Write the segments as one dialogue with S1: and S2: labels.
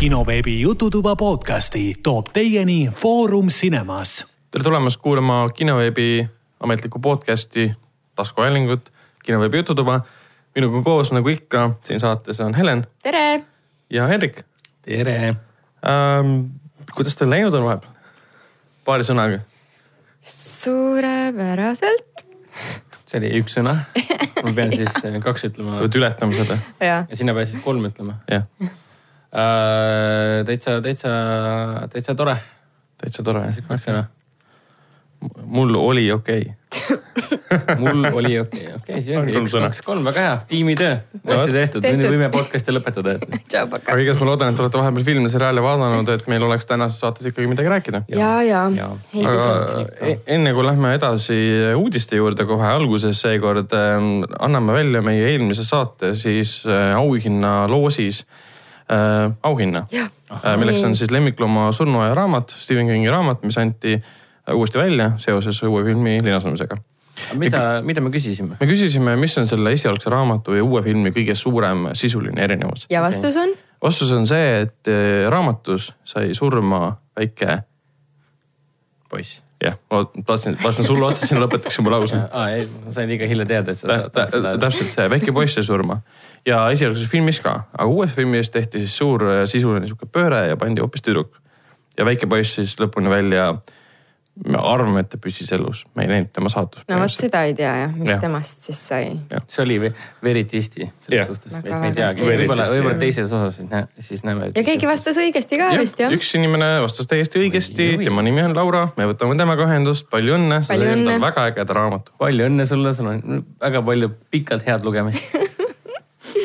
S1: kinoveebi Jututuba podcasti toob teieni Foorum Cinemas .
S2: tere tulemast kuulama kinoveebi ametlikku podcast'i taskuhäälingut , kinoveebi Jututuba . minuga koos , nagu ikka , siin saates on Helen
S3: tere .
S2: ja Henrik
S4: tere .
S2: ähm, . kuidas teil läinud on vahepeal ? paari sõnaga .
S3: suurepäraselt .
S4: see oli üks sõna . ma pean siis kaks ütlema
S2: pead ületama seda ,
S3: jah ,
S4: ja sina pead siis kolm ütlema
S2: jah .
S4: uh, . täitsa , täitsa , täitsa tore .
S2: täitsa tore .
S4: kaks sõna .
S2: mul oli okei okay. .
S4: mul oli okei , okei , see
S2: On
S4: ongi
S2: kolm
S4: üks ,
S2: sõna.
S4: kaks , kolm , väga hea , tiimitöö . hästi tehtud ,
S3: Tehtud.
S4: nüüd võime podcast'i lõpetada , et .
S3: tšau , paka .
S2: aga igatahes ma loodan , et te olete vahepeal filme seriaale vaadanud , et meil oleks tänases saates ikkagi midagi rääkida .
S3: ja , ja, ja.
S4: Jaa. ,
S2: aga
S3: endiselt .
S2: e- enne kui lähme edasi uudiste juurde kohe alguses seekord ähm, anname välja meie eelmise saate siis äh, auhinna loosis äh, auhinna ,
S3: jah ,
S2: milleks on
S3: Nii.
S2: siis lemmiklooma surnuaia raamat , Stephen Kingi raamat , mis anti äh, uuesti välja seoses uue filmi linastamisega .
S4: mida , mida me küsisime ?
S2: me küsisime , mis on selle esialgse raamatu ja uue filmi kõige suurem sisuline erinevus .
S3: ja vastus on
S2: vastus on see , et äh, raamatus sai surma väike ,
S4: poiss .
S2: jah , ma tahtsin , vastasin sulle otsa , siis lõpetaks juba lause
S4: aa , ei , ma sain liiga hilja teada , et sa
S2: Tä- tä-
S4: tahad seda .
S2: täpselt see väike poiss sai surma ja esialgses filmis ka , aga uues filmis tehti siis suur äh, sisuline sihuke pööre ja pandi hoopis tüdruk . ja väike poiss siis lõpuni välja , me arvame , et ta püsis elus , me ei näinud tema saatust .
S3: no vot seda ei tea jah , mis
S2: Jah.
S3: ja. temast siis sai .
S4: see oli ve- veritisti selles
S2: Jah.
S4: suhtes , et
S3: Väga
S4: me ei teagi ,
S3: väga
S4: võib-olla ,
S2: skeeri.
S4: võib-olla teises osas siis näe- siis näeme .
S3: ja keegi vastas õigesti ka ja, vist jah ?
S2: üks inimene vastas täiesti õigesti ,
S4: oi.
S2: tema nimi on Laura , me võtame temaga ühendust , palju õnne , sa
S3: Palju
S2: said endale
S3: õnne.
S2: väga ägeda raamatu .
S4: palju õnne sulle , sul on väga palju pikalt head lugemist .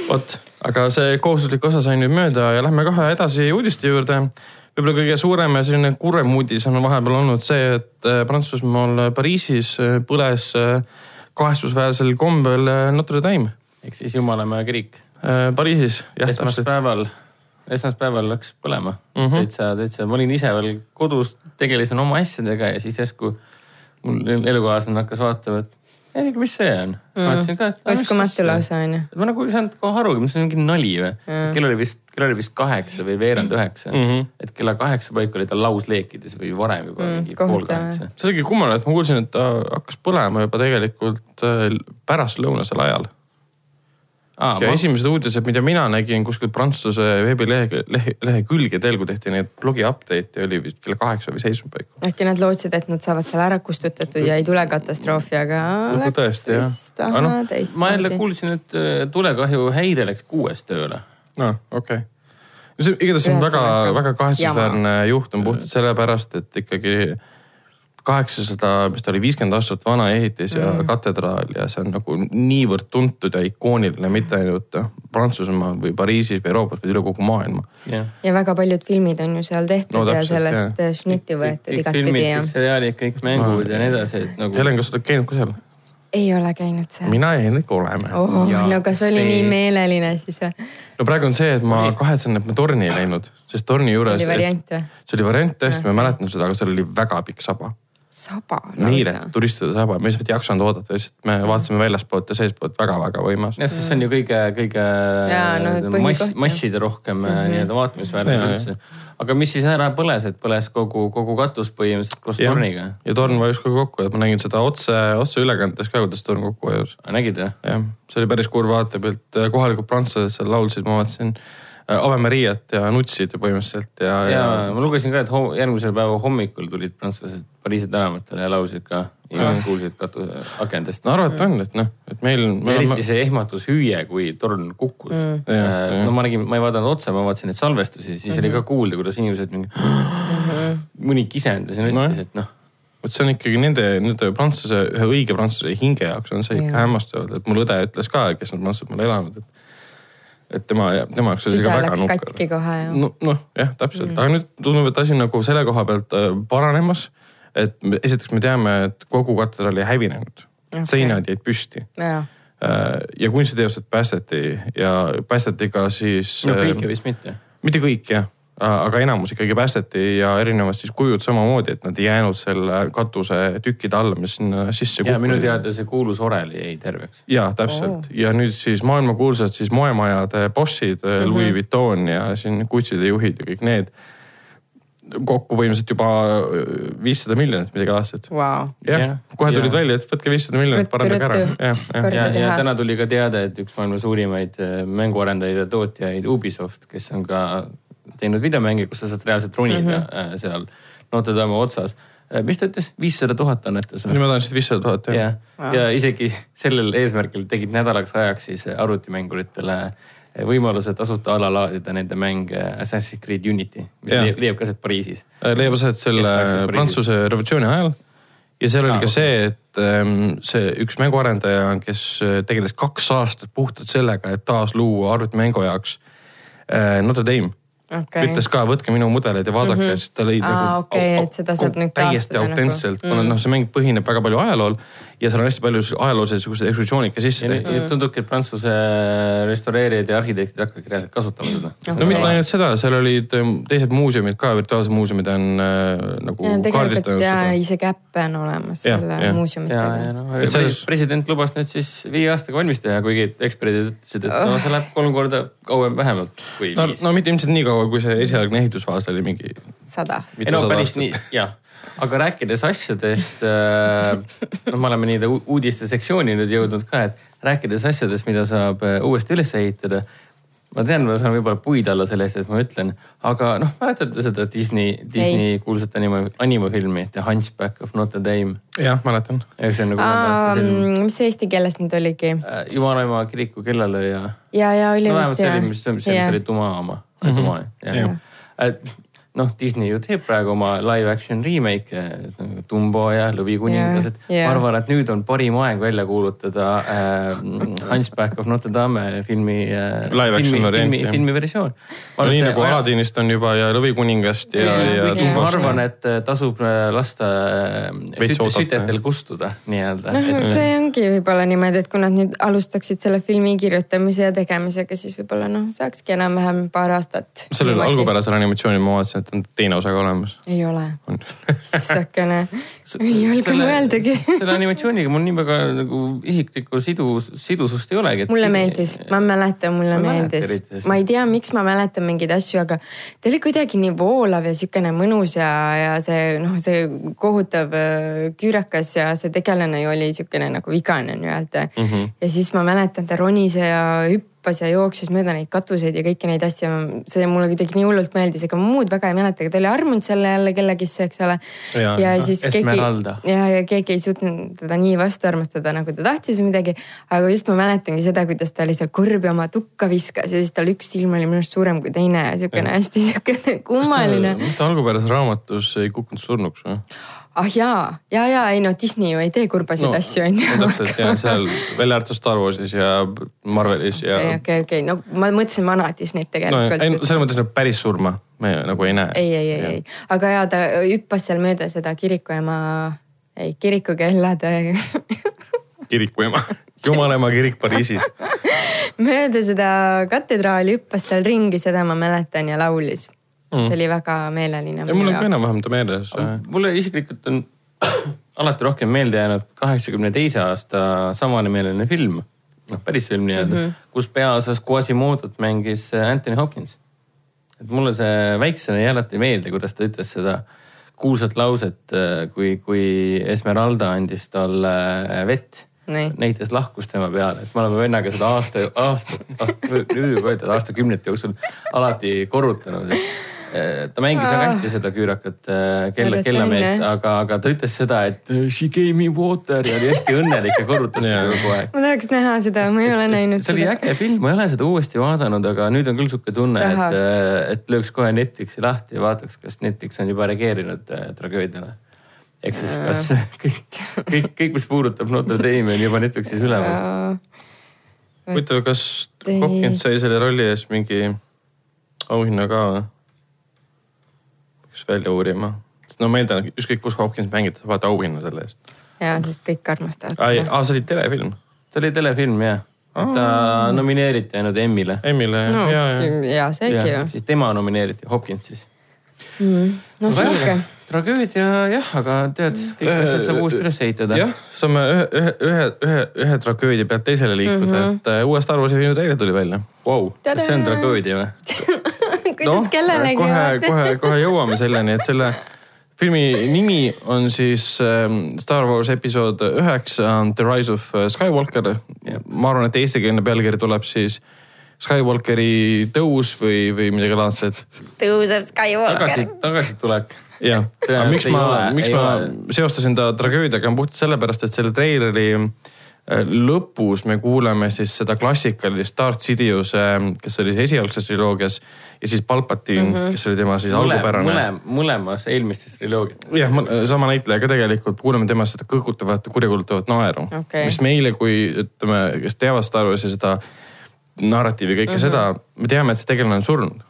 S2: vot , aga see kohustuslik osa sai nüüd mööda ja lähme kohe edasi uudiste juurde . võib-olla kõige suurem ja selline kurvem uudis on vahepeal olnud see , et äh, Prantsusmaal äh, Pariisis äh, põles äh, kahetsusväärsel kombel äh, Notre Dame
S4: ehk siis Jumalamäe kirik .
S2: äh, Pariisis . jah , täpselt .
S4: esmaspäeval , esmaspäeval läks põlema mm .
S2: Mhm.
S4: -hmm. täitsa , täitsa , ma olin ise veel kodus , tegelesin oma asjadega ja siis järsku mul elukaaslane hakkas vaatama , et Erik , mis see on mm. ? vaatasin ka , et .
S3: uskumatu lause on ju .
S4: ma nagu ei saanud kohe arugi , mis see on, mingi nali või mm. ? kell oli vist , kell oli vist kaheksa või veerand üheksa mm .
S2: Mhm.
S4: -hmm. et kella kaheksa paiku oli ta lausleekides või varem juba mm, mingi pool
S3: kohutav.
S4: kaheksa .
S2: see oligi kummaline , et ma kuulsin , et ta hakkas põlema juba tegelikult äh, pärastlõunasel ajal .
S4: aa ,
S2: ja
S4: ma
S2: esimesed uudised , mida mina nägin kuskil Prantsuse veebilehe , lehe , lehekülge teel , kui tehti neid blogi update'e , oli vist kell kaheksa või seitsme paiku .
S3: äkki nad lootsid , et nad saavad selle ära kustutatud ja ei tule katastroofi , aga
S2: Võib-olla
S3: läks
S2: tõesti, jah.
S3: vist
S2: Aga noh,
S3: aha teistmoodi .
S4: ma jälle kuulsin , et äh, tulekahju häire läks kuues tööle .
S2: aa , okei okay. . see igatahes see on väga ,
S3: Ühesõnaga, Mm.
S2: väga kahetsusväärne juhtum puhtalt sellepärast , et ikkagi kaheksasada , mis ta oli , viiskümmend aastat vana ehitis ja mm. katedraal ja see on nagu niivõrd tuntud ja ikooniline , mitte ainult noh, Prantsusmaal või Pariisis või Euroopas , vaid üle kogu maailma .
S4: jah .
S3: ja väga paljud filmid on ju seal tehtud
S2: No
S3: no, ja
S2: täpselt,
S3: sellest eh,
S2: jah.
S3: šnitti võetud igatpidi ja
S4: kõik seriaalid , kõik mängud ja nii edasi , et nagu .
S2: Helen , kas sa oled käinud ka seal ?
S3: ei ole käinud seal .
S2: mina ja Henrik oleme oh. .
S3: oh, .
S4: Jaa,
S3: no kas oli
S4: see-
S3: see... nii meeleline siis või ?
S2: no praegu on see , et ma kahetsen , et me torni ei läinud , sest torni juures .
S3: oli variant või ?
S2: see oli variant tõesti , ma mäletan seda , aga seal oli väga pikk saba
S3: saba
S2: niire
S3: lausa .
S2: turistada saab , me lihtsalt ei jaksanud oodata , lihtsalt me vaatasime väljaspoolt ja seestpoolt väga-väga võimas .
S4: jah , sest see on ju kõige , kõige
S3: Jaa, no,
S4: nii-öelda
S3: põhikoht,
S4: mass,
S3: jah. Mhm.
S4: masside rohkem mm -hmm. nii-öelda vaatamisväärsus
S2: Jaa,
S4: üldse . aga mis siis ära põles , et põles kogu , kogu katus põhimõtteliselt koos torniga .
S2: ja torn vajus ka kokku , et ma nägin seda otse , otseülekandes ka , kuidas torn kokku vajus .
S4: nägid või ?
S2: jah , see oli päris kurb vaatepilt , kohalikud prantslased seal laulsid , ma vaatasin äh, Ave Mariat ja nutsid põhimõtteliselt ja ,
S4: ja
S2: ja,
S4: ma lugesin ka , et ho- järgmisel päeva hommikul tulid prantslased Pariisi tänavatele ja laulsid ka . inimesed kuulsid katuse akendest
S2: ja... . arvata on , et noh , et meil .
S4: eriti see ehmatushüüe , kui torn kukkus mm. .
S2: Jah, jah.
S4: no ma nägin , ma ei vaadanud otsa , ma vaatasin neid salvestusi , siis mm -hmm.
S3: Mhm.
S4: oli ka kuulda , kuidas inimesed mingi mm , -hmm. mõni kisendas ja
S2: Nojah.
S4: ütles , et noh
S2: vot see on ikkagi nende , nende prantsuse , ühe õige prantsuse hinge jaoks on see ikka
S3: Jaa.
S2: hämmastav , et mul õde ütles ka , kes on prantslased mul elanud , et , et tema , tema jaoks oli see
S3: süda
S2: ka väga
S3: läks
S2: nukker .
S3: katki kohe ja no.
S2: no, . noh , jah , täpselt mm. , aga nüüd tundub , et asi nagu selle koha pealt äh, paranemas . et me- esiteks me teame , et kogu katedraal ei hävinenud okay. ,
S3: Okei.
S2: seinad jäid püsti .
S3: ja
S2: ja kunstiteosed päästeti ja päästeti ka siis
S4: äh,
S2: äh,
S4: no kõike vist mitte .
S2: mitte kõik jah , aga enamus ikkagi päästeti ja erinevad siis kujud samamoodi , et nad ei jäänud selle katuse tükkide alla , mis sinna sisse
S4: ja minu
S2: kukkusid .
S4: teada see kuulus oreli jäi terveks .
S2: ja täpselt ja nüüd siis maailmakuulsad siis moemajade bossid mm , -hmm. Louis Vuitton ja siin Gucci'de juhid ja kõik need . kokku põhimõtteliselt juba eh, viissada miljonit midagi aastat .
S3: Vau .
S2: jah
S4: Jah. ,
S2: kohe tulid
S4: Ja.
S2: välja , et võtke viissada miljonit , parandage ära .
S3: Ruttu-ruttu.
S2: jah , jah ,
S3: Korda
S4: ja , ja
S3: teha.
S4: täna tuli ka teade , et üks maailma suurimaid äh, mänguarendajaid ja tootjaid Ubisoft , kes on ka teinud videomänge , kus sa saad reaalselt ronida mm
S3: Mhm.
S4: -hmm. seal Notre Dame'i otsas . mis ta ütles , viissada tuhat annetas või ?
S2: nüüd ma tahan siis viissada tuhat jah
S4: ja , ja isegi sellel eesmärgil tegid nädalaks ajaks siis arvutimänguritele võimaluse tasuta alalaadida nende mänge Assassin's Creed Unity , mis
S2: Jah.
S4: leiab, leiab ka sealt Pariisis .
S2: Äh, leiab aset selle
S4: Kes pääses Pariisis?
S2: Prantsuse revolutsiooni ajal . ja seal oli
S4: Aa,
S2: ka
S4: okei.
S2: see , et ähm, see üks mänguarendaja , kes äh, tegeles kaks aastat puhtalt sellega , et taasluua arvutimängu jaoks äh, Notre Dame okay. .
S3: okei .
S2: ütles ka , võtke minu mudeleid ja vaadake mm , -hmm. siis ta lõi
S3: Aa, okei, et seda saab nüüd
S2: täiesti
S3: taastada nagu.
S2: autentselt , kuna noh , see mäng põhineb väga palju ajalool ja seal on hästi palju ajaloolisi niisuguseid ekskursioonike sisse
S4: ja nüüd
S2: tehtud .
S4: mm. tundubki , et Prantsuse restaureerijad ja arhitektid hakkavadki reaalselt kasutama seda
S3: Okei.
S2: no
S4: no, .
S2: mitte ainult seda , seal olid ähm, teised muuseumid ka , virtuaalsed muuseumid on äh, nagu
S3: tegelikult
S2: kaardistanud
S3: ja
S2: seda .
S3: isegi äppe on olemas
S2: Jah,
S3: selle
S2: jah.
S4: ja , ja
S3: muuseumitega .
S4: noh
S2: Et , selles-
S4: president lubas nüüd siis viie aastaga valmis teha , kuigi eksperdid ütlesid , et no see läheb kolm korda kauem vähemalt kui
S2: no ,
S4: viis .
S2: no mitte ilmselt nii kaua , kui see esialgne ehitusfaas oli mingi
S3: sada .
S4: ei no
S2: mitusada
S4: päris
S2: aastat .
S4: nii , jah . aga rääkides asjadest , no me oleme nii-öelda u- uudiste sektsiooni nüüd jõudnud ka , et rääkides asjadest , mida saab äh, uuesti üles ehitada . ma tean , ma saan võib-olla puid alla selle eest , et ma ütlen , aga noh , mäletate seda Disney , Disney kuulsat anima , animafilmi The Hunchback of Notre Dame .
S2: jah , mäletan .
S4: üheksakümne kuuenda aasta film .
S3: mis see eesti keeles nüüd oligi ?
S4: Jumalaema kiriku kellalööja .
S3: ja , ja oli
S4: no vähemalt
S3: vist
S4: see
S3: jah
S4: oli , mis , see
S3: Jah.
S4: oli Tuma oma ,
S2: Mhm.
S4: Tuma jah
S3: Jah. .
S4: noh , Disney ju teeb praegu oma live action remake , Dumbo ja Lõvikuningas , et
S3: Jah, jah.
S4: ma arvan , et nüüd on parim aeg välja kuulutada äh, Hunchback of Notre Dame filmi äh, .
S2: Live action variant,
S4: filmi,
S2: jah.
S4: filmi versioon .
S2: no nii nagu Aladinist on juba ja Lõvikuningast ja , ja
S4: kuigi ma
S2: Tumbast .
S4: arvan , et äh, tasub äh, lasta äh,
S2: Veits
S4: süt-
S2: oodata,
S4: sütetel
S2: jah.
S4: kustuda nii-öelda .
S3: noh , see ongi võib-olla niimoodi , et kui nad nüüd alustaksid selle filmi kirjutamise ja tegemisega , siis võib-olla noh , saakski enam-vähem paar aastat .
S2: sellel . algupärasel animatsioonil ma vaatasin , et on teine osa ka olemas .
S3: ei ole ,
S2: on .
S3: issakene , ei julge
S4: Selle-
S3: mõeldagi .
S4: selle animatsiooniga mul nii väga nagu isiklikku sidus , sidusust ei olegi .
S3: mulle meeldis , ma mäletan , mulle
S4: Ma ei mäleta eriti
S3: meeldis
S4: sest- .
S3: ma ei tea , miks ma mäletan mingeid asju , aga ta oli kuidagi nii voolav ja siukene mõnus ja , ja see noh , see kohutav öö, küürakas ja see tegelane ju oli siukene nagu vigane nii-öelda mm . -hmm. ja siis ma mäletan , ta ronis ja hüppas ja jooksis mööda neid katuseid ja kõiki neid asju , see mulle kuidagi nii hullult meeldis , ega ma muud väga ei mäleta , aga ta oli armunud selle jälle kellegisse , eks ole .
S2: Jaa,
S3: ja
S2: jah.
S3: siis keegi
S4: Esmeralda. ,
S3: ja , ja keegi ei suutnud teda nii vastu armastada , nagu ta tahtis või midagi . aga just ma mäletangi seda , kuidas ta oli seal kurbi oma tukka viskas ja siis tal üks silm oli minu arust suurem kui teine ja siukene hästi siukene kummaline .
S2: mitte algupärases raamatus ei kukkunud surnuks või ?
S3: ah jaa , ja , ja ei no Disney ju ei tee kurbasid no, asju on ju .
S2: täpselt ja seal välja arvatud Star Warsis ja Marvelis ja .
S3: okei , okei , okei , no ma mõtlesin vana Disney't
S2: no ei ,
S3: tegelikult no, .
S2: selles mõttes , et päris surma me nagu ei näe .
S3: ei , ei , ei , ei , aga ja ta hüppas seal mööda seda kirikuema , ei kirikukellade
S2: kirikuema , jumalaema kirik Pariisis .
S3: mööda seda katedraali hüppas seal ringi , seda ma mäletan ja laulis mm. . see oli väga meeleline .
S2: mul on ka . enam-vähem ta meeles .
S4: mulle isiklikult on alati rohkem meelde jäänud kaheksakümne teise aasta samanimeline film , noh päris film nii-öelda mm , -hmm. kus peaosas Quasimodot mängis äh, Anthony Hopkins . et mulle see väiksena jäi alati meelde , kuidas ta ütles seda kuulsat lauset , kui , kui Esmeralda andis talle äh, vett
S3: Nii.
S4: näitas lahkust tema peale , et me oleme vennaga seda aasta , aasta , nüüd juba ütelda aastakümnete jooksul alati korrutanud . ta mängis väga hästi seda küürakat eh, kella ,
S3: Arvata
S4: kellameest ,
S3: õnne.
S4: aga , aga ta ütles seda , et "Äh, she gave me water ja oli hästi õnnelik ja korrutas seda kogu aeg .
S3: ma tahaks näha seda , ma ei ole näinud
S4: see oli
S3: seda .
S4: äge film , ma ei ole seda uuesti vaadanud , aga nüüd on küll sihuke tunne , et äh,
S3: Tahaks. ,
S4: et lööks kohe Netflixi lahti ja vaataks , kas Netflix on juba reageerinud äh, tragöödiale . ehk siis kas kõik , kõik , kõik , mis puudutab Notre Dame'i on juba Netflixis üleval .
S2: huvitav , kas Hopkins sai selle rolli eest mingi auhinna ka või ? peaks välja uurima , sest no ma eeldan , ükskõik kus Hopkins mängib , ta saab vaata auhinna selle eest .
S3: ja , sest kõik armastavad Noh,
S2: aa ,
S3: teda .
S2: see oli telefilm .
S4: see oli telefilm jah , ta nomineeriti ainult Emmile .
S2: Emmile
S3: no
S2: no, ja , ja ,
S3: ja seegi ju ,
S4: siis tema nomineeriti , Hopkins siis .
S3: Mm. no selge .
S4: tragöödia jah , aga tead , kõik
S2: Äh,
S4: asjad saab uuesti üles ehitada .
S2: jah , saame ühe , ühe , ühe , ühe , ühe tragöödia pealt teisele liikuda mm , -hmm. et äh, uue Star Warsi filmi treiler tuli välja .
S4: Vau , kas see on tragöödia või ?
S3: kuidas kellelegi
S2: Noh, kohe ,
S3: vaata-
S2: kohe , kohe jõuame selleni , et selle filmi nimi on siis ähm, Star Wars episood üheksa The Rise of äh, Skywalker . ma arvan , et eestikeelne pealkiri tuleb siis Skywalkeri tõus või , või midagi laadset .
S3: tõuseb
S4: tagasi
S3: Skywalker .,
S4: tagasitulek .
S2: jah , aga miks
S4: Tõenäoliselt ei
S2: ma
S4: ole, ,
S2: miks
S4: ei
S2: ma
S4: ole.
S2: seostasin ta tragöödiaga on puhtalt sellepärast , et selle treileri äh, lõpus me kuuleme siis seda klassikalist Darth Sidiuse , kes oli siis esialgses triloogias ja siis Palpatine mm ,
S4: Mhm.
S2: -hmm. kes oli tema siis algupärane .
S4: mõlem , mõlemas eelmistes triloogias .
S2: jah , sama näitleja ka tegelikult kuuleme temast seda kõhkutavat ja kurjakuulutavat naeru
S3: Okei.
S2: mis meile , kui ütleme , kes teavad Star Warsi seda narratiivi , kõike mm -hmm.
S3: Mhm.
S2: seda , me teame , et see tegelane on surnud .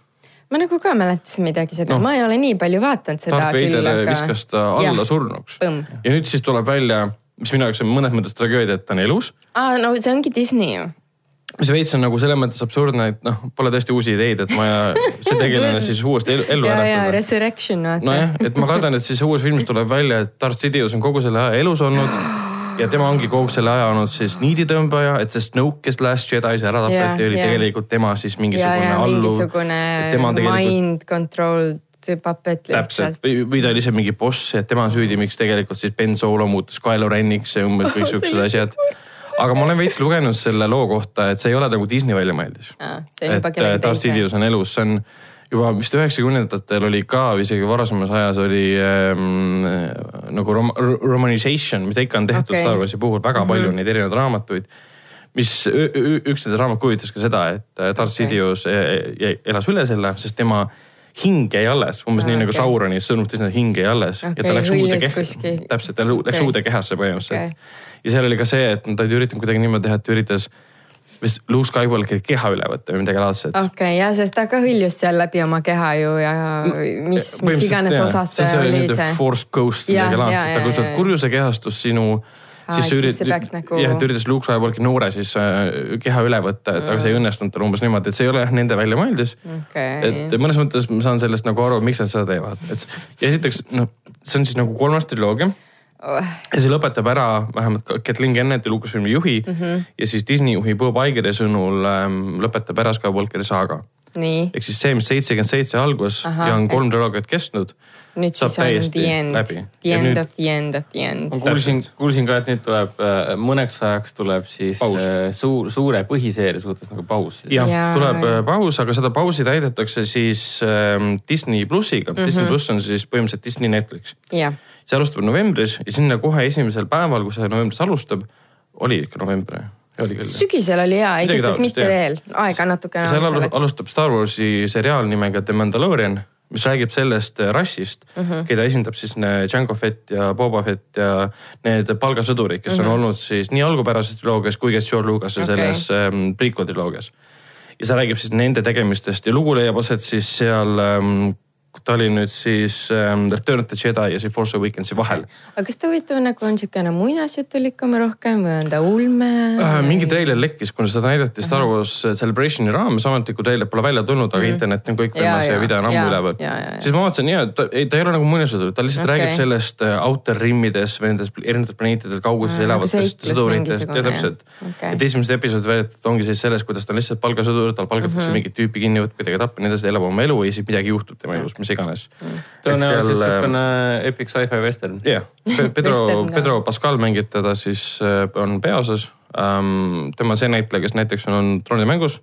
S3: ma nagu ka mäletasin midagi seda no. , ma ei ole nii palju vaadanud seda
S2: Darth
S3: küll ,
S2: Vader
S3: aga .
S2: viskas ta alla ja. surnuks .
S3: Põmm.
S2: ja nüüd siis tuleb välja , mis minu jaoks on mõnes mõttes tragöödia , et ta on elus .
S3: aa , no see ongi Disney ju .
S2: mis veits on nagu selles mõttes absurdne , et noh , pole tõesti uusi ideid , et ma ja see tegelane siis uuesti el- ellu
S3: ja , ja
S2: äratada .
S3: Resurrection vaata
S2: nojah , et ma kardan , et siis uues filmis tuleb välja , et Darth Sidious on kogu selle aja elus olnud ja tema ongi kogu selle aja olnud siis niiditõmbaja , et see Snoke , kes Last Jedi's ära tapeti yeah, ,
S3: Jaa,
S2: oli
S3: jaa.
S2: yeah. tegelikult tema siis
S3: ja ,
S2: mingisugune
S3: ja
S2: alluv .
S3: mingisugune mind controlled puppet
S2: täpselt
S3: lihtsalt .
S2: või , või ta oli ise mingi boss , et tema on süüdi , miks tegelikult siis Ben Solo muutus Kylo Reniks ja umbes kõik siuksed asjad . aga ma olen veits lugenud selle loo kohta , et see ei ole nagu Disney väljamõeldis .
S3: Aa, see on
S2: et
S3: juba kellegi
S2: äh, Darth
S3: teise.
S2: Sidious on elus , see on juba vist üheksakümnendatel oli ka , isegi varasemas ajas oli ähm, nagu rom- , romanization , mida ikka on tehtud
S3: Okei. Mhm.
S2: okay. Star Warsi puhul väga palju mm -hmm. neid erinevaid raamatuid mis ü- ü- üks nende raamat kujutas ka seda , et äh, Darth
S3: Okei.
S2: Sidious äh, jäi- elas üle selle , sest tema hing jäi alles , umbes
S3: Aa,
S2: nii nagu
S3: okei.
S2: Sauroni sõnumites nad hing jäi alles ja ta
S3: Okei,
S2: läks uude
S3: hõljus
S2: kehasse
S3: kuskil. ,
S2: täpselt , ta lu- läks
S3: Okei.
S2: uude kehasse põhimõtteliselt
S3: Okei.
S2: okay. . ja seal oli ka see , et nad olid üritanud kuidagi niimoodi teha , et üritas vist Luke Skywalkeri keha üle võtta või midagi laadset
S3: okei okay, , ja sest ta ka hõljus seal läbi oma keha ju ja mis , mis
S2: Põhimõtteliselt
S3: iganes
S2: jaa.
S3: osas
S2: see
S3: see oli
S2: on see
S3: see .
S2: force ghost
S3: Jah,
S2: midagi
S3: jaa,
S2: laadset ,
S3: jaa,
S2: aga kui sa oled
S3: jaa.
S2: kurjuse kehastus , sinu
S3: Aa,
S2: siis sa
S3: et siis
S2: üritad
S3: see , peaks nagu-
S2: jah , et üritas Luke Skywalker'i noore siis äh, keha üle võtta , et aga see ei õnnestunud tal umbes niimoodi , et see ei ole jah nende välja mõeldis
S3: Mm. Okei.
S2: et mõnes mõttes ma saan sellest nagu aru , miks nad seda teevad , et s- ja esiteks noh , see on siis nagu kolmas triloogia
S3: oh,
S2: ja see lõpetab ära vähemalt ka Kathleen Kennedy , Lucasfilmi juhi mm -hmm.
S3: Mhm.
S2: ja siis Disney juhi Bob Igeri sõnul ähm, lõpetab ära Skywalkeri saaga .
S3: nii ,
S2: ehk siis see , mis seitsekümmend seitse algas Aha,
S3: Ahah,
S2: ja on
S3: okei.
S2: kolm triloogiat kestnud .
S3: nüüd siis on the end , the end nüüd... of the end of the end
S4: ma . kuulsin , kuulsin ka , et nüüd tuleb äh, mõneks ajaks tuleb siis
S2: Paus.
S4: äh, suur , suure põhiseeria suhtes nagu paus .
S2: jah ja,
S3: Jaa, ,
S2: tuleb
S3: jaa.
S2: äh, paus , aga seda pausi täidetakse siis ähm, Disney plussiga
S3: Mhm.
S2: mm , -hmm. Disney pluss on siis põhimõtteliselt Disney Netflix
S3: jah ,
S2: see alustab novembris ja sinna kohe esimesel päeval , kui see novembris alustab , oli ikka november , oli küll .
S3: sügisel oli hea , igatahes
S2: taolist,
S3: mitte
S2: jah.
S3: veel , aega natukene
S2: seal
S3: on
S2: alu-
S3: selleks .
S2: alustab Star Warsi seriaal nimega The Mandalorian , mis räägib sellest rassist mm ,
S3: Mhm.
S2: -hmm. keda esindab siis ne- Jango Fett ja Boba Fett ja need palgasõdurid , kes mm -hmm. on olnud siis nii algupärases triloogias kui ka George Lucas'e
S3: Mhm. Okei.
S2: okay. selles ähm, prequel triloogias . ja see räägib siis nende tegemistest ja lugu leiab aset siis seal ähm, , ta oli nüüd siis ähm, Return of the Jedi ja siis Force Awakensi vahel
S3: aga kas ta huvitav nagu on siukene muinasjutulikum rohkem või on ta ulme
S2: äh, ? mingi treiler lekkis , kuna seda näidati Star Wars äh, Celebrationi raames , ametlikku treiler pole välja tulnud , aga internet on kõik
S3: Jaa,
S2: võimas Mm. ja
S3: jaa,
S2: video on ammu
S3: jaa,
S2: üleval
S3: jaa, jaa, jaa. .
S2: siis ma vaatasin ja ta ei , ta ei ole nagu mõnusõdur , ta lihtsalt okay.
S3: Okei.
S2: räägib sellest äh, outer rimmides või nendes pl- erinevatel planeetidel kauguses
S3: Aa, nagu
S2: elavatest
S3: seiklus
S2: sõduritest
S3: mingisugune,
S2: ja täpselt
S3: jah. Okei. .
S2: et esimesed episoodid väidetavalt ongi siis selles , kuidas ta on lihtsalt palgasõdur , tal palgatakse mingit tüüpi kinni , võtab kedagi tappa ja nii edasi , elab oma elu ja siis midagi juhtub tema elus , mis iganes . äh,
S4: tõenäoliselt niisugune epic sci-fi western .
S2: jah yeah. , Pedro
S3: Western , ka.
S2: Pedro Pascal mängib teda siis , on peaosas ähm, . tema see näitleja , kes näiteks on olnud troonimängus ,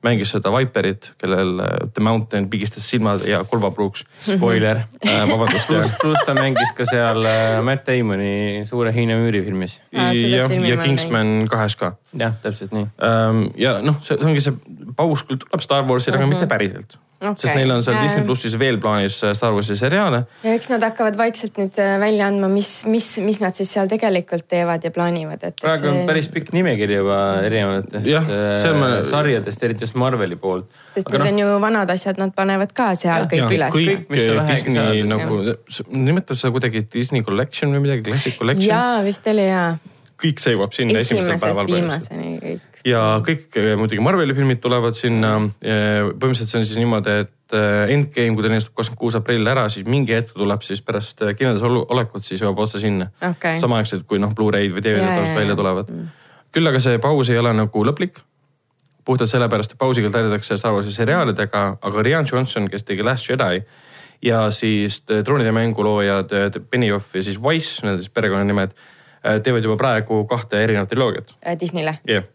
S2: mängis seda Viperit , kellel äh, The Mountain pigistas silmad ja kulvapruuks .
S4: Spoiler .
S3: Ah,
S2: Äh, vabandust , jah
S4: pluss , pluss ta mängis ka seal äh, Matt Damoni Suure Hiina müüri filmis .
S3: Aa, seda
S2: ja,
S3: filmi
S2: ja
S3: ma
S2: Kingsman kahes ka
S4: jah , täpselt nii .
S2: ähm, . ja noh , see see ongi see paus küll tuleb Star Warsile , aga mitte päriselt okay. . sest
S3: Mhm. Okei.
S2: neil on seal
S3: Ähm.
S2: Disney plussis veel plaanis äh, Star Warsi seriaale
S3: ja eks nad hakkavad vaikselt nüüd äh, välja andma , mis , mis , mis nad siis seal tegelikult teevad ja plaanivad , et .
S4: praegu on päris pikk nimekiri juba erinevatest
S2: Jah, see
S4: äh,
S2: on ma-
S4: sarjadest , eriti just Marveli poolt .
S3: sest need on ju vanad asjad , nad panevad ka seal
S4: Jah,
S3: kõik
S4: jah,
S3: üles .
S2: noh. kõik
S4: mis sa
S2: eh,
S4: vähegi
S2: Disney
S4: saad.
S2: nagu , nimetab seda kuidagi Disney collection või midagi , classic collection .
S3: jaa , vist oli jaa .
S2: kõik see jõuab sinna esimesel
S3: esimesest
S2: päeval põhimõtteliselt
S3: viimaseni kõik .
S2: ja kõik eh, muidugi Marveli filmid tulevad sinna . põhimõtteliselt see on siis niimoodi , et eh, Endgame , kui ta ilmestub kakskümmend kuus aprill ära , siis mingi hetk tuleb siis pärast eh, kinodes olu- olekut , siis jõuab otse sinna
S3: Okei.
S2: samaaegselt kui noh , Blu-ray'd või
S3: Jaa, jaa,
S2: DVD-d
S3: jaa. Mm.
S2: välja tulevad . küll aga see paus ei ole nagu lõplik . puhtalt sellepärast , et pausiga täidetakse Star Warsi seriaalidega , aga Rian Johnson , kes tegi Last Jedi ja siis t- troonide mängu loojad eh, Benioff ja siis Wise , need on siis perekonnanimed , teevad juba praegu kahte erinevat triloogiat .
S3: Äh, Disneyle .
S2: jah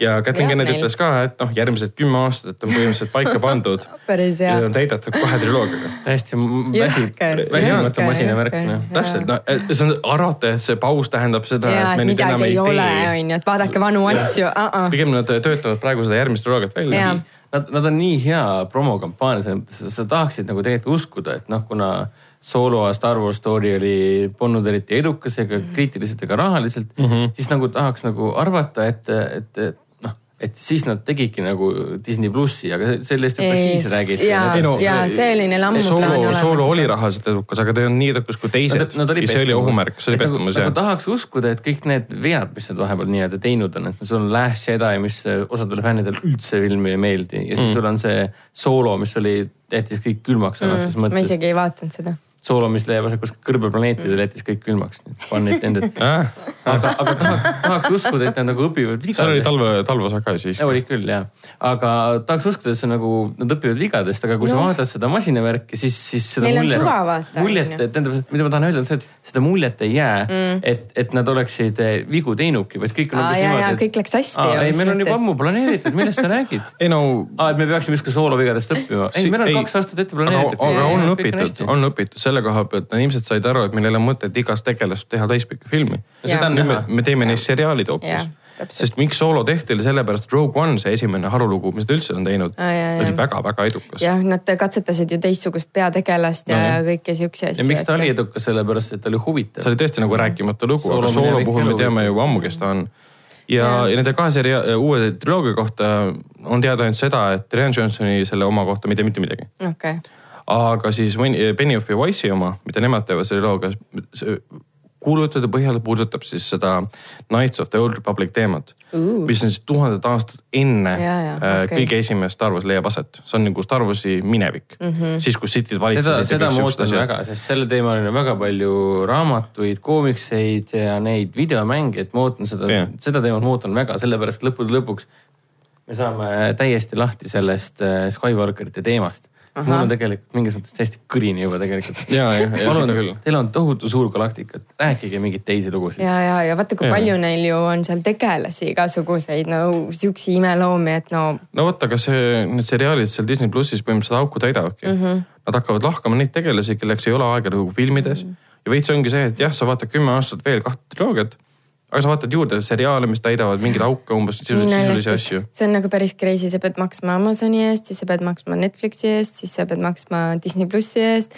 S2: ja Katrin Kennedy ütles ka , et noh , järgmised kümme aastat on põhimõtteliselt paika pandud
S3: päris
S2: ja
S3: hea .
S2: on täidetud kahe triloogiaga .
S4: täiesti m- väsib ,
S3: Jõhker,
S4: väsimatu
S3: jõhker,
S4: masinavärk ,
S3: jõhker.
S4: noh .
S2: täpselt , no et see on , arvata , et see paus tähendab seda ,
S3: ja ,
S2: et
S3: et
S2: me nüüd enam
S3: midagi ei
S2: ei
S3: ole ,
S2: tee .
S3: onju , et vaadake vanu asju , uh-uh .
S2: pigem nad töötavad praegu seda järgmist triloogiat välja
S3: Jaa. .
S4: Nad , nad on nii hea promokampaania , selles mõttes , et sa tahaksid nagu tegelikult uskuda , et noh , kuna soolo A Star Wars story oli polnud eriti edukas ega kriitiliselt ega rahaliselt mm , -hmm. siis nagu tahaks nagu arvata , et , et , et noh , et siis nad tegidki nagu Disney plussi , aga sellest juba siis räägiti .
S3: ja
S2: Ei no, ,
S3: ja see oli neil ammu plaan
S2: soolo ,
S3: olemas .
S2: soolo oli rahaliselt edukas , aga ta ei olnud nii edukas kui teised . ja see oli ohumärk , see oli pettumus
S4: jah .
S2: jah
S4: nagu . tahaks uskuda , et kõik need vead , mis nad vahepeal nii-öelda teinud on , et sul on Last Jedi , mis osadele fännidele üldse filmi ei meeldi ja siis mm. sul on see soolo , mis oli , jättis kõik külmaks sõnastuses mm.
S3: ma
S4: mõttes .
S3: isegi ei vaadanud seda .
S4: soolo , mis leiab aset kuskil kõrbeplaneetidel mm. , jättis kõik külmaks . Fun intended . aga , aga tahaks , tahaks uskuda , et nad nagu õpivad
S2: seal oli
S4: vigadest .
S2: talve , talveosa ka siis .
S4: Ja, olid küll jah , aga tahaks uskuda , et see nagu nad õpivad vigadest , aga kui no. sa vaatad seda masinavärki , siis , siis seda
S3: Noh. Neil on suva vaata,
S4: muljet ,
S3: on ju.
S4: tähendab , mida ma tahan öelda , on see , et seda muljet ei jää mm. , et , et nad oleksid eh, vigu teinudki , vaid kõik on
S3: Aa, jaa, jaa, kõik läks hästi ju,
S4: ei ,
S3: mis
S4: meil on juba
S3: mõttes.
S4: ammu planeeritud , millest sa räägid ?
S2: ei no
S4: aa , et me peaksime justkui soolovigadest õppima . ei , meil on ei, kaks aastat ette planeeritud .
S2: aga, aga on õpitud , on õpitud selle koha pealt , inimesed said aru , et meil ei ole mõtet igast tegelast teha täispikka filmi .
S3: seda on
S2: nüüd me
S4: näha. ,
S2: me teeme neist seriaalid
S3: Jah,
S2: hoopis .
S3: täpselt.
S2: sest miks soolo tehti , oli sellepärast , et Rogue One , see esimene harulugu , mis nad üldse on teinud ,
S3: Aa, jaa, jaa.
S2: oli väga-väga edukas .
S3: jah , nad katsetasid ju teistsugust peategelast ja no. kõiki siukseid asju .
S4: ja miks ta oli edukas , sellepärast et ta oli huvitav
S2: see . oli tõesti nagu rääkimatu lugu ,
S4: Soolo
S2: aga soolo
S4: minevik
S2: puhul
S4: ja
S2: me
S4: lugu.
S2: teame juba ammu , kes ta on . ja , ja nende kahe seria- , uue triloogia kohta on teada ainult seda , et Rian Johnsoni selle oma kohta me ei tea mitte midagi .
S3: okei ,
S2: aga siis Wen- Benioff ja Wise'i oma , mida nemad teevad selle looga , kuulutajate põhjal puudutab siis seda Knights of the Old Republic teemat
S3: Ooh.
S2: mis on siis tuhanded aastad enne
S3: Jaa, jaa,
S2: äh,
S3: okei.
S2: kõige esimest Star Wars leiab aset . see on nagu Star Warsi minevik mm , -hmm. siis kui City'd
S4: seda ,
S2: valitsesid .
S4: seda ma ootan väga , sest sellel teemal on ju väga palju raamatuid , koomikseid ja neid videomänge , et ma ootan seda
S2: Jah.
S4: yeah. , seda teemat ma ootan väga , sellepärast lõppude lõpuks me saame täiesti lahti sellest äh, Skywalkerite teemast . mul on tegelikult mingis mõttes täiesti kõrini juba tegelikult .
S2: Jaa, jah, jah, seda küll.
S4: Teil on tohutu suur galaktika , rääkige mingeid teisi lugusid .
S3: ja , ja , ja vaata , kui
S2: Jaa.
S3: palju neil ju on seal tegelasi igasuguseid , no siukse imeloomi , et no
S2: no vot , aga see , need seriaalid seal Disney plussis põhimõtteliselt seda auku täidavadki mm .
S3: Mhm.
S2: -hmm. Nad hakkavad lahkama neid tegelasi , kelleks ei ole aega nagu filmides mm .
S3: Mhm.
S2: -hmm. ja veits ongi see , et jah , sa vaatad kümme aastat veel kahte triloogiat , aga sa vaatad juurde seriaale , mis täidavad mingeid auke umbes sisu-
S3: nii
S2: sisulisi
S3: naljakas.
S2: asju .
S3: see on nagu päris crazy , sa pead maksma Amazoni eest , siis sa pead maksma Netflixi eest , siis sa pead maksma Disney plussi eest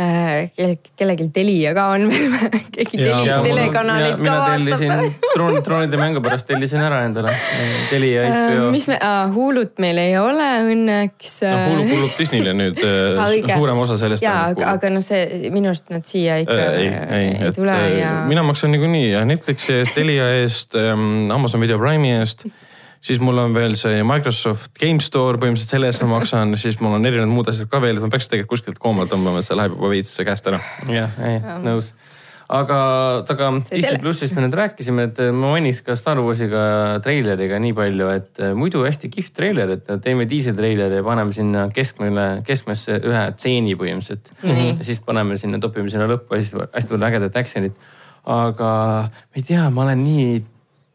S3: äh, . kellelgi Telia ka on veel , keegi Telia telekanaleid ka vaatab .
S4: troon , troonide mängu pärast tellisin ära endale . Telia HBO .
S3: Äh, mis me , Hulut meil ei ole õnneks .
S2: noh , Hulu kuulub Disneyle nüüd äh, su- suurem osa sellest . nagu-
S3: jaa , aga , aga noh , see minu arust nad siia ikka
S2: Äh, ei , ei ,
S3: ei
S2: et
S3: tule
S2: äh,
S3: ja .
S2: mina maksan niikuinii ja Netflixi eest , Telia eest , Amazon Video Prime'i eest , siis mul on veel see Microsoft Game Store , põhimõtteliselt selle eest ma maksan , siis mul on erinevad muud asjad ka veel , et ma peaks tegelikult kuskilt koomale tõmbama , et see läheb juba veits käest ära .
S4: jah , ei , nõus . aga , aga Disney
S3: selleks.
S4: plussist me nüüd rääkisime , et äh, ma mainiks ka Star Warsiga treileriga nii palju , et äh, muidu hästi kihvt treiler , et äh, teeme diiseltreileri ja paneme sinna keskmele , keskmesse ühe tseeni põhimõtteliselt mm . -hmm. siis paneme sinna , topime sinna lõppu hästi , hästi palju ägedat action'it . aga ma ei tea , ma olen nii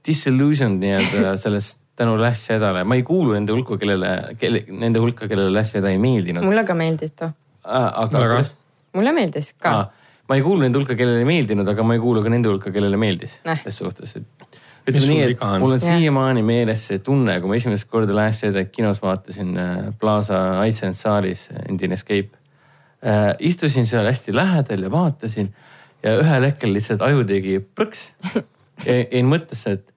S4: disillusioned nii-öelda sellest tänu Lash Jedale , ma ei kuulu nende hulka , kellele , kelle , nende hulka , kellele Lash Jeda ei meeldinud .
S3: mulle ka meeldis too ,
S4: aga
S2: Väga.
S3: mulle meeldis ka
S4: ah, . ma ei kuulu nende hulka , kellele ei meeldinud , aga ma ei kuulu ka nende hulka , kellele meeldis
S3: Näh.
S4: selles suhtes , et . ütleme
S2: sul
S4: nii , et
S2: viga on?
S4: mul on
S3: Jah.
S4: siiamaani meeles see tunne , kui ma esimest korda Last Jedi kinos vaatasin äh, Plaza Ice and Saaris , endine Escape äh, . istusin seal hästi lähedal ja vaatasin ja ühel hetkel lihtsalt aju tegi plõks . jäin mõttesse , et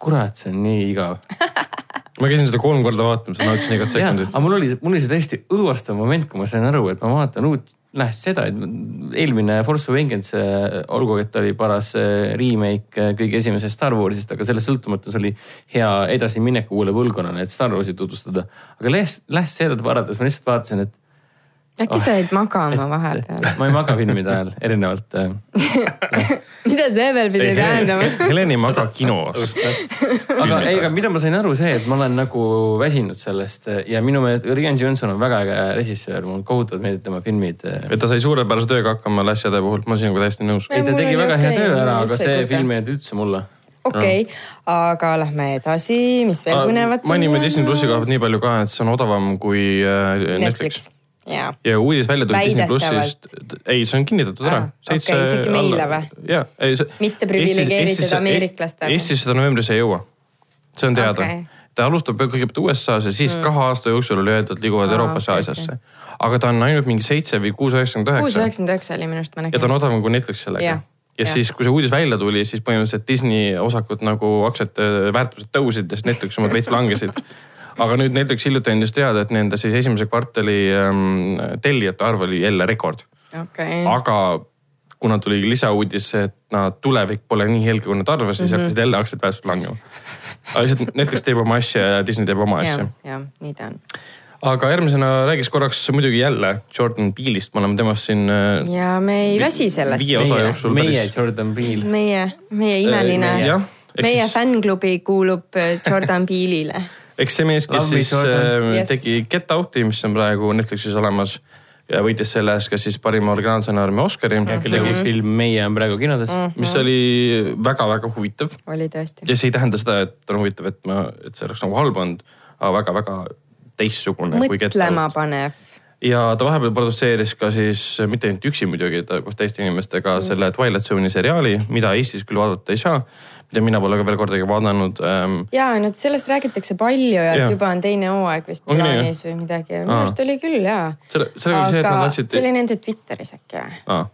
S4: kurat , see on nii igav .
S2: ma käisin seda kolm korda vaatamas ja nautisin igat
S4: jaa ,
S2: sekundit .
S4: aga mul oli , mul oli see täiesti õõvastav moment , kui ma sain aru , et ma vaatan uut , noh seda , et eelmine Force Awakens , olgu , et ta oli paras äh, remake äh, kõige esimesest Star Warsist , aga sellest sõltumata see oli hea edasiminek uuele põlvkonnale , et Star Warsi tutvustada . aga lähes , lähes seedet vaadates ma lihtsalt vaatasin , et
S3: äkki sa jäid magama vahepeal ?
S4: ma ei maga filmide ajal , erinevalt . äh.
S3: mida see veel pidi tähendama ?
S2: Heleni magab kinos .
S4: aga ei , aga mida ma sain aru , see , et ma olen nagu väsinud sellest äh, ja minu meelest Rian Johnson on väga äge režissöör , mul kohutavad meeldivad tema filmid . äh.
S2: et ta sai suurepärase tööga hakkama asjade puhul , ma olen sinuga täiesti nõus .
S4: ei , ta
S3: Mul
S4: tegi
S3: oli
S4: väga hea
S3: okei,
S4: töö
S3: mul
S4: ära , aga
S3: üldse ei
S4: see
S3: kujuta.
S4: film ei jäänud üldse mulle .
S3: okei , aga lähme edasi , mis
S2: Ah,
S3: veel põnevat .
S2: mainime Disney plussi koha pealt nii palju ka , et see on odavam kui äh, Netflix, Netflix. .
S3: jaa ,
S2: ja uudis välja tuli Disney plussist , ei , see on kinnitatud ära
S3: Ah, . okei, isegi meile või?
S2: jaa , ei see .
S3: Mitte privilegeeritud ameeriklastele.
S2: Eestis seda novembris ei jõua . see on teada
S3: Okei.
S2: okay. ta alustab kõigepealt USA-s ja siis mm. kahe aasta jooksul oli öeldud , et liiguvad
S3: Aa,
S2: ah, Euroopasse
S3: okei,
S2: okay, , Aasiasse okay. . aga ta on ainult mingi seitse või kuus üheksakümmend
S3: kuus
S2: üheksa
S3: üheksakümmend üheksa oli minu arust , ma
S2: ja ta
S3: nägin
S2: on . odavam kui Netflix sellega
S3: Jah,
S2: yeah. ja
S3: jah.
S2: yeah. siis , kui see uudis välja tuli , siis põhimõtteliselt Disney osakud nagu aktsiate väärtused tõusid ja siis Netflix omad veits langesid . aga nüüd Netflix hiljuti andis teada , et nende siis esimese kvartali ähm, tellijate arv oli jälle rekord .
S3: okei ,
S2: aga kuna tuli lisauudis , et nad tulevik pole nii helge , kui nad arvasid ,
S3: Mhm.
S2: siis mm -hmm. hakkasid jälle aktsiate väärtused langema . aga lihtsalt Netflix teeb oma asja ja Disney teeb oma asja
S3: jah , jah , nii ta on .
S2: aga järgmisena räägiks korraks muidugi jälle Jordan Peele'ist , me oleme temast siin äh,
S3: ja me ei
S2: Vi-
S3: väsi sellest .
S2: viie osa jooksul. Sul
S4: meie
S2: päris-
S4: Jordan Peele .
S3: meie , meie imeline ,
S2: Äh, jah, ehk
S3: meie
S2: siis-
S3: fännklubi kuulub äh, Jordan Peele'ile .
S2: eks see mees , kes
S4: Love me,
S2: siis
S4: Jordan.
S2: äh,
S3: Yes.
S2: tegi Get Out'i , mis on praegu Netflixis olemas ja võitis selle eest ka siis parima originaalstsenaariumi Oscari ,
S4: kellegi film Meie on praegu kinodes . Mhm.
S2: mis oli väga-väga huvitav
S3: oli tõesti .
S2: ja see ei tähenda seda , et on huvitav , et ma , et see oleks nagu halb olnud , aga väga-väga teistsugune kui Get
S3: mõtlema
S2: Out .
S3: panev .
S2: ja ta vahepeal produtseeris ka siis , mitte ainult üksi muidugi , ta koos teiste inimestega
S4: Mhm.
S2: mm. selle Twilight Zone'i seriaali , mida Eestis küll vaadata ei saa , mida mina pole ka veel kordagi vaadanud ähm,
S3: ja no sellest räägitakse palju ja et
S2: Jah.
S3: juba on teine hooaeg vist
S2: Ongi nii,
S3: plaanis või midagi , minu
S2: Aa.
S3: arust oli küll ja .
S2: Selle- sellega oli see, et nad andsid-
S3: see oli nende Twitteris äkki või ?
S2: aa ,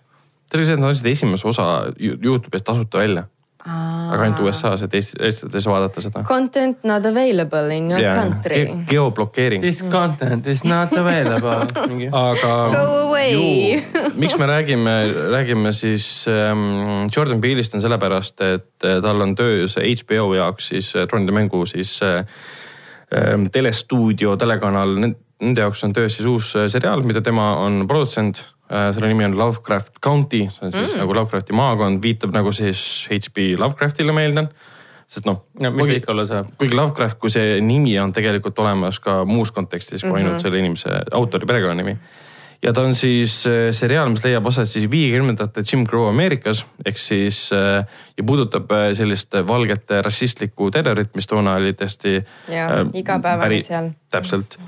S2: see oli see , et nad andsid esimese osa Ju- Youtube'ist tasuta välja , aga ainult USA-s , et Eestis , Eestis ei saa vaadata seda .
S3: Content not available in your country .
S2: geoblokeering .
S4: This content is not available .
S2: aga
S3: Go away .
S2: miks me räägime , räägime siis ähm, Jordan Peele'ist on sellepärast , et äh, tal on töös HBO jaoks siis äh, tronide mängu siis äh, ähm, telestuudio , telekanal , nende jaoks on töös siis uus äh, seriaal , mida tema on produtsent äh, . selle nimi on Lovecraft County , see on siis mm. nagu Lovecrafti maakond , viitab nagu siis HP Lovecraftile , ma eeldan . sest noh
S4: no mis ta ikka olla saab ?
S2: kuigi Lovecraft kui see nimi on tegelikult olemas ka muus kontekstis
S4: Mhm.
S2: kui ainult selle inimese autori perekonnanimi . ja ta on siis äh, seriaal , mis leiab aset siis viiekümnendate Jim Crow Ameerikas ehk siis äh, ja puudutab äh, sellist valgete rassistlikku terrorit , mis toona oli tõesti .
S3: Jaa, igapäevane seal. .
S2: täpselt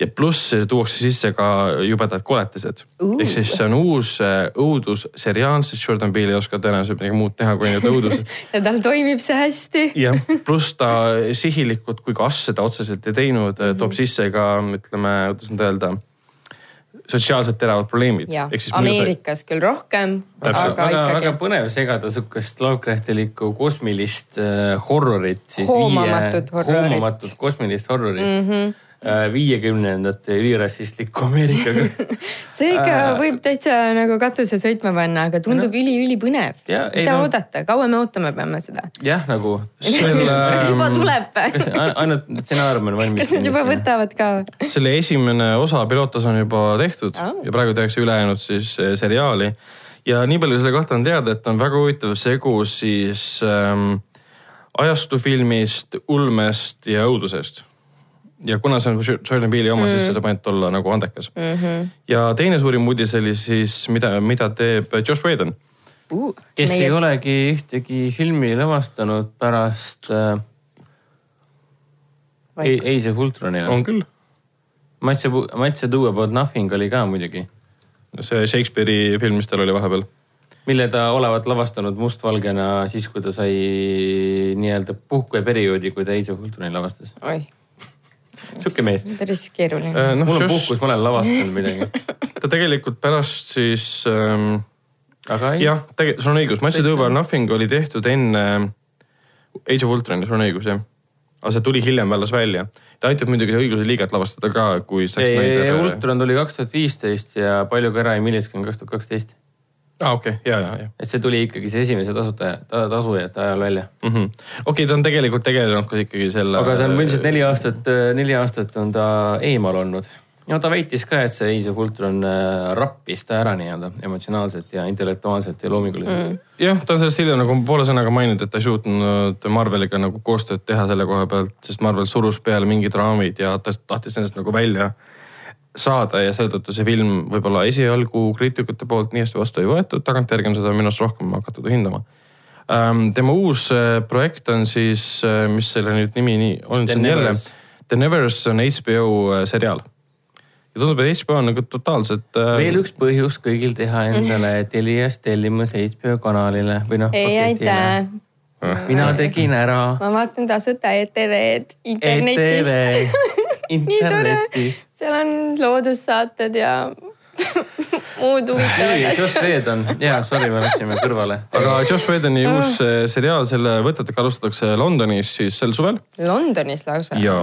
S2: ja pluss tuuakse sisse ka jubedad koletised uh. . ehk siis see on uus äh, õudusseriaal , sest Jordan Peele ei oska tõenäoliselt midagi muud teha kui ainult õudus
S3: ja tal toimib see hästi .
S2: jah , pluss ta sihilikult kui ka asja ta otseselt ei teinud ,
S3: Mhm.
S2: toob sisse ka ütleme , kuidas nüüd öelda , sotsiaalselt teravad probleemid .
S3: jah , Ameerikas küll rohkem , aga
S2: Täpselt.
S4: väga , väga
S3: ikkagi
S4: põnev segada sihukest Lovecraftilikku kosmilist äh, horrorit siis .
S3: Hoomamatut horrorit. Mhm.
S4: hoomamatut kosmilist horrorit . viiekümnendate ülirassistliku Ameerikaga .
S3: see ikka
S2: Äh.
S3: võib täitsa nagu katuse sõitma panna , aga tundub üli-ülipõnev .
S4: Jaa, ei
S3: mida
S4: no-
S3: oodata , kaua me ootama peame seda ?
S4: jah , nagu .
S3: kas juba
S2: ähm,
S3: tuleb ?
S4: kas ainult stsenaarium on valmis ?
S3: kas nad juba ? võtavad ka ?
S2: selle esimene osa pilootas on juba tehtud oh. ja praegu tehakse ülejäänud siis eh, seriaali . ja nii palju selle kohta on teada , et on väga huvitav segu siis ähm, ajastufilmist , ulmest ja õudusest . ja kuna see on Jordan Peele'i oma mm. , siis seda paneb olla nagu andekas mm . -hmm. ja teine suurim uudis oli siis , mida , mida teeb Josh Whedon .
S4: kes Meie... ei olegi ühtegi filmi lavastanud pärast äh, ei , ei see Fultroni
S2: on
S4: on .
S2: küll ,
S4: Match a , Match a do about nothing oli ka muidugi ,
S2: see Shakespeare'i film , mis tal oli vahepeal .
S4: mille ta olevat lavastanud mustvalgena siis , kui ta sai nii-öelda puhkeperioodi , kui ta ei see Fultroni lavastas .
S3: oih ,
S4: sihuke mees .
S3: päris keeruline .
S2: noh ,
S4: mul on
S2: Josh ,
S4: puhkus , ma olen lavastanud midagi ,
S2: ta tegelikult pärast siis ähm,
S4: aga ei .
S2: jah , tegelikult ähm, sul on õigus , Match of the Double Nothing oli tehtud enne Age of Ultrani , sul on õigus jah . aga see tuli hiljem alles välja . ta aitab muidugi õigluse liiget lavastada ka , kui Zack
S4: ei ,
S2: Snyder .
S4: Ultron tuli kaks tuhat viisteist ja Palju kära ja Milliski on kaks tuhat kaksteist .
S2: aa , Ah, okei , ja , ja , ja .
S4: et see tuli ikkagi see esimese tasuta , tasujate ajal välja .
S2: Mhm. okei , ta on tegelikult tegelenud ka ikkagi selle .
S4: aga ta on ilmselt neli aastat , neli aastat on ta eemal olnud . no ta väitis ka , et see Age of Ultron äh, rappis ta ära nii-öelda emotsionaalselt ja intellektuaalselt ja loominguliselt mm. .
S2: jah , ta on sellest hiljem nagu poole sõnaga maininud , et ta ei suutnud Marveliga nagu koostööd teha selle koha pealt , sest Marvel surus peale mingid raamid ja ta tahtis ennast nagu välja saada ja seetõttu see film võib-olla esialgu kriitikute poolt nii hästi vastu ei võetud , tagantjärgi on seda minu arust rohkem hakatud hindama . tema uus äh, projekt on siis , mis selle nüüd nimi nii on , see on
S4: The
S2: jälle
S4: Nevers.
S2: The Nevers on HBO äh, seriaal . ja tundub , et HBO on nagu totaalselt .
S4: veel üks põhjus kõigil teha endale Telias tellimus HBO kanalile või noh .
S3: ei aitäh ,
S4: mina tegin ära .
S3: ma vaatan E tasuta ETV-d
S4: E
S3: internetist . nii tore
S4: internetist .,
S3: seal on loodussaated ja muud huvitavad
S4: Joss
S3: asjad .
S4: Whedon , jaa , sorry , me läksime kõrvale .
S2: aga Josh Whedoni uus äh, seriaal , selle võtetega alustatakse Londonis siis sel suvel .
S3: Londonis lausa .
S2: ja ,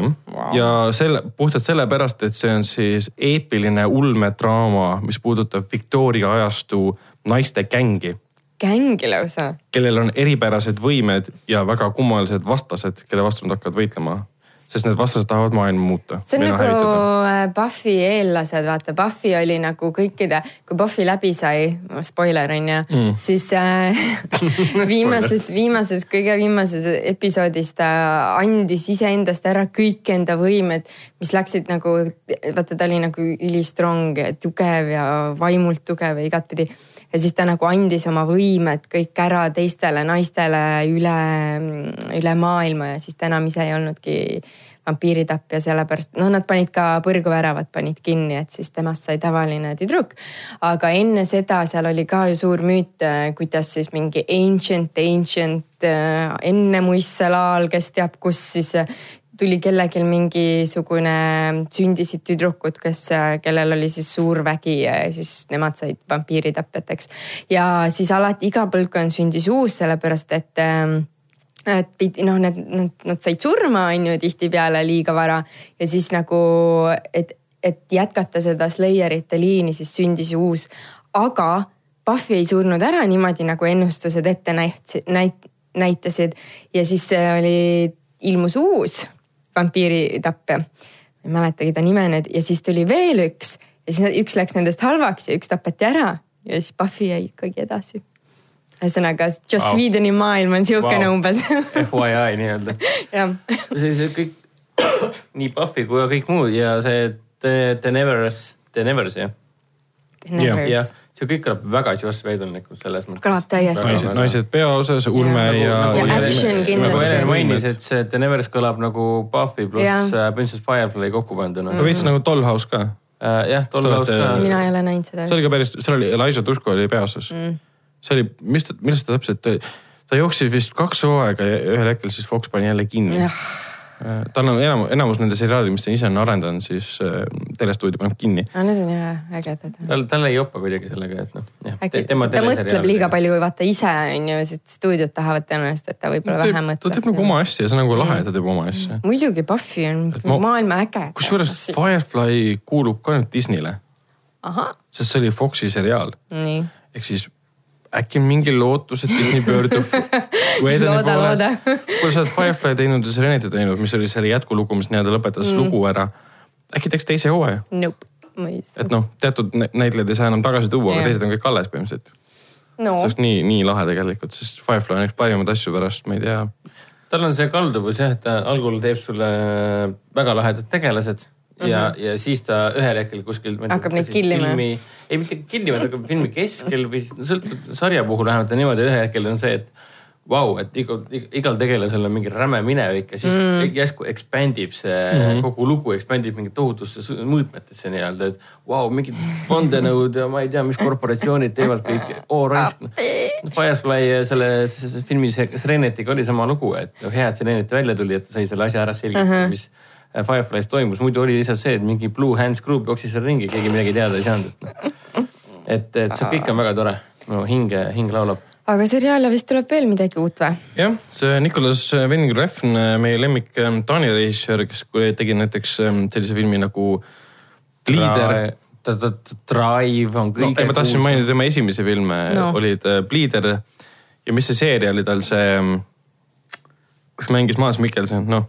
S2: ja selle , puhtalt sellepärast , et see on siis eepiline ulmedraama , mis puudutab Victoria ajastu naiste gängi ,
S3: gängi lausa .
S2: kellel on eripärased võimed ja väga kummalised vastased , kelle vastu nad hakkavad võitlema . sest need vastased tahavad maailma muuta .
S3: see on nagu äh, Buffy eellased , vaata Buffy oli nagu kõikide , kui Buffy läbi sai , spoiler on ju mm. , siis äh, viimases , viimases , kõige viimases episoodis ta andis iseendast ära kõik enda võimed , mis läksid nagu , vaata ta oli nagu ülistrong , tugev ja vaimult tugev ja igatpidi ja siis ta nagu andis oma võimed kõik ära teistele naistele üle , üle maailma ja siis ta enam ise ei olnudki vampiiritapja , sellepärast noh , nad panid ka põrguväravad panid kinni , et siis temast sai tavaline tüdruk . aga enne seda seal oli ka ju suur müüt , kuidas siis mingi ancient , ancient äh, ennemuistsel ajal , kes teab kus siis äh, tuli kellelgi mingisugune , sündisid tüdrukud , kes , kellel oli siis suur vägi ja siis nemad said vampiiritapjateks . ja siis alati iga põlvkond sündis uus , sellepärast et ähm, et pidi noh , need, need , nad said surma , on ju , tihtipeale liiga vara ja siis nagu , et , et jätkata seda Slayerite liini , siis sündis ju uus . aga Buffy ei surnud ära niimoodi , nagu ennustused ette näit- , näit- , näitasid ja siis see oli , ilmus uus vampiiritapja . ma ei mäletagi ta nime nüüd ja siis tuli veel üks ja siis üks läks nendest halvaks ja üks tapeti ära ja siis Buffy jäi ikkagi edasi . ühesõnaga , Joss
S4: Vau.
S3: Whedoni maailm on siukene
S4: Vau.
S3: wow. umbes
S4: FYI nii-öelda .
S3: jah ,
S4: see , see kõik , nii Puffy kui ka kõik muud ja see The, the Nevers , The Nevers jah , jah
S3: Nevers ,,
S4: see kõik kõlab väga Joss Whedonlikult selles mõttes .
S3: Kõlab täiesti.
S2: naised , naised peaosas , ulme
S3: Nagu-
S2: ja .
S3: nagu Ja action
S4: nagu
S3: kindlasti.
S4: Helen mainis , et see The Nevers kõlab nagu Puffy pluss
S3: Jah.
S4: äh, Princess Firefly kokku panduna .
S2: veits nagu Dollhouse ka
S4: jah , tol
S2: Sa
S4: laus
S2: oled,
S4: ka
S2: äh, .
S3: mina ei ole näinud seda
S2: see . oli ka päris , seal oli Elijah Dusko oli peaosas mm. . see oli , mis ta , millest ta täpselt oli , ta jooksis vist kaks hooaega ja ühel hetkel siis Fox pani jälle kinni . tal on enam , enamus nende seriaalid , mis ta ise on arendanud , siis äh, telestuudio paneb kinni .
S3: aga need on jah ägedad .
S4: tal , tal ei jopa kuidagi sellega , et noh , jah .
S3: äkki ta mõtleb liiga . palju , vaata ise on ju , sest stuudiod tahavad tõenäoliselt , et ta
S2: ta
S3: võib-olla vähe
S2: teeb, ta
S3: mõtleb .
S2: teeb nagu oma asja ja see on nagu lahe , ta teeb oma
S3: Mm.
S2: asja .
S3: muidugi Buffy on
S2: Et ma-
S3: maailma äge .
S2: kusjuures Firefly kuulub ka nüüd Disneyle ,
S3: ahah ,
S2: sest see oli Foxi seriaal ,
S3: nii .
S2: ehk siis äkki on mingi lootus , et Disney pöördub .
S3: Looda, looda.
S2: kuule , sa oled Firefly teinud ja Serenity teinud , mis oli selle jätkulugu , mis nii-öelda lõpetas mm. lugu ära . äkki teeks teise hooaja ,
S3: Nope , ma ei saa .
S2: et noh , teatud nä- näitlejaid ei saa enam tagasi tuua ,
S3: Jah.
S2: aga teised on kõik alles põhimõtteliselt .
S3: no
S2: see oleks nii , nii lahe tegelikult , sest Firefly on üks parimaid asju pärast , ma ei tea .
S4: tal on see kalduvus jah , et ta algul teeb sulle väga lahedad tegelased ja mm , -hmm. ja siis ta ühel hetkel kuskil .
S3: Mhm. Hakkab neid killima.
S4: ei , mitte killima , ta hakkab filmi keskel või siis- no sõltub sarja puhul vähemalt on niimoodi , ühel hetkel on see , et vau wow, , et igal , igal tegelasel on mingi räme minevik ja siis mm.
S3: Mhm.
S4: järsku expand ib see mm , -hmm. kogu lugu expand ib mingi tohutusse su- mõõtmetesse nii-öelda , et vau wow, , mingid vandenõud ja ma ei tea , mis korporatsioonid teevad kõike , oo raisk . Firefly ja äh, selle s- s- filmi se- Serenetiga oli sama lugu , et noh , hea , et Sereneti välja tuli , et ta sai selle asja ära selgitada uh , -huh. mis Fireflies toimus , muidu oli lihtsalt see , et mingi Blue Hands Group jooksis seal ringi , keegi midagi teada ei saanud , et noh . et , et see kõik on väga tore , mu hinge , hing laulab
S3: aga seriaale vist tuleb veel midagi uut või ?
S2: jah , see Nicolas Winding Refn , meie lemmik ähm, Taani režissöör , kes tegi näiteks ähm, sellise filmi nagu Bleeder .
S4: Drive on
S2: no, . ei ,
S4: kõige
S2: ma tahtsin
S4: kuulsam.
S2: mainida tema esimesi filme no.
S3: No.
S2: olid äh, Bleeder ja mis see seeria oli tal see , kus mängis Maas Mikkelson , noh ,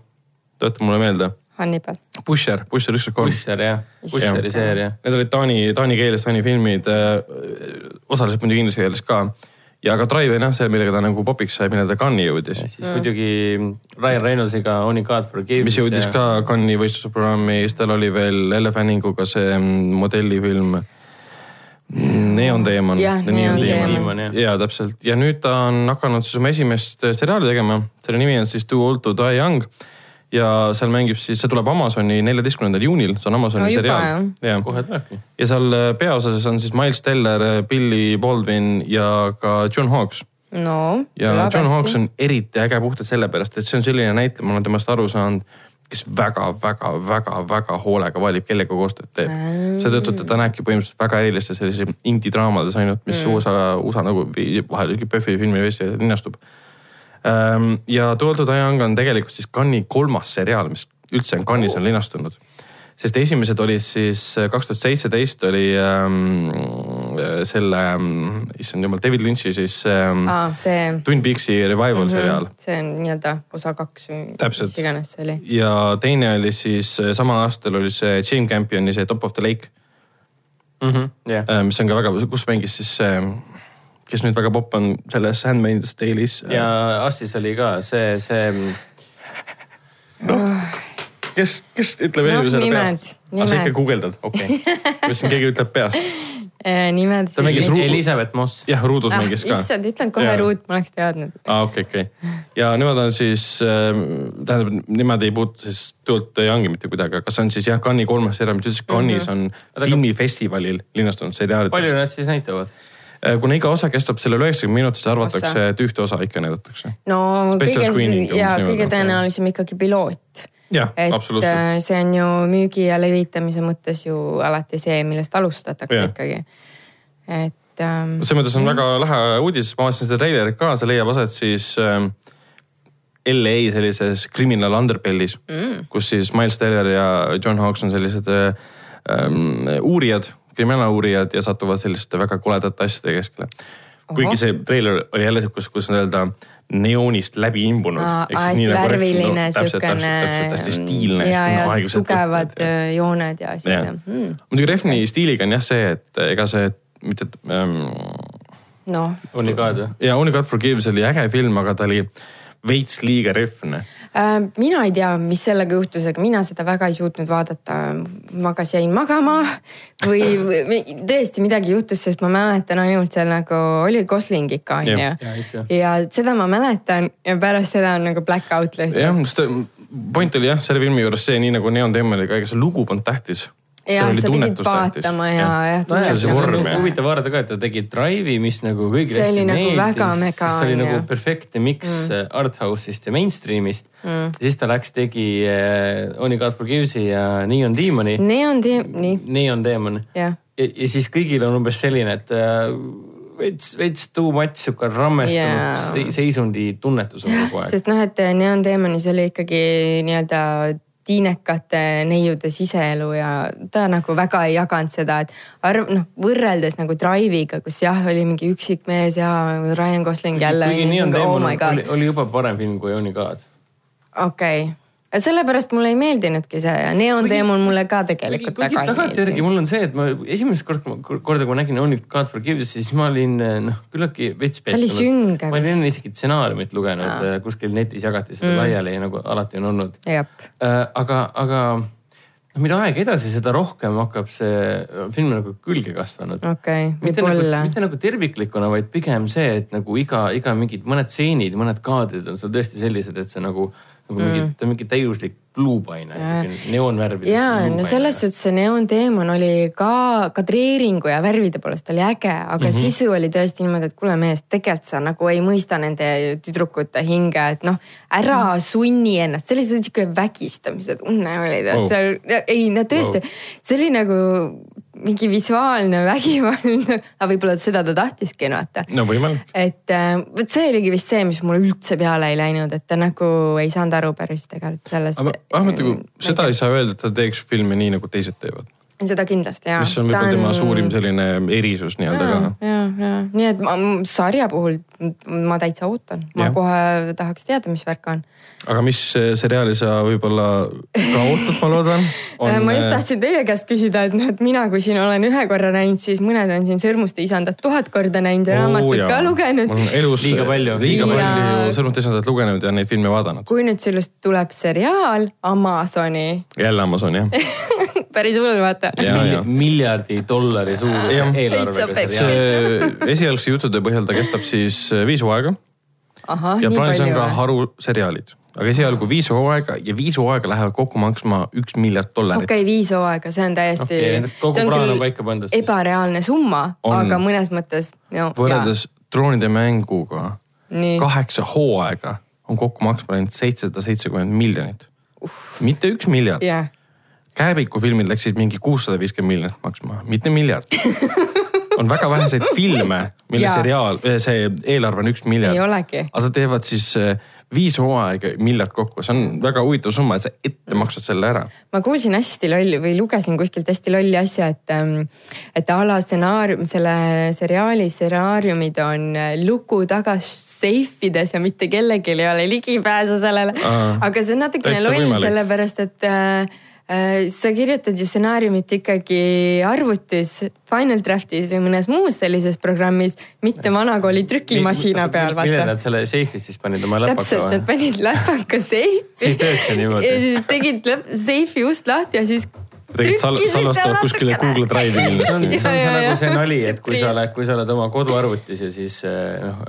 S2: tõotab mulle meelde .
S3: Hannibal .
S2: Pusher , Pusher üks kaks kolm .
S4: Pusher jah , Pusheri seeria .
S2: Need olid taani , taani keeles , taani filmid , osaliselt muidugi inglise keeles ka . ja ka Drive on jah see , millega ta nagu popiks sai , millele ta Cannes'i jõudis .
S4: ja siis muidugi Ryan Reynoldsiga Only God Forgives .
S2: mis jõudis ka Cannes'i võistlusprogrammi , siis tal oli veel Elle Fanninguga see mm, modellifilm . Neon Demon .
S3: Jah, Neon
S4: Demon, jah.
S2: ja täpselt ja nüüd ta on hakanud siis oma esimest eh, seriaali tegema , selle nimi on siis Too Old To Die Young ja seal mängib siis , see tuleb Amazoni neljateistkümnendal juunil , see on Amazoni
S3: No juba,
S2: seriaal .
S4: kohe tulebki .
S2: ja seal peaosas on siis Miles Teller , Billy Baldwin ja ka John Hawks .
S3: no .
S2: ja John Hawks on eriti äge puhtalt sellepärast , et see on selline näitleja , ma olen temast aru saanud , kes väga-väga-väga-väga hoolega valib , kellega koostööd teeb . seetõttu teda näebki põhimõtteliselt väga erilistes sellises indie-draamades ainult , mis mm. USA , USA nagu vi- vahel ikka PÖFFi filmifestivalil linnastub . Ehm, ja Toodud Ajang on tegelikult siis Cannes'i kolmas seriaal , mis üldse on Cannes'is on linastunud . sest esimesed olid siis äh, kaks tuhat seitseteist oli ähm, selle , issand jumal , David Lynch'i siis ähm,
S3: aa , see .
S2: Twin Peaksi revival
S3: Mhm.
S2: mm -hmm. seriaal
S3: see on nii-öelda osa kaks või
S2: Täpselt.
S3: mis iganes see oli .
S2: ja teine oli siis eh, samal aastal oli see Jane Campioni see Top of the Lake ,
S4: Mhm, jah ,
S2: mis on ka väga , kus mängis siis see , kes nüüd väga popp on selles Handmaid's Tale'is . eh.
S4: ja Assis oli ka see , see
S2: kes , kes ütleb
S3: Noh,
S2: inimesele
S3: nimed,
S2: peast ? aga sa
S3: nimed.
S2: ikka guugeldad , okei okay. . ma mõtlesin , keegi ütleb peast .
S3: nimed .
S2: Ta mängis Ruud-
S4: Elizabeth Moss .
S2: jah , Ruudus
S3: Eh, ah,
S2: mängis ka .
S3: issand , ütlen kohe
S2: Jaa.
S3: Ruut , ma oleks teadnud .
S2: aa , okei , okei . ja nemad on siis , tähendab , nemad ei puutu siis Duolt Youngi mitte kuidagi , aga see on siis jah , Cannes'i kolmas seriaal , mis üldse Cannes'is on filmifestivalil linastunud
S4: palju
S2: seriaalidest .
S4: nad siis näitavad ?
S2: Äh, kuna iga osa kestab selle üle üheksakümmend minutit , siis arvatakse ,
S3: Osa.
S2: et ühte osa ikka näidatakse .
S3: no
S2: Special screening
S3: kõige ,
S2: umbes
S3: ja
S2: niimoodi,
S3: kõige
S2: jah.
S3: tõenäolisem ikkagi piloot
S2: jah ,
S3: et
S2: absoluutselt .
S3: äh, see on ju müügi ja levitamise mõttes ju alati see , millest alustatakse
S2: Jah.
S3: yeah. ikkagi . et ähm,
S2: selles mõttes on väga lahe uudis , ma vaatasin seda treilerit ka , see leiab aset siis ähm, LA sellises criminal underbellis mm. , kus siis Miles Teller ja John Hawks on sellised äh, ähm, uurijad , kriminaaluurijad ja satuvad selliste väga koledate asjade keskele . kuigi
S3: Ohoh.
S2: see treiler oli jälle siukene , kuidas öelda , neoonist läbi imbunud
S3: aa,
S2: Ehk siis
S3: hästi
S2: nii nagu Refn-
S3: värviline
S2: no, täpselt,
S3: siukene
S2: täpselt, täpselt, hästi stiilne . nagu
S3: ja , ja tugevad äh, jooned ja hmm,
S2: jah
S3: asjad .
S2: mm. , muidugi Refni stiiliga on jah see , et ega see mitte ähm,
S3: noh ,
S4: Only God või ?
S2: ja Only God Forgives oli äge film , aga ta oli veits liiga Refn .
S3: Äh, mina ei tea , mis sellega juhtus , aga mina seda väga ei suutnud vaadata . ma kas jäin magama või, või tõesti midagi juhtus , sest ma mäletan ainult seal nagu oli Gosling ikka on
S2: Jah.
S4: Jaa, ikka.
S3: ju . ja seda ma mäletan ja pärast seda on nagu black out lihtsalt .
S2: jah , sest ta- point oli jah , selle filmi juures see , nii nagu Neon Demmeliga , ega see lugu polnud tähtis .
S3: Jah, sa pidid vaatama ja- ja
S2: tunnetama . see
S3: tunnetama.
S2: oli see vorm jah .
S4: nagu huvitav vaadata ka , et ta tegi Drive'i , mis nagu kõigile
S3: See oli
S4: hästi
S3: nagu
S4: meeldis.
S3: väga mega,
S4: see oli
S3: on
S4: nagu
S3: ju.
S4: perfektne miks mm. art house'ist ja mainstream'ist mm. . siis ta läks , tegi äh, Only God Forgives'i ja Neon Demoni mm. ,
S3: Neon tiim , nii ,
S4: Neon Demon . ja ,
S3: jah .
S4: ja siis kõigil on umbes selline , et äh, veits , veits too much sihuke
S3: Jaa.
S4: rammestunud yeah. seisundi tunnetus on kogu Nagu aeg .
S3: sest noh , et Neon Demonis oli ikkagi nii-öelda tiinekate neiude siseelu ja ta nagu väga ei jaganud seda , et arv , noh võrreldes nagu Drive'iga , kus jah , oli mingi üksik mees ja Ryan Gosling jälle .
S4: kuigi Neon
S3: oh
S4: Demon
S3: my god
S4: oli , oli juba parem film kui Only God .
S3: okei okay. , sellepärast mulle ei meeldinudki see ja Neon Demon mulle ka tegelikult
S4: kuigi
S3: väga ei meeldinud .
S4: tagantjärgi mul on see , et ma esimest korda , korda kui ma nägin Only God Forgives , siis ma olin eh, noh , küllaltki veits
S3: Ta oli sünge
S4: ma olin
S3: vist.
S4: enne isegi stsenaariumit lugenud , kuskil netis jagati seda mm. laiali nagu alati on olnud .
S3: jah ,
S4: aga , aga noh, mida aeg edasi , seda rohkem hakkab see film nagu külge kasvanud .
S3: okei okay, ,
S4: mitte nagu ,
S3: võib-olla .
S4: mitte nagu terviklikuna , vaid pigem see , et nagu iga , iga mingid mõned stseenid , mõned kaadrid on seal tõesti sellised , et see nagu , nagu mm. mingi , ta on mingi täiuslik luupaine , neoonvärvides .
S3: ja no selles . suhtes see neoonteemon oli ka kadreeringu ja värvide poolest oli äge , aga mm -hmm. sisu oli tõesti niimoodi , et kuule mees , tegelikult sa nagu ei mõista nende tüdrukute hinge , et noh , ära mm. sunni ennast , see oli sihuke vägistamise tunne oli tead
S4: Wow.
S3: wow. seal , ei no tõesti wow. , see oli nagu mingi visuaalne vägivald , aga võib-olla seda ta tahtiski , no vaata
S4: no võimalik .
S3: et äh, vot see oligi vist see , mis mulle üldse peale ei läinud , et ta nagu ei saanud aru päris tegelikult sellest . äh,
S2: aga vähemalt
S3: Mm,
S2: nagu seda ei saa öelda , et ta teeks filme nii nagu teised teevad ,
S3: seda kindlasti jaa .
S2: mis on võib-olla tema suurim selline erisus nii-öelda
S3: ja
S2: ka .,
S3: ja , ja nii et ma m- sarja puhul m- ma täitsa ootan , ma
S2: Jah.
S3: ja. kohe tahaks teada , mis värk on .
S2: aga mis äh, seriaali sa võib-olla ka ootad , ma loodan , on
S3: Äh,
S2: äh,
S3: ma just tahtsin teie käest küsida , et noh , et mina , kui siin olen ühe korra näinud , siis mõned on siin Sõrmuste isandat tuhat korda näinud ja raamatut ka lugenud .
S2: on e- elus
S4: Liiga palju.
S2: liiga
S3: Ja-
S2: palju Sõrmuste esindajaid lugenud ja neid filme vaadanud .
S3: kui nüüd sellest tuleb seriaal Amazoni ,
S2: jälle Amazon jah .
S3: päris hull vaata .
S2: Jaa, jaa.
S4: miljardi dollari suuruse
S2: Jah.
S3: Täitsa
S4: eelarvega
S3: pekki.
S4: seriaal .
S2: see esialgse juttude põhjal ta kestab siis eh, viis hooaega
S3: ahah ,
S2: ja
S3: Ah, nii
S2: plaanis on
S3: palju
S2: ka
S3: või ?
S2: haruseriaalid , aga esialgu viis hooaega ja viis hooaega lähevad kokku maksma üks miljard dollarit
S3: okei , viis hooaega , see on täiesti
S4: Okei, et kogu
S3: see on
S4: plaan
S3: küll
S4: on paika pandud siis.
S3: ebareaalne summa ,
S2: On.
S3: aga mõnes mõttes no, .
S2: võrreldes troonide mänguga
S3: Nii.
S2: kaheksa hooaega on kokku maksma läinud seitsesada seitsekümmend miljonit . mitte üks miljard
S3: jah ,
S2: Kääbiku filmid läksid mingi kuussada viiskümmend miljonit maksma , mitte miljard . on väga väheseid filme , mille
S3: Jaa.
S2: seriaal , see eelarve on üks miljard .
S3: Ei olegi.
S2: aga nad teevad siis eh, viis hooaega miljard kokku , see on väga huvitav summa , et sa ette maksad selle ära .
S3: ma kuulsin hästi lolli või lugesin kuskilt hästi lolli asja , et , et a la stsenaarium , selle seriaali stsenaariumid on äh, luku taga seifides ja mitte kellelgi ei ole ligipääsu sellele .
S2: Aa,
S3: aga see on natukene
S2: täitsa
S3: loll ,
S2: võimalik.
S3: sellepärast et äh, äh, sa kirjutad ju stsenaariumit ikkagi arvutis , Final Draftis või mõnes muus sellises programmis , mitte vanakooli trükimasina peal ,
S4: millal
S3: vaata
S4: nad selle seifi siis panid oma
S3: täpselt , nad
S4: läpaka ?
S3: panid läpaka
S4: See
S3: seifi
S4: ei tööta niimoodi.
S3: ja siis tegid läp- seifi ust lahti ja siis .
S2: tegelikult sal- salvestavad kuskile Google Drive'i
S4: see on ,
S2: kindlasti .
S4: see on see
S3: Jaa, jaa,
S4: nagu see
S3: jaa.
S4: nali , et kui sa
S3: Surprise.
S4: oled , kui sa oled oma koduarvutis ja siis eh, noh ,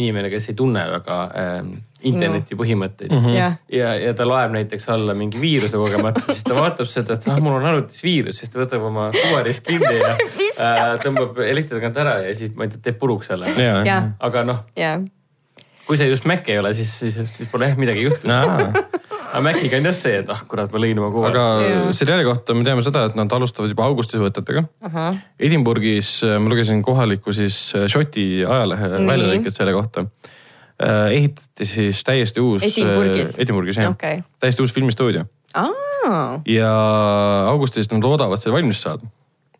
S4: inimene , kes ei tunne väga eh, interneti põhimõtteid mm .
S3: Jah.
S4: ja , ja ta laeb näiteks alla mingi viiruse kogemata , siis ta vaatab seda , et ah , mul on arvutis viirus , siis ta võtab oma kuvaris kinni ja äh, tõmbab elektri tagant ära ja siis ma ei tea , teeb puruks selle .
S2: jaa ,
S3: jah ,
S4: aga noh ,
S3: jah ,
S4: kui see just Mac ei ole , siis , siis , siis pole jah midagi juhtunud . aga Maciga on jah see , et ah kurat , ma lõin oma
S2: aga
S4: kuvaris .
S3: Jaa.
S2: seriaali kohta me teame seda , et nad alustavad juba augustis võtetega .
S3: ahah ,
S2: Edinburghis äh, ma lugesin kohaliku siis äh, Šoti ajalehe väljalõiket selle kohta . ehitati siis täiesti uus .
S3: Edinburghis?
S2: Edinburghis jah
S3: Okei.
S2: täiesti uus filmistuudio
S3: aa ,
S2: ja augustis nad loodavad see valmis saada .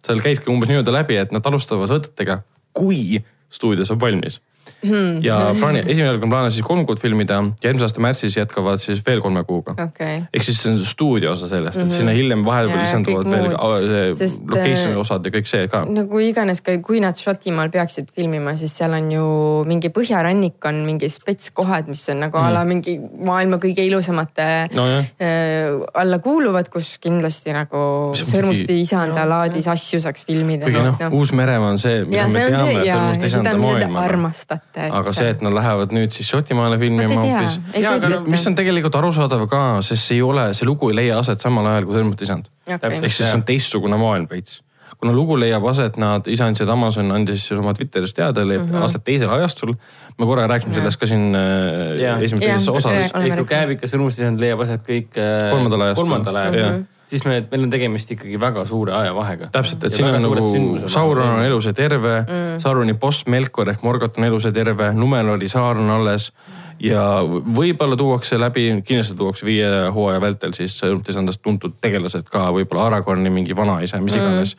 S2: seal käiski umbes nii-öelda läbi , et nad alustavad võtetega , kui stuudio saab valmis .
S3: Hmm.
S2: ja plaani , esimene järg on plaanis siis kolm kuud filmida ja eelmise aasta märtsis jätkavad siis veel kolme kuuga
S3: okei .
S2: ehk siis see on stuudio osa sellest , et sinna hiljem vahepeal
S3: Mhm. Jaa,
S2: lisanduvad
S3: kõik
S2: veel
S3: muud.
S2: ka, äh, see
S3: Sest,
S2: location
S3: äh,
S2: osad ja kõik see ka .
S3: no kui iganes , kui nad Šotimaal peaksid filmima , siis seal on ju mingi põhjarannik on mingi spetskohad , mis on nagu mm. a la mingi maailma kõige ilusamate
S2: Nojah.
S3: äh, alla kuuluvad , kus kindlasti nagu
S2: See on
S3: Sõrmuste
S2: mingi-
S3: isanda laadis asju saaks filmida .
S2: kuigi noh , Uus-Meremaa on see , mida
S3: ja
S4: noh,
S2: me
S3: see on
S2: teame
S3: see , ja ,
S2: sõrmuste
S3: ja seda ,
S2: isanda
S3: mida te
S2: maailma .
S3: armastate .
S2: aga see , et nad lähevad nüüd siis Šotimaale filmima
S3: Vot ei tea,
S2: hoopis
S3: ei .
S2: jaa , aga
S3: kujuta
S2: no mis
S3: ette.
S2: on tegelikult arusaadav ka , sest see ei ole , see lugu ei leia aset samal ajal kui Sõrmuste isand .
S3: Okei.
S2: ehk siis see on teistsugune maailm veits . kuna lugu leiab aset , nad , isa andsid Amazon andis siis oma Twitteris teada , leiab
S3: Mhm.
S2: mm -hmm. aset teisel ajastul . me korra rääkisime sellest ka siin
S4: Jaa.
S2: äh,
S3: Jah,
S2: esimeses osas
S3: okei. . oleme
S4: ehk kui
S3: rääkinud.
S4: kääbikas õrmustisand leiab aset kõik äh,
S2: Kolmandal ajastul.
S4: kolmandal
S2: Jah.
S4: ajastul , siis me , meil on tegemist ikkagi väga suure ajavahega .
S2: täpselt , et siin on nagu Sauron on . elus ja terve mm. , Sauroni boss Melkor ehk Morgot on elus ja terve , Numenori saar on alles ja v- võib-olla tuuakse läbi , kindlasti tuuakse viie hooaja vältel siis Sõrmtisandast tuntud tegelased ka , võib-olla Aragorni mingi vanaisa , mis iganes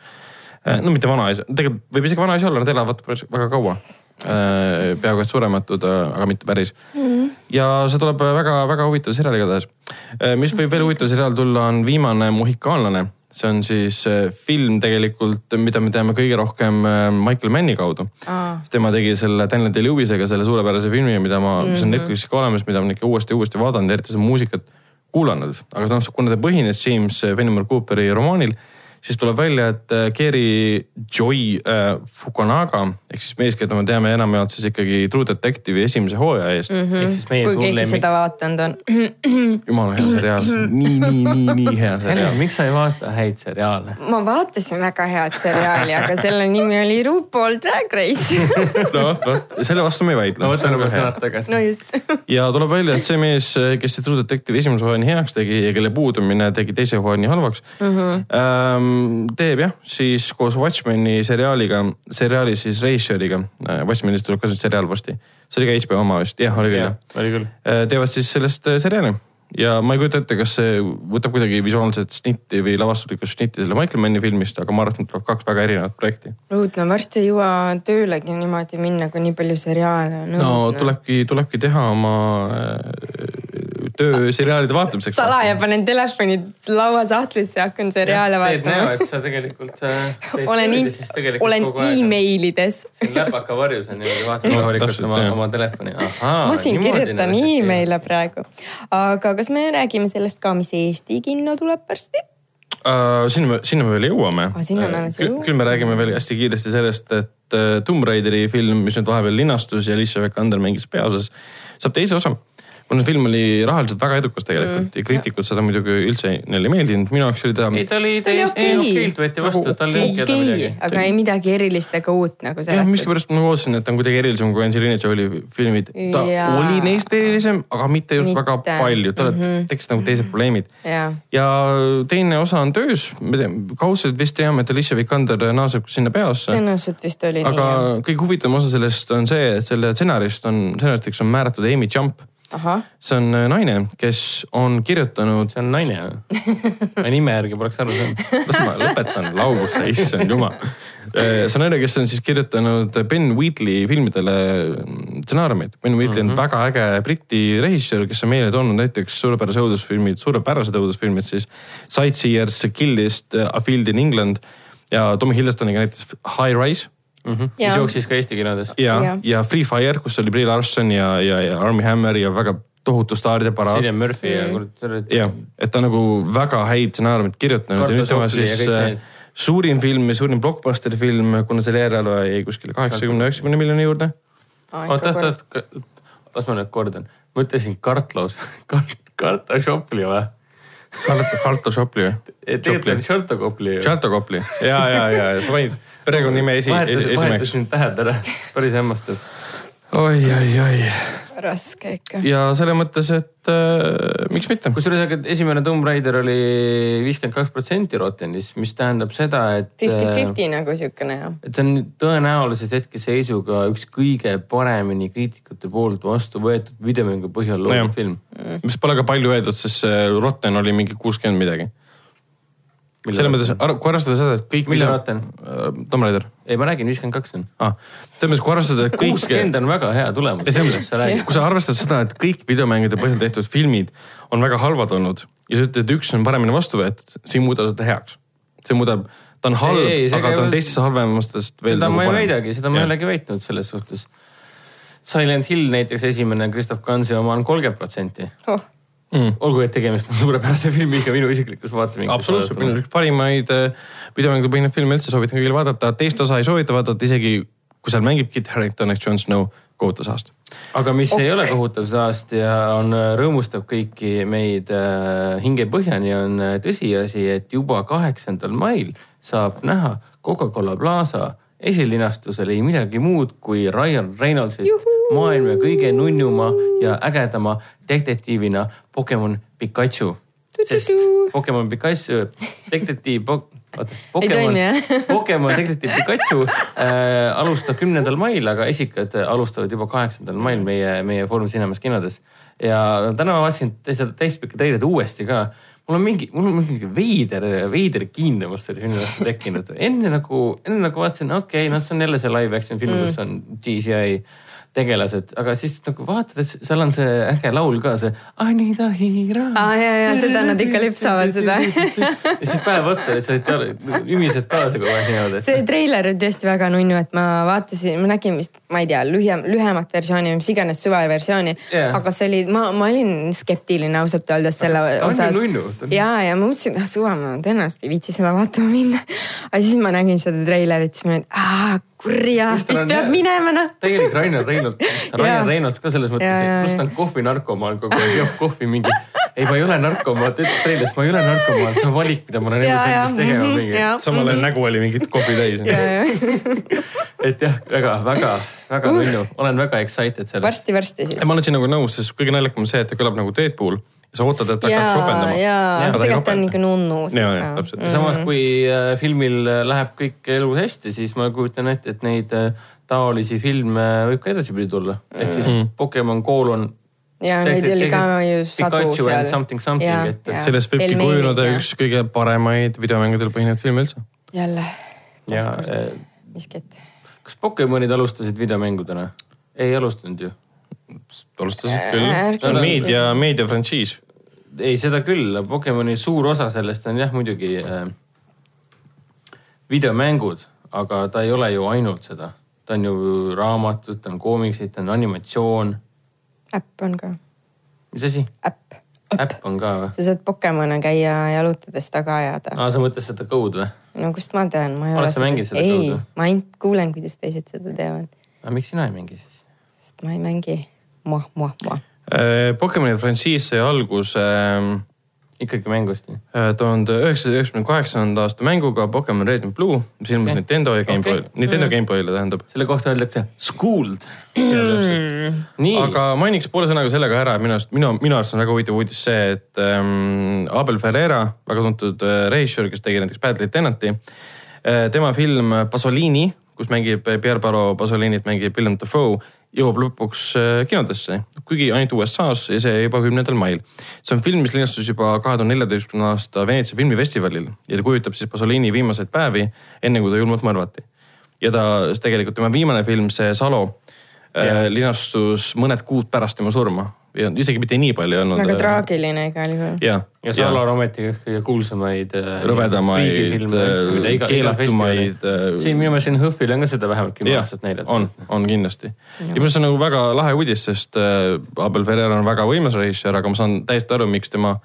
S2: mm. . no mitte vanaisa , tegelikult võib isegi vanaisa olla , nad elavad päris väga kaua . peaaegu et surematud , aga mitte päris mm. . ja see tuleb väga-väga huvitav seriaal igatahes . Äh, mis võib veel huvitav seriaal tulla , on viimane Muhikaanlane see on siis äh, film tegelikult , mida me teame kõige rohkem äh, Michael Manni kaudu . tema tegi selle Daniel Day-Lewisega selle suurepärase filmi , mida ma mm , -hmm. see on Netflixis ka olemas , mida ma olen ikka uuesti ja uuesti vaadanud , eriti seda muusikat kuulanud . aga noh , kuna ta põhines James eh, Fenimore eh, Cooperi romaanil , siis tuleb välja , et äh, Gary Joy äh, eh, Fukunaga ehk siis mees , keda me teame enamjaolt siis ikkagi True Detective'i esimese hooaja eest mm . -hmm.
S4: ehk siis meie
S3: kui
S4: suur
S3: Mhm. keegi
S4: lemmik .
S3: seda vaatanud on .
S2: jumala hea seriaal , nii , nii , nii , nii hea
S4: Helen ,
S2: seriaal .
S4: miks sa ei vaata häid seriaale ?
S3: ma vaatasin väga head seriaali , aga selle nimi oli RuPaul Drag Race .
S2: no vot , vot selle vastu me ei vaidle .
S4: no võtame oma sõnad tagasi
S3: no . just .
S2: ja tuleb välja , et see mees , kes see True Detective'i esimese hooaja nii heaks tegi ja kelle puudumine tegi teise hooaja nii halvaks mm . -hmm. Ähm, teeb jah , siis koos Watchmeni seriaaliga , seriaali siis reisjööriga , Watchmenist tuleb ka see seriaal varsti . see oli ka HBO oma vist , jah oli küll jah .
S4: oli küll .
S2: teevad siis sellest äh, seriaali ja ma ei kujuta ette , kas see võtab kuidagi visuaalset šnitti või lavastuslikku šnitti selle Michael Manni filmist , aga ma arvan , et need tulevad kaks väga erinevat projekti .
S3: õudne , varsti ei jõua töölegi niimoodi minna , kui nii palju seriaale on .
S2: no tulebki , tulebki teha oma äh, töö seriaalide vaatamiseks .
S3: salaja panen telefoni lauasahtlisse ja hakkan seriaale
S4: Need näevad ,
S3: vaatama .
S4: sa tegelikult äh, teed
S3: olen
S4: tööd ja
S3: in-
S4: siis tegelikult ,
S3: olen
S4: kogu aeg-
S3: emailides .
S4: siin läpaka varjus on niimoodi , vaatad
S2: Jah,
S4: rahulikult
S2: täpselt,
S4: oma
S2: jah. ,
S4: oma telefoni .
S3: ma siin
S4: nagu
S3: kirjutan emaile praegu . aga kas me räägime sellest ka , mis Eesti kinno tuleb varsti ?
S2: Äh, sinna me , sinna me veel jõuame Äh,
S3: Aa, sinna me alles jõuame.
S2: küll me räägime veel hästi kiiresti sellest , et äh, Tomb Raideri film , mis nüüd vahepeal linastus ja Alicia Vikander mängis peaosas , saab teise osa . kuna see film oli rahaliselt väga edukas tegelikult mm, ja kriitikud seda muidugi üldse ei- neile ei meeldinud , minu jaoks oli ta .
S4: ei , ta oli
S3: oli
S4: täiesti
S3: okei.
S4: okeilt võeti vastu , tal ei olnud keda
S3: okei
S4: midagi .,
S3: aga ei midagi erilist ega uut nagu
S2: jah ,
S3: selles suhtes .
S2: miskipärast ma ootasin , et ta on kuidagi erilisem kui Angelina Jolie filmid . ta ja.
S3: Jaa.
S2: oli neist erilisem , aga mitte just
S3: Mitte. Mhm.
S2: mitte. väga palju , tal mm -hmm. tekkisid nagu teised probleemid
S3: jaa ,
S2: ja teine osa on töös , me teame , kaudselt vist teame , et Alicia Vikander naaseb sinna peosse .
S3: tõenäoliselt vist oli
S2: aga
S3: nii .
S2: kõige huvitavam osa sellest on see , et selle stsenarist on , stsenaristiks on määratud Amy Jump .
S3: ahah ,
S2: see on äh, naine , kes on kirjutanud ,
S4: see on naine või ? ma nime järgi poleks aru saanud .
S2: las ma lõpetan lauluse , issand jumal . see on naine , kes on siis kirjutanud Ben Wheatley filmidele stsenaariumeid . Ben Wheatley
S4: Mhm.
S2: on mm -hmm. väga äge Briti režissöör , kes on meile toonud näiteks suurepärase õudusfilmid , suurepärased õudusfilmid siis . Sightseers , Killist , A Field in England ja Tommy Hildestoniga näiteks High Rise
S4: mis
S3: jaa ,
S4: jooksis ka Eesti kinodes .
S2: ja
S3: Jah. ,
S2: ja Free Fire , kus oli Brie Larson ja , ja , ja Army Hammer ja väga tohutu staaride paraad .
S4: Cillian Murphy ja kurat , sa oled
S2: jah , et ta nagu väga häid stsenaariumeid kirjutanud ja
S4: Tartu
S2: nüüd tema
S4: Sokli ja
S2: siis
S4: kõik
S2: äh,
S4: need.
S2: suurim film ja suurim blockbuster film , kuna selle järel jäi kuskile kaheksakümne , üheksakümne miljoni juurde .
S4: oot , oot , oot , las ma nüüd kordan . ma ütlesin kartlaus , kart- , karta Šopli või ?
S2: Karto , Karto Šopli
S4: tegelikult on
S2: või ?
S4: Šorto Kopli .
S2: Šarto Kopli ja , ja , ja , ja sa panid perekonnanime esi , esimeheks .
S4: vahetasin tähed ära , päris hämmastav .
S2: oi , oi , oi
S3: raske ikka .
S2: ja selles mõttes , et äh, miks mitte .
S4: kusjuures , aga esimene Tomb Raider oli viiskümmend kaks protsenti Rottenis , mis tähendab seda , et .
S3: Fifty-fifty nagu siukene jah .
S4: et see on tõenäoliselt hetkeseisuga üks kõige paremini kriitikute poolt vastu võetud videomängu põhjal
S2: Nojah.
S4: loodud film .
S2: Mm. mis pole ka palju öeldud , sest see Rotten oli mingi kuuskümmend midagi . selles mõttes , kui arvestada seda , et kõik .
S4: Mille Rotten? ?
S2: Tom Raider
S4: ei , ma räägin , viiskümmend kaks on .
S2: ah, . selles mõttes , kui arvestada , et kõik ,
S4: kuuskümmend on väga hea tulemus .
S2: selles mõttes , kui sa arvestad seda , et kõik videomängude põhjal tehtud filmid on väga halvad olnud ja sa ütled , et üks on paremini vastu võetud , see ei muuda seda heaks . see muudab , ta on halb ,
S4: Ei, ei, see
S2: aga
S4: ka ei
S2: ta on
S4: ole-
S2: teistest halvemastest veel . nagu
S4: seda ma ei väidagi , seda ma ei olegi väitnud selles suhtes . Silent Hill näiteks esimene Christoph Gansi oma on kolmkümmend protsenti .
S3: Oh.
S2: Mm.
S4: olgu , et tegemist on suurepärase filmiga minu isiklikus vaatevinklis .
S2: absoluutselt , minu . üks parimaid äh, videomängude põhine film üldse soovitan kõigile vaadata , teist osa ei soovita vaadata isegi kui seal mängib Kit Harington ehk Jon Snow kohutavas aastas .
S4: aga mis ei ole kohutav saast ja on , rõõmustab kõiki meid äh, hingepõhjani , on äh, tõsiasi , et juba kaheksandal mail saab näha Coca-Cola Plaza esilinastusel ei midagi muud kui Ryan Reynoldsit maailma kõige nunnuma ja ägedama detektiivina Pokemon Pikachu . sest Pokemon Pikachu , detektiiv Pok- , oota , Pokemon
S3: toimi, jah?
S4: Pokemon detektiiv Pikachu äh, alustab kümnendal mail , aga esikad alustavad juba kaheksandal mail meie , meie Foorum Cinemas kinodes . ja täna ma vaatasin te- seda täispikka treilerit uuesti ka . mul on mingi , mul on mingi veider , veider kiindumus selle filmi vastu tekkinud . enne nagu , enne nagu vaatasin , okei okay, , noh , see on jälle see live action film , kus on GCI tegelased , aga siis nagu vaatades , seal on see äge laul ka , see Anita Hiira .
S3: aa ja , ja seda nad ikka lüpsavad seda .
S4: ja siis päev otsa lihtsalt ümised kaasa kogu aeg niimoodi .
S3: see treiler on tõesti väga nunnu , et ma vaatasin , ma nägin vist , ma ei tea , lühem , lühemat versiooni , mis iganes suveversiooni
S4: Jaa.
S3: aga see oli , ma , ma olin skeptiline ausalt öeldes selle
S4: Ta on ju
S3: osas .
S4: nunnu, ta on-
S3: ja , ja ma mõtlesin , et ah suva , ma tõenäoliselt ei viitsi seda vaatama minna . aga siis ma nägin seda treilerit , siis ma olin , kurja ,
S4: Just
S3: vist
S4: olen-
S3: peab minema noh .
S4: täielik Rainer Reinult ,
S3: Jaa.
S4: Rainer Reinults ka selles mõttes
S3: Jaa, , jaa,
S4: et kus ta on kohvinarkomaan kogu aeg , joob kohvi mingi . ei , ma ei ole narkomaan , ta ütles eile , et ma ei ole narkomaan , see on valik , mida ma olen
S3: Jaa,
S4: elus
S3: jaa,
S4: endast tegema
S3: mhm, jaa.
S4: mingi . samal ajal nägu oli mingit kohvi täis . et jah , väga , väga , väga nunnu , olen väga excited sellest .
S3: varsti-varsti siis
S2: ei , ma olen sinuga nõus , sest kõige naljakam on see , et ta kõlab nagu Deadpool ja sa ootad , et ta hakkab ropendama .
S3: jaa , tegelikult ta on niisugune nunnu . Mm.
S2: ja , ja täpselt .
S4: samas , kui äh, filmil läheb kõik elu hästi , siis ma kujutan ette , et neid äh, taolisi filme võib ka edaspidi tulla . ehk
S3: Mm.
S4: siis Pokemon Goal on .
S3: ja neid oli ka ju sadu
S4: Pikachu
S3: seal
S4: and . something something , et
S3: Jaa.
S2: sellest võibki
S3: Pelmeenid,
S2: kujuneda
S3: jah.
S2: üks kõige paremaid videomängudel põhinevaid filme üldse .
S3: jälle ,
S4: ja
S3: taaskord
S4: eh,
S3: miskit .
S4: kas Pokemonid alustasid videomängudena ? ei alustanud ju .
S2: alustasid
S3: Ärge
S2: küll
S3: küsige.
S2: meedia , meediafrantsiis .
S4: ei , seda küll , Pokemoni suur osa sellest on jah , muidugi äh, videomängud , aga ta ei ole ju ainult seda . ta on ju raamatud , ta on koomiksid , ta on animatsioon .
S3: äpp on ka ,
S4: mis asi ?
S3: äpp .
S4: äpp on ka või ?
S3: sa saad Pokemone käia jalutades taga ajada .
S4: aa , sa mõtled seda Code või ?
S3: no kust ma tean , ma ei
S4: Ah. Oled
S3: ole
S4: sa mänginud seda
S3: ei
S4: Code'i? ,
S3: ma ainult kuulen , kuidas teised seda teevad ,
S4: aga miks sina ei mängi siis ?
S3: sest ma ei mängi . Muah , muah , muah .
S2: Äh, Pokemoni frantsiis sai alguse
S4: ikkagi mängust ju .
S2: tuhande üheksasaja üheksakümne kaheksanda aasta mänguga Pokemon Red and Blue , mis ilmus
S4: Okei.
S2: Nintendo ja Game Boy ,
S4: Okei.
S2: Nintendo
S3: Mhm.
S2: Game Boy'le tähendab .
S4: selle kohta öeldakse schooled . nii , aga
S2: aga mainiks poole sõnaga selle ka ära , minu arust , minu , minu arust on väga huvitav uudis see , et ähm, Abel Ferreira , väga tuntud äh, režissöör , kes tegi näiteks Bad Lieutenanti äh, , tema film Pasolini , kus mängib Pierre Paro Pasolinit , mängib Willem Dafoe , jõuab lõpuks äh, kinodesse , kuigi ainult USA-s ja see juba kümnendal mail . see on film , mis linastus juba kahe tuhande neljateistkümnenda aasta Veneetsia filmifestivalil ja ta kujutab siis Pasolini viimaseid päevi , enne kui ta julmalt mõrvati . ja ta , tegelikult tema viimane film , see Salo Äh, linastus mõned kuud pärast tema surma ja isegi mitte nii palju ei olnud . äh,
S3: väga traagiline igal juhul .
S2: ja ,
S4: ja Salo on ometigi üks kõige kuulsamaid . äh,
S2: Rõvedamaid, keelatumaid, äh,
S4: siin minu meelest siin Hõhvil on ka seda vähemalt kümme
S2: jah
S4: aastat , näidatud .
S2: on , on kindlasti . ja minu arust see on nagu väga lahe uudis , sest äh, Abel Ferrer on väga võimas režissöör , aga ma saan täiesti aru , miks tema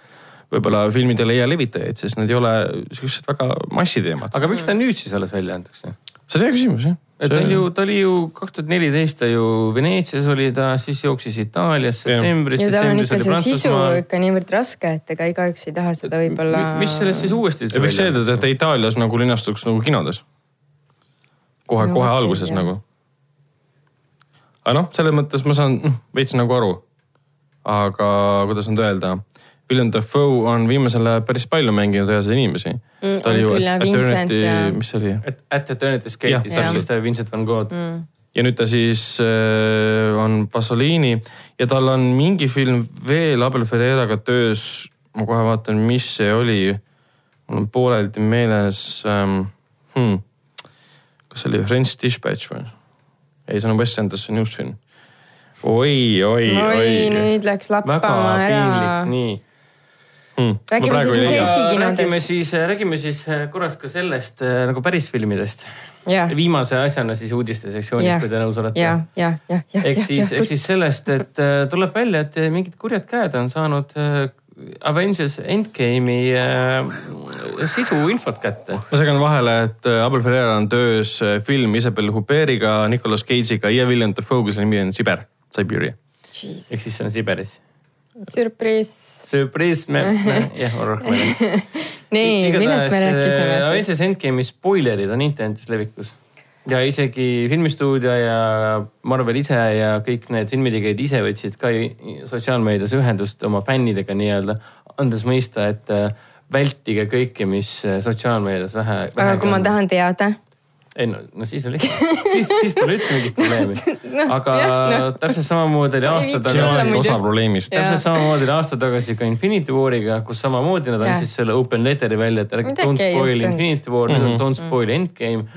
S2: võib-olla filmid ei leia levitajaid , sest need ei ole siuksed väga massiteemad .
S4: aga miks ta nüüd siis alles välja antakse ?
S2: see on hea küsimus jah .
S4: et ta oli ju , ta oli ju kaks tuhat neliteist ta ju Veneetsias oli ta , siis jooksis Itaalias
S2: Jah.
S4: septembris ,
S3: ja tal on
S4: detsembris
S3: ikka
S4: oli
S3: see sisu
S4: Prantsusmaal .
S3: ikka niivõrd raske , et ega igaüks ei taha seda võib-olla .
S4: mis sellest siis uuesti üldse
S2: võiks eeldada , et ta Itaalias nagu linastuks nagu kinodes . kohe
S3: No
S2: no, , kohe
S3: vot ei
S2: alguses
S3: tea.
S2: nagu . aga noh , selles mõttes ma saan noh, veits nagu aru . aga kuidas nüüd öelda , William Dafoe on viimasel ajal päris palju mänginud ühesid inimesi mm, .
S3: on küll, jah, Vincent ja-
S2: mis see oli ?
S4: et At Eternity's
S2: Jah,
S4: Gate'is
S2: täpselt.
S4: täpselt see Vincent van Gogh mm. .
S2: ja nüüd ta siis äh, on Pasolini ja tal on mingi film veel Abel Ferreiraga töös . ma kohe vaatan , mis see oli . mul on pooleldi meeles ähm, . Hmm. kas see oli French Dispatch või ? ei , see on Wes Andersoni uus film . oi , oi ,
S3: oi ,
S2: oi .
S3: nüüd läks
S4: väga
S3: lappama
S4: piinlik ,
S3: ära .
S4: nii .
S3: räägime siis , mis
S2: ei
S3: Eesti
S4: räägime
S3: kinodes .
S4: siis , räägime siis korraks ka sellest äh, nagu päris filmidest .
S3: jah ,
S4: viimase asjana siis uudiste sektsioonis ,
S3: jah ,
S4: kui te nõus olete .
S3: jah , jah , jah , jah .
S4: ehk siis , ehk siis sellest , et äh, tuleb välja , et äh, mingid kurjad käed on saanud äh, Avengers Endgame'i äh, sisu infot kätte .
S2: ma segan vahele , et äh, Abel Ferreira on töös äh, film Isabel Huberiga , Nicolas Cage'iga ja William Dafoe , kelle nimi on Siber , Siberia .
S3: siis .
S4: ehk siis see on Siberis .
S3: sürpriis .
S4: Surprise , me , jah , ma rohkem ei tea .
S3: nii , millest me rääkisime siis ?
S4: äh, Avengers Endgame'i spoilerid on internetis levikus ja isegi filmistuudio ja Marvel ise ja kõik need filmitegijad ise võtsid ka ju sotsiaalmeedias ühendust oma fännidega nii-öelda , andes mõista , et äh, vältige kõike , mis äh, sotsiaalmeedias vähe .
S3: aga kui ma . tahan teada .
S4: ei no , no siis oli , siis , siis pole üldse mingit probleemi . aga täpselt samamoodi oli
S3: Ma ei
S4: aasta
S3: viitsi
S2: see
S3: Jaa,
S2: on
S4: tagasi
S3: muidu.
S2: ainult osa probleemist .
S3: Jaa.
S4: täpselt samamoodi oli aasta tagasi ka Infinity War'iga , kus samamoodi nad
S3: Jah.
S4: andsid selle open letter'i välja , et ärge
S3: Midagi
S4: don't
S3: ei
S4: spoil
S3: juhtunud. Mhm.
S4: Infinity War , nüüd on don't spoil Endgame .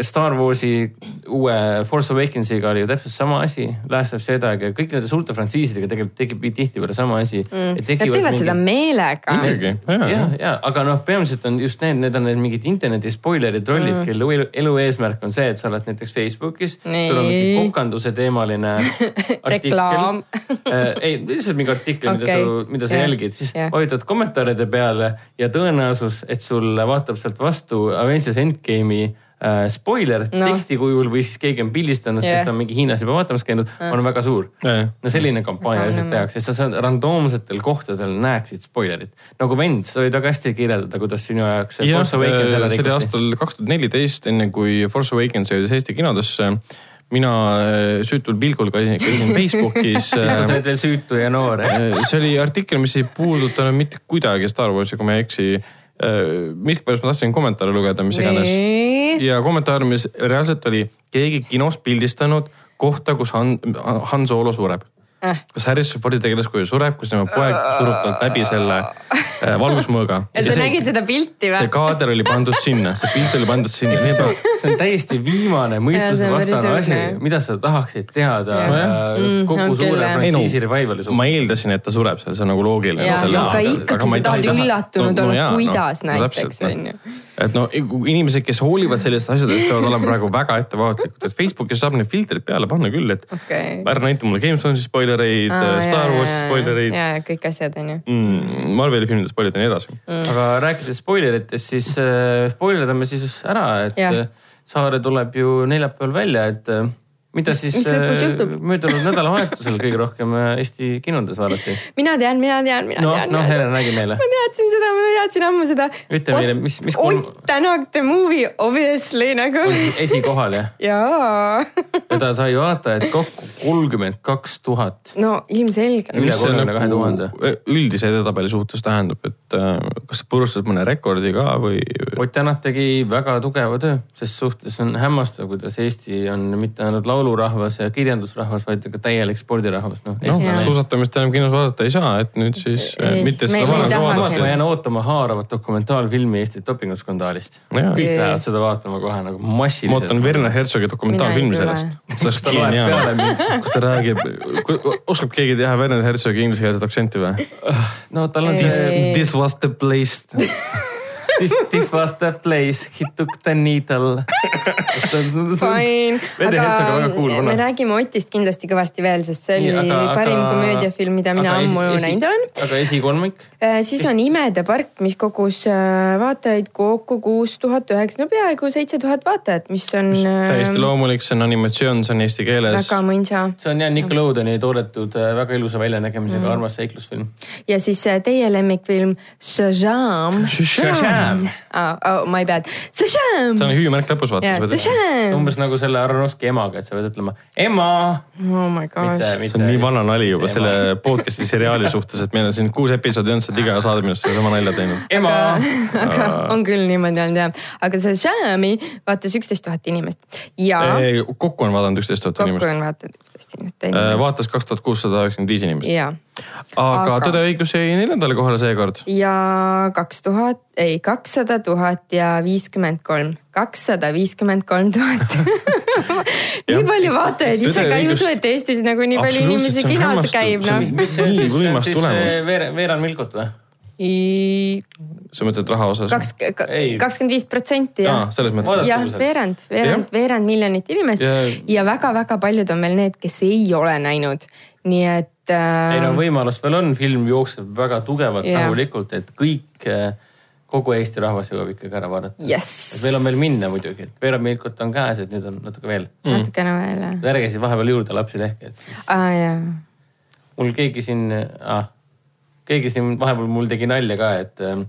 S4: Star Warsi uue Force Awakensiga oli ju täpselt sama asi , Last of Jedi'ga ja kõik nende suurte frantsiisidega tegelikult tekib tihtipeale sama asi .
S3: Mm. Nad teevad seda meelega .
S2: muidugi ,
S4: ja
S2: jaa ,,
S4: ja , aga noh , peamiselt on just need , need on need mingid interneti spoileri trollid mm. , kelle elu, elu eesmärk on see , et sa oled näiteks Facebookis , sul on mingi
S3: Nii.
S4: kokanduse teemaline artikkel
S3: Reklaam.
S4: äh, . ei , lihtsalt mingi artikkel okay. ,
S3: Okei.
S4: mida sa , mida sa
S3: Jah.
S4: yeah. jälgid , siis
S3: Jah.
S4: yeah. vajutad kommentaaride peale ja tõenäosus , et sulle vaatab sealt vastu Avengers Endgame'i äh, spoiler no.
S3: No.
S4: teksti kujul või siis keegi on pildistanud yeah. ,
S3: Jah. Ah.
S4: sest ta on mingi Hiinas juba vaatamas käinud , on väga suur .
S2: Jajah.
S4: no selline kampaania
S3: Väga
S4: lihtsalt
S3: nõme.
S4: tehakse , sa saad randoomsetel kohtadel näeksid spoilerit . nagu vend , sa võid väga hästi kirjeldada , kuidas sinu jaoks
S2: jah ,
S4: Force
S2: see
S4: Awakens ära
S2: oli
S4: rikuti .
S2: aastal kaks tuhat neliteist , enne kui Force Awakens jõudis Eesti kinodesse . mina äh, süütul pilgul käisin käisin Facebookis . äh,
S4: siis sa oled veel süütu ja noor .
S2: see oli artikkel , mis ei puudutanud mitte kuidagi Star Warsi , kui ma ei eksi . miskipärast ma tahtsin kommentaare lugeda , mis iganes .
S3: nii ,
S2: ja kommentaar , mis reaalselt oli keegi kinos pildistanud kohta , kus Han , Han Solo sureb
S3: Äh. .
S2: kus Harrison Fordi tegelaskuju sureb , kus tema poeg surub talt läbi selle äh, valgusmõõga .
S3: ja sa nägid seda pilti
S2: see
S3: või ?
S2: kaader oli pandud sinna , see pilt oli pandud sinna , see on
S4: see on täiesti viimane
S3: Jaa, see
S4: mõistusevastane
S3: on päris
S4: asi
S3: õudne. ,
S4: mida sa tahaksid teada yeah.
S3: Mm, on
S4: kogu
S3: küll,
S4: suure
S3: jah.
S4: frantsiisi revival'i
S2: ma
S4: suhtes .
S2: eeldasin , et ta sureb seal , see on nagu loogiline .
S3: Jaa, aga ikkagi sa tahad üllatunud olla, kuidas näiteks, on ju. .
S2: et no inimesed , kes hoolivad sellistest asjadest , peavad olema praegu väga ettevaatlikud , et Facebookis saab need filtrid peale panna küll , et
S3: Okei.
S2: ära näita mulle Gamesonsi spoilereid ,
S4: äh,
S2: Star Warsi spoilereid ,
S3: ja kõik asjad on ju .
S2: Marveli filmide spoilereid ja nii edasi .
S3: Mm.
S4: aga rääkides spoileritest , siis äh, spoilerdame siis ära , et
S3: Jah.
S4: yeah. Saare tuleb ju neljapäeval välja , et äh, mida siis
S3: mis lõpus
S4: äh,
S3: juhtub?
S4: möödunud nädalavahetusel kõige rohkem äh, Eesti kinodes vaadati .
S3: mina tean , mina tean , mina
S4: No,
S3: tean .
S4: no, Helen, räägi meile.
S3: ma teadsin seda , ma teadsin ammu seda .
S4: Ütle meile, mis- mis kolm-
S3: Ott Tänak the movie obviously nagu
S4: on . esikohal jah ,
S3: jaa .
S4: teda sai vaatajaid kokku kolmkümmend kaks tuhat .
S3: no ilmselgelt .
S4: Üle kolmekümne kahe tuhande.
S2: nagu e, üldise edetabeli suhtes tähendab , et äh, kas sa purustad mõne rekordi ka või ?
S4: Ott Tänak tegi väga tugeva töö , ses suhtes on hämmastav , kuidas Eesti on mitte ainult laulurahvas ja kirjandusrahvas , vaid ka täielik spordirahvas , noh .
S2: noh
S3: Jaa. ,
S2: suusatamist enam kinos vaadata ei saa , et nüüd siis
S3: Ei,
S2: ei, mitte seda
S3: me- me ei
S2: vahepeal
S3: tahagi.
S4: ma
S2: vaadata .
S4: jään ootama haaravat dokumentaalfilmi Eesti dopinguskandaalist .
S2: Jaa.
S4: kõik
S3: Jaa.
S4: lähevad seda vaatama kohe nagu
S2: ma
S4: massiliselt .
S2: ootan Werner Herzogi
S3: Mina
S2: dokumentaalfilmi
S3: ei tule.
S2: sellest . see oleks
S4: Ta loeb peale
S2: geniaalne
S4: mind. ,
S2: kus ta räägib , oskab keegi teha Werner Herzogi inglisekeelset aktsenti või ?
S4: no tal on
S3: Ei.
S2: This,
S4: see
S2: this was the place .
S4: this , this was the place , he took the needle .
S3: Fine ,
S4: Vene Hertsog on väga cool
S3: aga
S4: vana.
S3: me räägime Otist kindlasti kõvasti veel , sest see oli aga, parim komöödiafilm , mida mina ammu näinud olen .
S4: aga esikolmik ?
S3: siis on Imede park , mis kogus äh, vaatajaid kokku kuus tuhat üheksa , no peaaegu seitse tuhat vaatajat , mis on äh,
S2: täiesti loomulik , see on animatsioon , see on eesti keeles
S3: väga . mõisa .
S4: see on jah Nickelodeoni toodetud äh, väga ilusa väljanägemisega mm. armas seiklusfilm .
S3: ja siis äh, teie lemmikfilm Shazam .
S2: Shazam.
S3: Oh, oh my bad , Shazam
S2: see . on hüüumärk lõpus
S3: jaa ,
S2: vaata .
S3: Shazam .
S4: umbes nagu selle Aronovski emaga , et sa pead ütlema ema ,
S3: oh my
S4: mitte ,
S3: gosh .
S4: mitte .
S2: see on nii vana nali juba
S4: Teema.
S2: selle podcast'i seriaali suhtes , et meil on siin kuus episoodi olnud , sa oled iga saade minu arust sedasama nalja teinud .
S4: ema .
S3: aga on küll niimoodi olnud jah , aga see Shazami vaatas üksteist tuhat inimest ja
S2: kokku on vaadanud üksteist tuhat
S3: kokku
S2: inimest . Äh,
S3: on vaatanud üksteist inimest .
S2: vaatas kaks tuhat kuussada üheksakümmend viis inimest .
S3: ja ,
S2: aga
S3: Aga-
S2: Tõde ja õigus jäi neljandale kohale seekord .
S3: ja kaks tuhat , ei kakssada tuhat ja viiskümmend kolm , kakssada viiskümmend kolm tuhat . nii palju vaatajaid , ise ka ei
S2: Tõde-
S3: usu , et Eestis nagu nii palju
S2: Absoluutselt,
S3: inimesi
S2: see on
S3: kinos
S2: hämmastav.
S3: käib ,
S2: See on-
S3: noh .
S4: mis see on
S2: Nii
S4: siis , see on
S2: võimas
S4: siis
S2: tulemus.
S4: äh, Veer- , Veeran Milkut või ?
S2: sa mõtled raha osas ?
S3: kaks ,
S4: Ei.
S3: kakskümmend viis protsenti jah
S2: aa , selles mõttes .
S4: Vaadake.
S3: jah ,
S4: Vaadatakse.
S3: veerand , veerand , veerand miljonit inimest ja,
S2: Ja-
S3: ja väga-väga paljud on veel need , kes ei ole näinud , nii et
S4: ei no
S3: äh, .
S4: võimalust veel on , film jookseb väga tugevalt
S3: Jaa.
S4: yeah. rahulikult , et kõik , kogu Eesti rahvas jõuab ikkagi ära vaadata . et
S3: jess ,
S4: veel on veel minna muidugi , et Veeran Milkut on käes , et nüüd on natuke veel .
S3: natukene veel jah
S4: ärge siis vahepeal juurde lapsi tehke , et siis
S3: ah, . jaa ,
S4: mul keegi siin ah, , keegi siin vahepeal mul tegi nalja ka , et äh,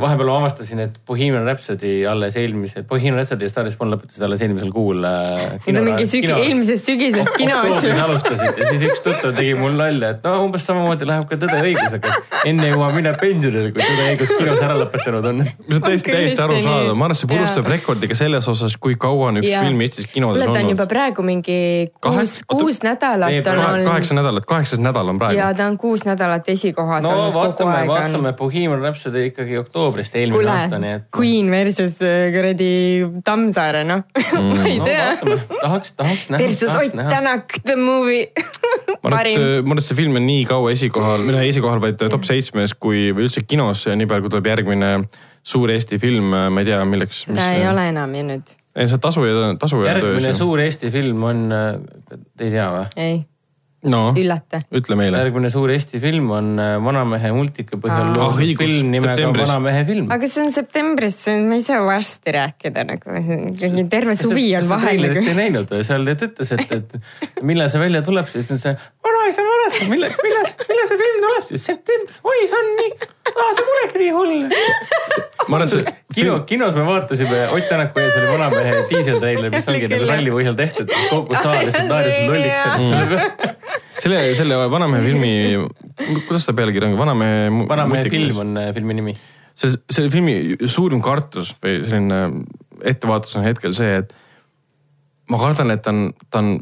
S4: vahepeal ma avastasin , et Bohemian Rhapsody alles eelmise , Bohemian Rhapsody ja Star is Born lõpetasid alles eelmisel kuul äh, .
S3: need on mingi sügi- , eelmisest sügisest kinos
S4: oktoobris
S3: ju .
S4: alustasid ja siis üks tuttav tegi mul nalja , et no umbes samamoodi läheb ka Tõde ja õigusega , et enne jõuab minna pensionile , kui Tõde ja õigus kinos ära lõpetanud on .
S2: see on täiesti ,
S3: On küll
S2: täiesti
S3: vist
S2: arusaadav ,
S3: nii.
S2: ma arvan , et see purustab
S3: Jaa.
S2: rekordiga selles osas , kui kaua on üks
S3: Jaa.
S2: film Eestis kinodes
S3: kuule , ta on
S2: olnud
S3: juba . praegu mingi kuus
S2: Kaheksa- , oota,
S3: kuus nädalat
S4: veebruar-
S3: on olnud
S2: kaheksa nädalat , kaheksas nädal on
S3: ja
S2: praegu .
S3: ta on kuus nädalat esikohas
S4: no
S3: olnud kogu
S4: vaatame ,
S3: aeg on
S4: vaatame Bohemian Rhapsody ikkagi oktoobrist eelmine
S3: kuule
S4: aasta , nii et .
S3: Queen versus äh, kuradi Tammsaare , noh , ma ei
S4: Mm. no
S3: tea .
S4: vaatame , tahaks , tahaks näha .
S3: versus Ott Tänak , The Movie .
S2: ma äh, arvan , et , ma arvan , et see film on nii kaua esikohal , mitte esikohal , vaid top seitsmes , kui või üldse kinos , nii palju , kui tuleb järgmine suur Eesti film , ma ei tea , milleks .
S3: seda ei . ole enam ju nüüd ,
S2: ei , see on tasu ja tasu ja
S4: järgmine
S2: töö .
S4: suur Eesti film on , te ei äh, tea või ?
S3: ei .
S2: no
S3: üllata .
S2: Noh, ütle meile .
S4: järgmine suur Eesti film on äh, Vanamehe multika põhjal
S3: Aa.
S2: Ah,
S4: loodud
S2: õigus,
S4: film nimega
S2: septembris.
S4: Vanamehe film .
S3: aga see on septembris , me ei saa varsti rääkida nagu , ikkagi terve suvi on vahel
S4: nagu . ei
S3: nagu .
S4: näinud , seal ta ütles , et , et millal see välja tuleb , siis on see vanaisa , vanaisa , millal , millal , millal see film tuleb siis septembris , oi , see on nii , see polegi nii hull .
S2: ma arvan , et see
S4: kino , kinos me vaatasime Ott Tänaku ees oli Vanamehe diiseltreiler , mis ongi nagu
S3: Küll, jah.
S4: ralli põhjal tehtud , kogu saal lihtsalt naeris
S3: See
S4: lolliks .
S2: selle , selle Vanamehe filmi , kuidas ta pealkiri on , Vanamehe .
S4: vanamehe film . on äh, filmi nimi .
S2: see , selle filmi suurim kartus või selline ettevaatus on hetkel see , et ma kardan , et ta on , ta on ,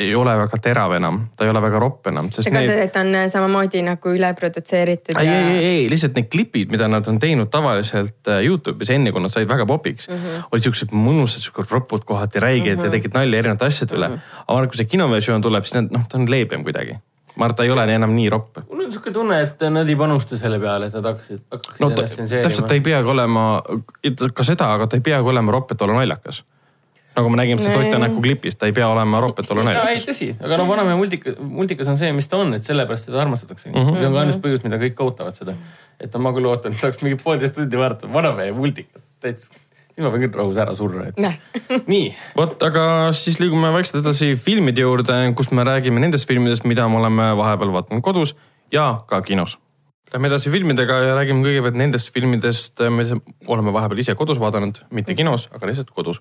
S2: ei ole väga terav enam , ta ei ole väga ropp enam , sest
S3: sa kardad ,
S2: need .
S3: et on samamoodi nagu üle produtseeritud
S2: ei ,
S3: ja
S2: ei , ei , lihtsalt need klipid , mida nad on teinud tavaliselt äh, Youtube'is enne , kui nad said väga popiks mm , -hmm. olid siuksed mõnusad , siuke ropud kohati , räiged mm -hmm. ja tegid nalja erinevate asjade üle mm . -hmm. aga kui see kinoversioon tuleb , siis nad noh , ta on leebem kuidagi . ma arvan , et ta ei ole enam nii ropp
S4: mul on siuke tunne , et nad ei panusta selle peale , et nad hakkasid , hakkasid
S2: no ta,
S4: ennast tsenseerima .
S2: täpselt , ta ei peagi olema ka seda , aga ta ei peagi olema ropp , et olla naljakas . nagu me nägime sellest Ott Tänaku klipist , ta ei pea olema ropp , et olla
S4: ja ei
S2: naljakas .
S4: tõsi , aga noh , vanamehe multika , multikas on see , mis ta on , et sellepärast teda armastatakse mm . -hmm. see on ka ainus põhjus , mida kõik ootavad seda . et ma küll ootan , et saaks mingi poolteist tundi vaadata vanamehe multikat , täitsa , siis ma pean küll rahus ära surra , et
S3: Näh.
S4: nii .
S2: vot , aga siis liigume vaikselt edasi filmide juurde , kus me räägime nendest filmidest , mida me oleme vahepeal vaadanud kodus ja ka kinos . Lähme edasi filmidega ja räägime kõigepealt nendest filmidest , mis oleme vahepeal ise kodus vaadanud , mitte kinos , aga lihtsalt kodus .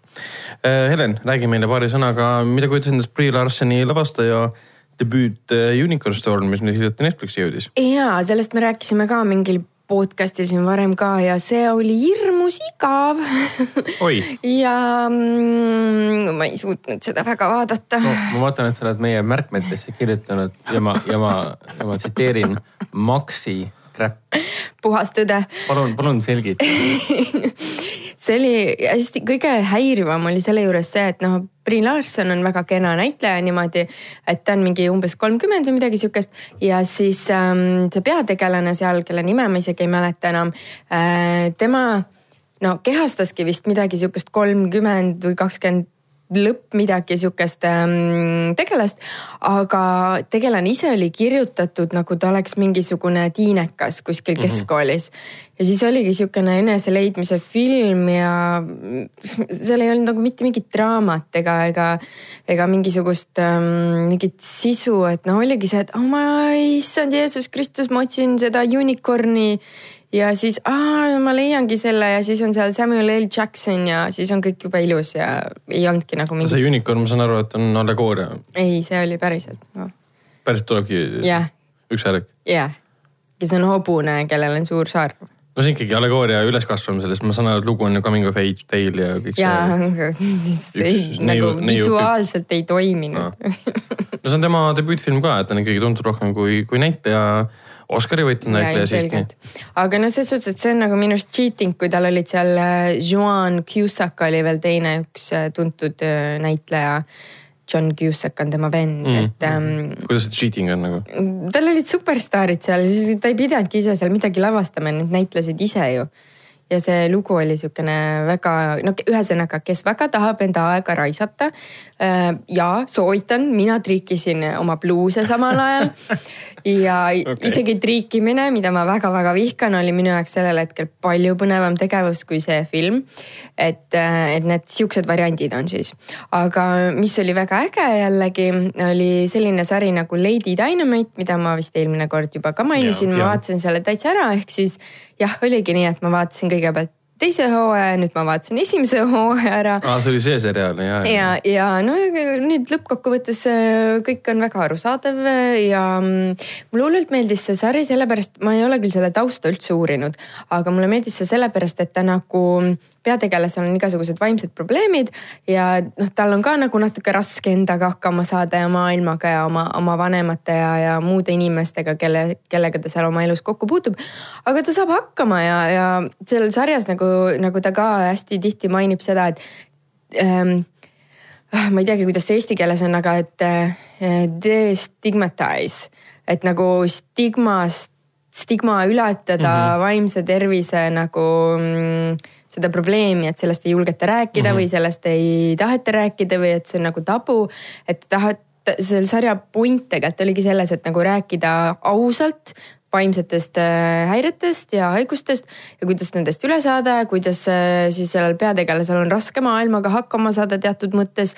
S2: Helen , räägi meile paari sõnaga , mida kujutas endast Brie Larsoni lavastaja debüüt eh, Unicorn Storm , mis nüüd hiljuti Netflixi jõudis .
S3: jaa , sellest me rääkisime ka mingil podcast'il siin varem ka ja see oli hirmus igav
S2: Oi. .
S3: ja mm, ma ei suutnud seda väga vaadata
S4: no
S2: Oh.
S3: no.
S4: ma vaatan , et sa oled meie märkmetesse kirjutanud ja ma , ja ma , ja ma tsiteerin Maxi Crap .
S3: puhas tõde .
S4: palun , palun selgita .
S3: see oli hästi , kõige häirivam oli selle juures see , et noh , Brie Larson on väga kena näitleja niimoodi , et ta on mingi umbes kolmkümmend või midagi sihukest ja siis ähm, see peategelane seal , kelle nime ma isegi ei mäleta enam äh, , tema no kehastaski vist midagi sihukest kolmkümmend või kakskümmend lõpp midagi sihukest ähm, tegelast , aga tegelane ise oli kirjutatud nagu ta oleks mingisugune tiinekas kuskil keskkoolis . ja siis oligi sihukene eneseleidmise film ja seal ei olnud nagu mitte mingit draamat ega , ega , ega mingisugust ähm, mingit sisu , et noh , oligi see , et oh ma , issand Jeesus Kristus , ma otsin seda unicorn'i ja siis aa, ma leiangi selle ja siis on seal Samuel L Jackson ja siis on kõik jube ilus ja ei olnudki nagu mingi ,
S2: see Unicorn , ma saan aru , et on allegooria ,
S3: ei , see oli päriselt no. .
S2: päriselt tulebki
S3: jah ,
S2: üks häälik .
S3: jah , kes on hobune , kellel on suur sarv
S2: no see on ikkagi allegooria üleskasvamisele , sest ma saan aru , et lugu on ju coming of age tale ja kõik
S3: ja
S2: see .
S3: siis see
S2: Üks
S3: ei-
S2: neiu-
S3: nagu
S2: Ah, neiu-
S3: visuaalselt ei toiminud .
S2: no see on tema debüütfilm ka , et ta on ikkagi tuntud rohkem kui , kui näitleja . Oscari võitnud
S3: ja
S2: näitleja siiski .
S3: ilmselgelt , aga noh , selles suhtes , et see on nagu minu arust cheating , kui tal olid seal äh, Joan Cusack oli veel teine üks äh, tuntud äh, näitleja . John Cusack on tema vend mm. , et ähm,
S2: kuidas see cheating on nagu ?
S3: tal olid superstaarid seal , siis ta ei pidanudki ise seal midagi lavastama , need näitlesid ise ju . ja see lugu oli niisugune väga , no ke- ühesõnaga , kes väga tahab enda aega raisata äh, ja soovitan , mina triikisin oma bluuse samal ajal ja okay. isegi triikimine , mida ma väga-väga vihkan , oli minu jaoks sellel hetkel palju põnevam tegevus kui see film . et , et need siuksed variandid on siis , aga mis oli väga äge jällegi , oli selline sari nagu Lady Dynamite , mida ma vist eelmine kord juba ka mainisin ,
S2: Jaa, jaa.
S3: ma vaatasin selle täitsa ära , ehk siis jah , oligi nii , et ma vaatasin kõigepealt teise hooaja , nüüd ma vaatasin esimese hooaja ära
S2: aa , see oli see seriaal , jaa .
S3: ja , ja no nüüd lõppkokkuvõttes äh, kõik on väga arusaadav äh, ja mm, mulle hullult meeldis see sari , sellepärast ma ei ole küll selle tausta üldse uurinud , aga mulle meeldis see sellepärast , et ta nagu peategelasel on igasugused vaimsed probleemid ja noh , tal on ka nagu natuke raske endaga hakkama saada ja maailmaga ja oma , oma vanemate ja , ja muude inimestega , kelle , kellega ta seal oma elus kokku puutub . aga ta saab hakkama ja , ja seal sarjas nagu , nagu ta ka hästi tihti mainib seda , et ähm, ah, ma ei teagi , kuidas see eesti keeles on , aga et äh, destigmatize , et nagu stigmast , stigma ületada mm -hmm. vaimse tervise nagu mm, seda probleemi , et sellest ei julgeta rääkida mm -hmm. või sellest ei taheta rääkida või et see on nagu tabu , et tahad et selle sarja point tegelikult oligi selles, et nagu rääkida ausalt vaimsetest äh, häiretest ja haigustest ja kuidas nendest üle saada ja kuidas äh, siis sellel peategelasel on raske maailmaga hakkama saada teatud mõttes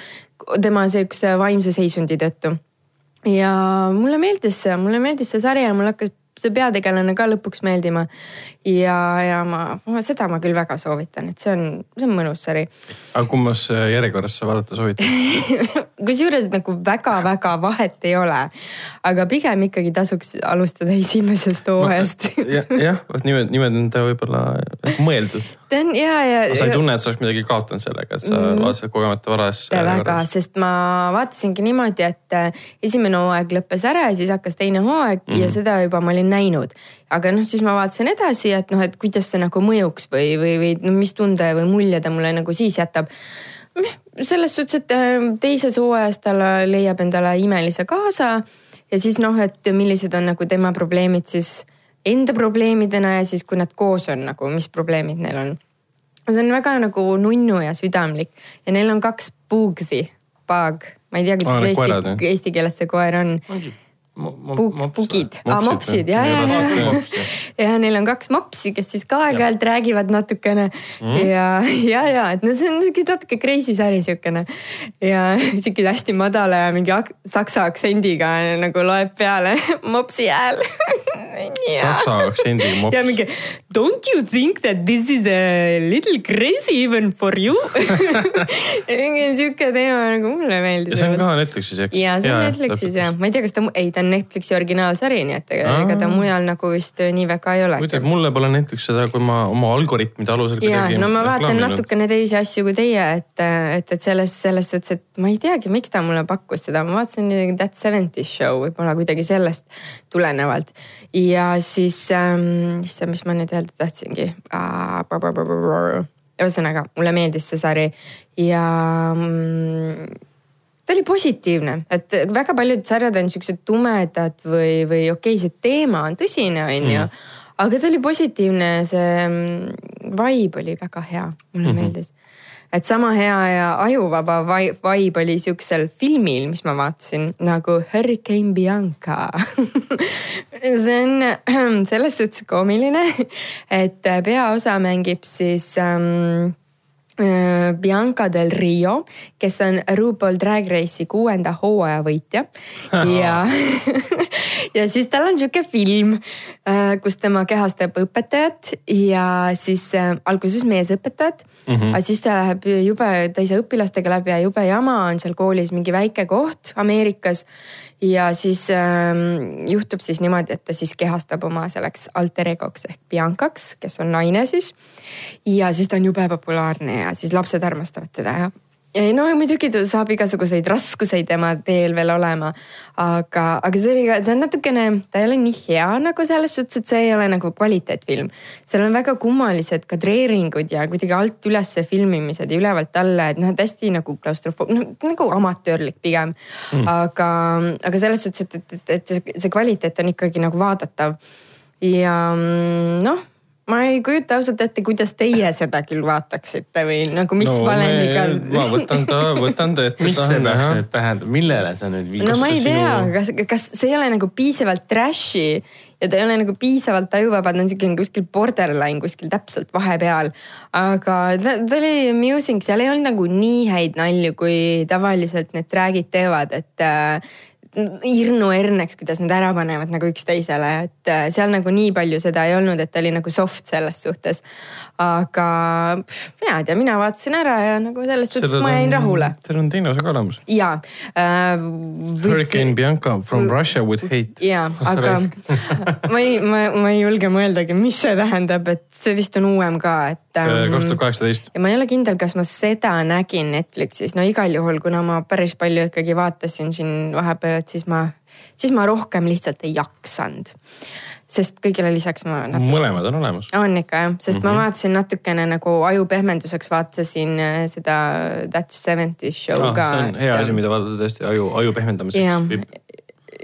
S3: tema sihukese vaimse seisundi tõttu ja mulle meeldis see, mulle meeldis see sari ja mul hakkas see peategelane ka lõpuks meeldima. ja , ja ma, ma , seda ma küll väga soovitan , et see on , see on mõnus sari .
S2: aga kummas äh, järjekorras sa vaadata soovitad ?
S3: kusjuures nagu väga-väga vahet ei ole . aga pigem ikkagi tasuks alustada esimesest hooajast .
S2: jah , vot nimed , nimed on ta võib-olla äh, mõeldud .
S3: ta on ja ,
S2: aga sa ei
S3: ja .
S2: tunne , et sa oleks midagi kaotanud sellega , et sa vaatasid kogemata varas .
S3: mitte väga , sest ma vaatasingi niimoodi , et äh, esimene hooaeg lõppes ära ja siis hakkas teine hooaeg mm -hmm. ja seda juba ma olin näinud . aga noh , siis ma vaatasin edasi , et noh , et kuidas see nagu mõjuks või , või , või no mis tunde või mulje ta mulle nagu siis jätab . selles suhtes , et äh, teises hooajas ta leiab endale imelise kaasa ja siis noh , et millised on nagu tema probleemid siis enda probleemidena ja siis , kui nad koos on nagu , mis probleemid neil on see on väga nagu nunnu ja südamlik ja neil on kaks puugsi , paag , ma ei tea ,
S2: Aa,
S3: kuidas
S2: Ah, need
S3: eesti
S2: koerad, , jah?
S3: eesti keeles see koer on . Pug- , pugid , aa mopsid , ja , ja , ja , ja neil on kaks mopsi , kes siis ka aeg-ajalt räägivad natukene mm.
S2: Mhm.
S3: ja , ja , ja et no see on niisugune natuke crazy sari siukene ja siuke hästi madala ja mingi ak saksa aktsendiga nagu loeb peale mopsi hääl .
S2: saksa aktsendiga
S3: ja
S2: mops .
S3: mingi don't you think that this is a little crazy even for you mingi siuke teema nagu mulle
S2: ja
S3: meeldis .
S2: see on ka Netflixis , eks ?
S3: ja see on Netflixis ja , ma ei tea , kas ta , ei ta on Netflixi originaalsari , nii et ega
S2: Aa.
S3: ega ta mujal nagu vist nii väga ei ole .
S2: muidu , mulle pole näiteks seda , kui ma oma algoritmide alusel
S3: ja no ma vaatan . natukene teisi asju kui teie , et , et , et selles , selles suhtes , et ma ei teagi , miks ta mulle pakkus seda , ma vaatasin midagi That Seventies Show võib-olla kuidagi sellest tulenevalt . ja siis ähm, , issand , mis ma nüüd öelda tahtsingi . Ah, ühesõnaga , mulle meeldis see sari ja mm, ta oli positiivne , et väga paljud sarjad on siuksed tumedad või , või okei , see teema on tõsine , onju . aga ta oli positiivne , see mm, vibe oli väga hea , mulle mm -hmm. meeldis . et sama hea ja ajuvaba vi- vibe oli siuksel filmil , mis ma vaatasin nagu Hurricane Bianca . see on selles suhtes koomiline , et peaosa mängib siis ähm, äh, Bianca del Rio , kes on RuPaul Drag Race'i kuuenda hooaja võitja ja ja siis tal on sihuke film , kus tema kehastab õpetajat ja siis äh, alguses meesõpetajat mm , -hmm. aga siis ta läheb jube teise õpilastega läbi ja jube jama on seal koolis mingi väike koht Ameerikas ja siis ähm, juhtub siis niimoodi , et ta siis kehastab oma selleks alter ego'ks ehk Biancaks , kes on naine siis . ja siis ta on jube populaarne ja siis lapsed armastavad teda ja , ja no ja muidugi ta saab igasuguseid raskuseid tema teel veel olema . aga , aga see oli ka , ta on natukene , ta ei ole nii hea nagu selles suhtes , et see ei ole nagu kvaliteetfilm . seal on väga kummalised kadreeringud ja kuidagi alt ülesse filmimised ja ülevalt alla , et noh , et hästi nagu klaustrofoob , noh nagu amatöörlik pigem mm. . aga , aga selles suhtes , et , et , et , et see- see kvaliteet on ikkagi nagu vaadatav . ja mm, noh , ma ei kujuta ausalt ette , kuidas teie seda küll vaataksite või nagu mis no, valemiga .
S2: ma võtan ta , võtan ta ette .
S4: mis see peaks nüüd tähendama , millele sa nüüd viitad
S3: no ma ei tea
S2: sinu- ,
S3: kas , kas see ei ole nagu piisavalt trash'i ja ta ei ole nagu piisavalt tajuvaba , ta on siuke kuskil borderline kuskil täpselt vahepeal . aga ta, ta oli amusing , seal ei olnud nagu nii häid nalju , kui tavaliselt need track'id teevad , et äh, hirnu herneks , kuidas nad ära panevad nagu üksteisele , et äh, seal nagu nii palju seda ei olnud , et ta oli nagu soft selles suhtes . aga pff, mina ei tea , mina vaatasin ära ja nagu selles suhtes ma jäin rahule .
S2: seal on teine osa ka olemas .
S3: ja äh, .
S2: Hurricane Bianca from Russia with hate .
S3: jaa , aga ma ei , ma , ma ei julge mõeldagi , mis see tähendab , et see vist on uuem ka , et
S2: Äh, kaks
S3: ähm,
S2: tuhat . kaheksateist .
S3: ja ma ei ole kindel , kas ma seda nägin Netflixis , no igal juhul , kuna ma päris palju ikkagi vaatasin siin vahepeal , et siis ma , siis ma rohkem lihtsalt ei jaksanud . sest kõigile lisaks ma natuke
S2: mõlemad on olemas .
S3: on ikka jah , sest mm
S2: Mhm.
S3: -hmm. ma vaatasin natukene nagu aju pehmenduseks vaatasin äh, seda That Seventies show
S2: Ah,
S3: ka .
S2: see on hea asi , mida vaadata tõesti aju , aju
S3: Jaa.
S2: pehmendamiseks või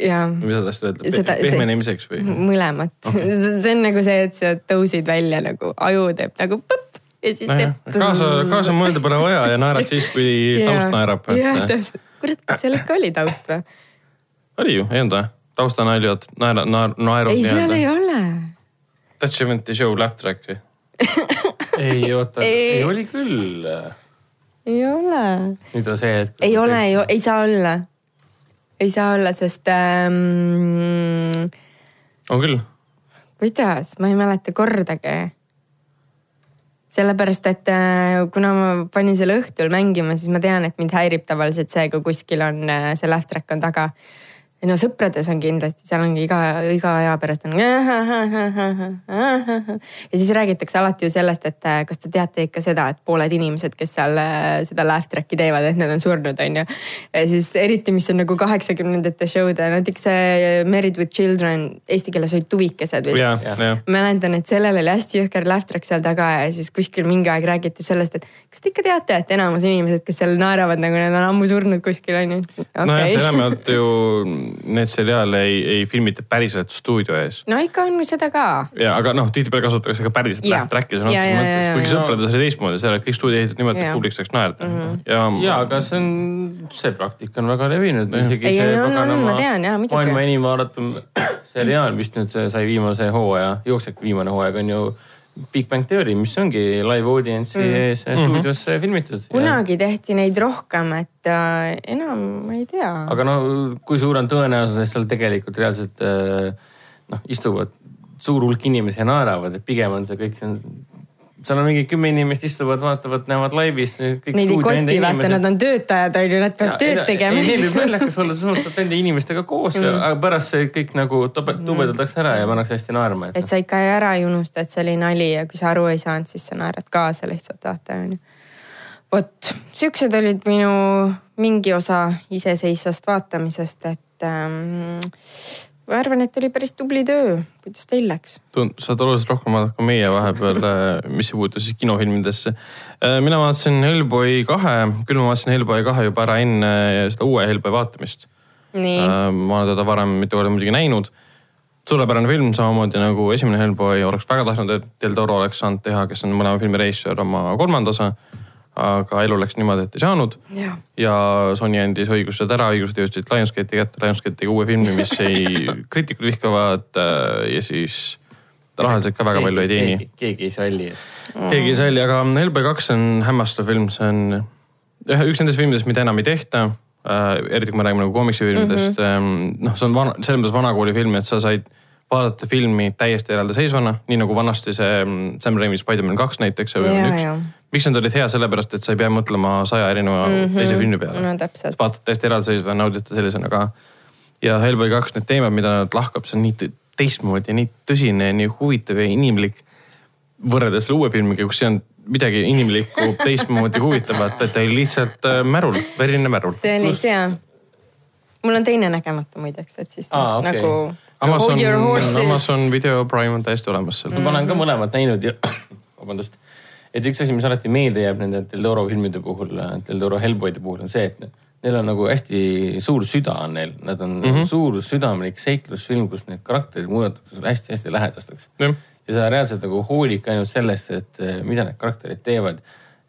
S3: jaa
S2: või mida ta seda ütleb
S3: Seda- , see- Mm-hmm.
S2: pehmenemiseks või ?
S3: mõlemat okay. , see on nagu see , et sa tõusid välja nagu aju teeb nagu põpp ja siis teeb .
S2: kaasa , kaasa mõelda pole vaja ja naerad siis , kui taust naerab .
S3: jah , täpselt , kurat , kas seal ikka oli taust või ?
S2: oli ju , ei olnud või ? taustanaljad , naera , naer- , naerud
S3: ei , seal ei
S2: nii-öelda .
S3: ole .
S2: Touchment'i show laugh track või ?
S4: ei oota ,
S3: Ei.
S4: ei oli küll .
S3: ei ole .
S4: nüüd on see hetk .
S3: ei ole , ei saa olla . ei saa olla , sest ähm,
S2: on küll .
S3: kuidas , ma ei mäleta kordagi . sellepärast , et äh, kuna ma panin selle õhtul mängima , siis ma tean , et mind häirib tavaliselt see , kui kuskil on äh, see laugh track on taga . no sõprades on kindlasti , seal ongi iga , iga aja pärast on . ja siis räägitakse alati ju sellest , et äh, kas te teate ikka seda , et pooled inimesed , kes seal äh, seda laugh track'i teevad , et nad on surnud , on ju . ja siis eriti , mis on nagu kaheksakümnendate show'd , näiteks see Married with Children , eesti keeles olid tuvikesed vist
S2: ja ,
S4: Jah.
S2: ja ,
S3: mäletan , et sellel oli hästi jõhker laugh track seal taga ja siis kuskil mingi aeg räägiti sellest , et kas te ikka teate , et enamus inimesed , kes seal naeravad , nagu need on ammu surnud kuskil on ju .
S2: nojah ,
S3: okei ,
S2: enamjaolt ju need seriaale ei , ei filmita päriselt stuudio ees .
S3: no ikka on seda ka .
S2: ja aga noh , tihtipeale kasutatakse ka päriselt
S3: Jaa.
S2: laugh track'i sõna
S3: Jaa,
S2: otseses
S3: jaa, jaa,
S2: mõttes ,
S3: jaa,
S2: kuigi
S3: jaa.
S2: sõprades oli teistmoodi , seal olid kõik stuudio ehitatud niimoodi , et
S3: Jaa. Mhm.
S2: publik saaks naerda
S4: ja
S2: ja ,
S4: aga see on , see praktika on väga levinud , isegi
S3: Ei,
S4: see
S3: ei, on, on,
S4: paganama
S3: ma tean, jaa, muidugi.
S4: maailma enim vaadatum seriaal vist nüüd see sai viimase hooaja , jookseb viimane hooaeg on ju Big Bang Theory , mis ongi live audience'i mm. ees
S3: Mhm.
S4: eh, stuudios eh, filmitud .
S3: kunagi tehti neid rohkem , et äh, enam ma ei tea .
S4: aga no kui suur on tõenäosus , et seal tegelikult reaalselt eh, noh , istuvad suur hulk inimesi ja naeravad , et pigem on see kõik , seal on mingi kümme inimest istuvad , vaatavad , näevad laivis .
S3: Neid ei koti , vaata , nad on töötajad on ju , nad peavad tööd
S4: ei , neil võib
S3: tegema .
S4: naljakas olla , sa suhtled nende inimestega koos mm. , aga pärast see kõik nagu tobe- tubedatakse ära ja pannakse hästi naerma , et,
S3: Mm.
S4: noh.
S3: et sa ikka ära ei unusta , et see oli nali ja kui sa aru ei saanud , siis sa naerad kaasa lihtsalt vaata on ju . vot siuksed olid minu mingi osa iseseisvast vaatamisest , et ähm, ma arvan , et oli päris tubli töö . kuidas teil läks ?
S2: saad oluliselt rohkem vaadata kui meie vahepeal , äh, mis ei puutu siis kinofilmidesse . mina vaatasin Hellboy kahe , küll ma vaatasin Hellboy kahe juba ära enne äh, seda uue Hellboy vaatamist .
S3: nii ,
S2: ma olen teda varem mitu korda muidugi näinud . suurepärane film , samamoodi nagu esimene Hellboy , oleks väga tahtnud , et Del Toro oleks saanud teha , kes on mõlema filmi režissöör oma kolmanda osa . aga elu läks niimoodi , et ei saanud
S3: jah .
S2: ja Sony andis õigused ära , õigused jõudsid Lionsgate'i kätte , Lionsgate tegi uue filmi , mis ei , kriitikud vihkavad äh, ja siis rahaliselt ka väga palju ei teeni .
S4: keegi ei salli .
S2: keegi ei salli , aga Hellboy kaks on hämmastav film , see on ühe , üks nendest filmidest , mida enam ei tehta äh, . eriti kui me räägime nagu koomiksifilmidest
S3: Mhm.
S2: mm , -hmm. noh , see on vana , selles mõttes vanakooli film , et sa said vaadata filmi täiesti eraldiseisvana , nii nagu vanasti see mm, Sam Raimi Spider-man kaks näiteks , see
S3: Jaa,
S2: oli
S3: jaa.
S2: üks . miks nad olid hea , sellepärast et sa ei pea mõtlema saja erineva mm -hmm. teise filmi peale
S3: Mhm. no täpselt .
S2: vaatad täiesti eraldiseisva , naudid ta sellisena ka . ja Hellboy kaks , need teemad , mida nad lahkab , see on nii tõ- teistmoodi ja nii tõsine ja nii huvitav ja inimlik . võrreldes selle uue filmiga , kus ei olnud midagi inimlikku teistmoodi huvitavat , vaid ta oli lihtsalt äh, märul , verine märul .
S3: see oli see jah . mul on teine nägemata muideks , et siis
S4: Aa, okei.
S3: nagu
S2: Amazon
S3: hold your , horses .
S2: Amazon Video Prime mm, on täiesti olemas seal
S4: ma
S2: mm. .
S4: olen ka mõlemad näinud ja vabandust , et üks asi , mis alati meelde jääb nende Del Toro filmide puhul , Del Toro Hellboyde puhul on see , et neil on nagu hästi suur süda on neil , nad on mm -hmm. suur südamlik seiklusfilm , kus need karakterid muudetakse sulle hästi-hästi lähedasteks
S2: jah ,
S4: ja sa reaalselt nagu hoolid ka ainult sellest , et eh, mida need karakterid teevad .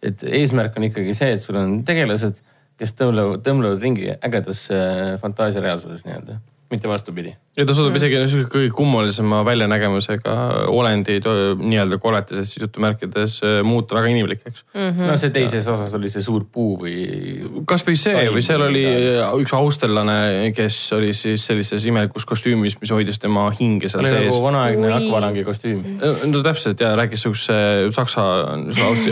S4: et eesmärk on ikkagi see , et sul on tegelased , kes tõmblevad , tõmblevad ringi ägedas eh, fantaasiareaalsuses nii-öelda , mitte vastupidi .
S2: ja ta
S3: Mm.
S2: suudab isegi niisuguse kõige kummalisema väljanägemusega olendid , nii-öelda koletised siis jutumärkides äh, muuta väga inimlikeks
S3: Mm.
S4: no see teises osas oli see suur puu või .
S2: kasvõi see
S4: Taim
S2: või seal
S4: või
S2: oli äh,
S4: midagi.
S2: üks austerlane , kes oli siis sellises imelikus kostüümis , mis hoidis tema hinge seal
S4: oli
S2: sees
S4: nagu . vanaaegne
S3: Ui.
S4: akvalangi kostüüm .
S2: no täpselt ja rääkis siukse saksa ,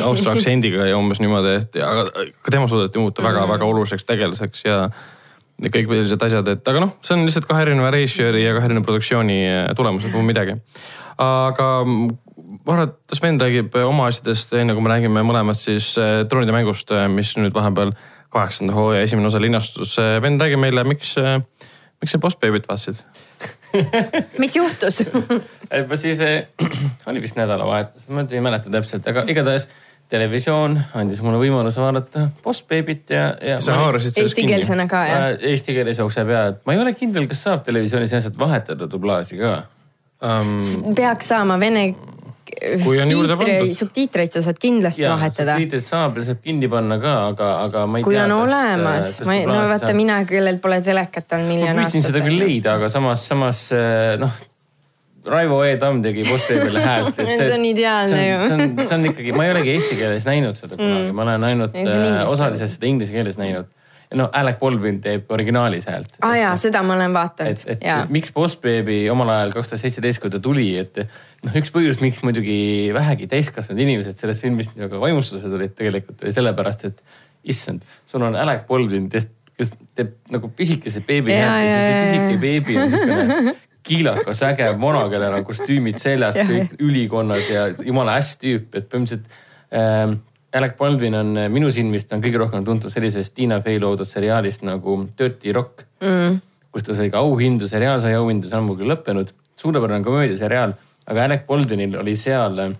S2: austria aktsendiga ja umbes niimoodi , et ja- aga ka tema suudeti muuta väga-väga oluliseks tegelaseks ja ja kõik sellised asjad , et aga noh , see on lihtsalt kahe erineva režissööri ja kahe erineva produktsiooni tulemus , pole midagi . aga ma arvan , et Sven räägib äh, oma asjadest , enne kui me räägime mõlemad siis äh, troonide mängust , mis nüüd vahepeal kaheksanda hooaja esimene osa linastus . Sven , räägi meile , miks , miks sa Boss Baby't vaatasid ?
S3: mis juhtus ?
S4: Et ma siis eh, oli vist nädalavahetus , ma nüüd ei mäleta täpselt , aga igatahes televisioon andis mulle võimaluse vaadata Boss Babyt ja , ja .
S2: sa haarasid sellest kinni .
S3: Eestikeelsena ka jah ?
S4: Ma eesti keeles jookseb ja , et ma ei ole kindel , kas saab televisioonis lihtsalt vahetada dublaaži ka .
S2: Um,
S3: peaks saama vene
S2: Kui on juurde pandud.
S3: subtiitreid sa saad kindlasti ja, vahetada .
S4: subtiitrid saab ja saab kinni panna ka , aga , aga ma ei äh,
S3: kui
S4: tea . eh,
S3: on olemas , ma ei , no vaata mina , kellel pole telekat olnud
S4: ma
S3: miljon
S4: püüdsin
S3: aastat .
S4: seda küll leida , aga samas , samas eh, noh , Raivo E. Tamm tegi Postimehe häält .
S3: See on ideaalne ju.
S4: see on , see on ikkagi , ma ei olegi eesti keeles näinud seda kunagi mm. , ma olen ainult
S3: Ei, see on
S4: eh,
S3: inglise
S4: osaliselt seda inglise keeles näinud . no Alec Baldwin teeb originaalis häält .
S3: aa jaa , seda ma olen
S4: et ,
S3: vaadanud
S4: et
S3: ja
S4: ja. miks Postbaby omal ajal kaks tuhat seitseteist , kui ta tuli , et noh , üks põhjus , miks muidugi vähegi täiskasvanud inimesed sellest filmist nagu vaimustuses olid tegelikult oli sellepärast , et issand , sul on Alec Baldwin , kes , kes teeb nagu pisikese beebi
S3: Ja,
S4: häält
S3: ja,
S4: ja siis see
S3: ja, ja.
S4: pisike beebi on siukene kiilakas , äge vana , kellel on kostüümid seljas ,
S3: Jah,
S4: kõik ülikonnad ja jumala äss tüüp , et põhimõtteliselt ähm, . Alec Baldwin on äh, minu silmis , ta on kõige rohkem tuntud sellisest Tiina Fey loodud seriaalist nagu Dirty Rock mm. . kus ta sai ka auhindu , seriaal sai auhindu , see on muidugi lõppenud , suurepärane komöödiaseriaal , aga Alec Baldwinil oli seal äh,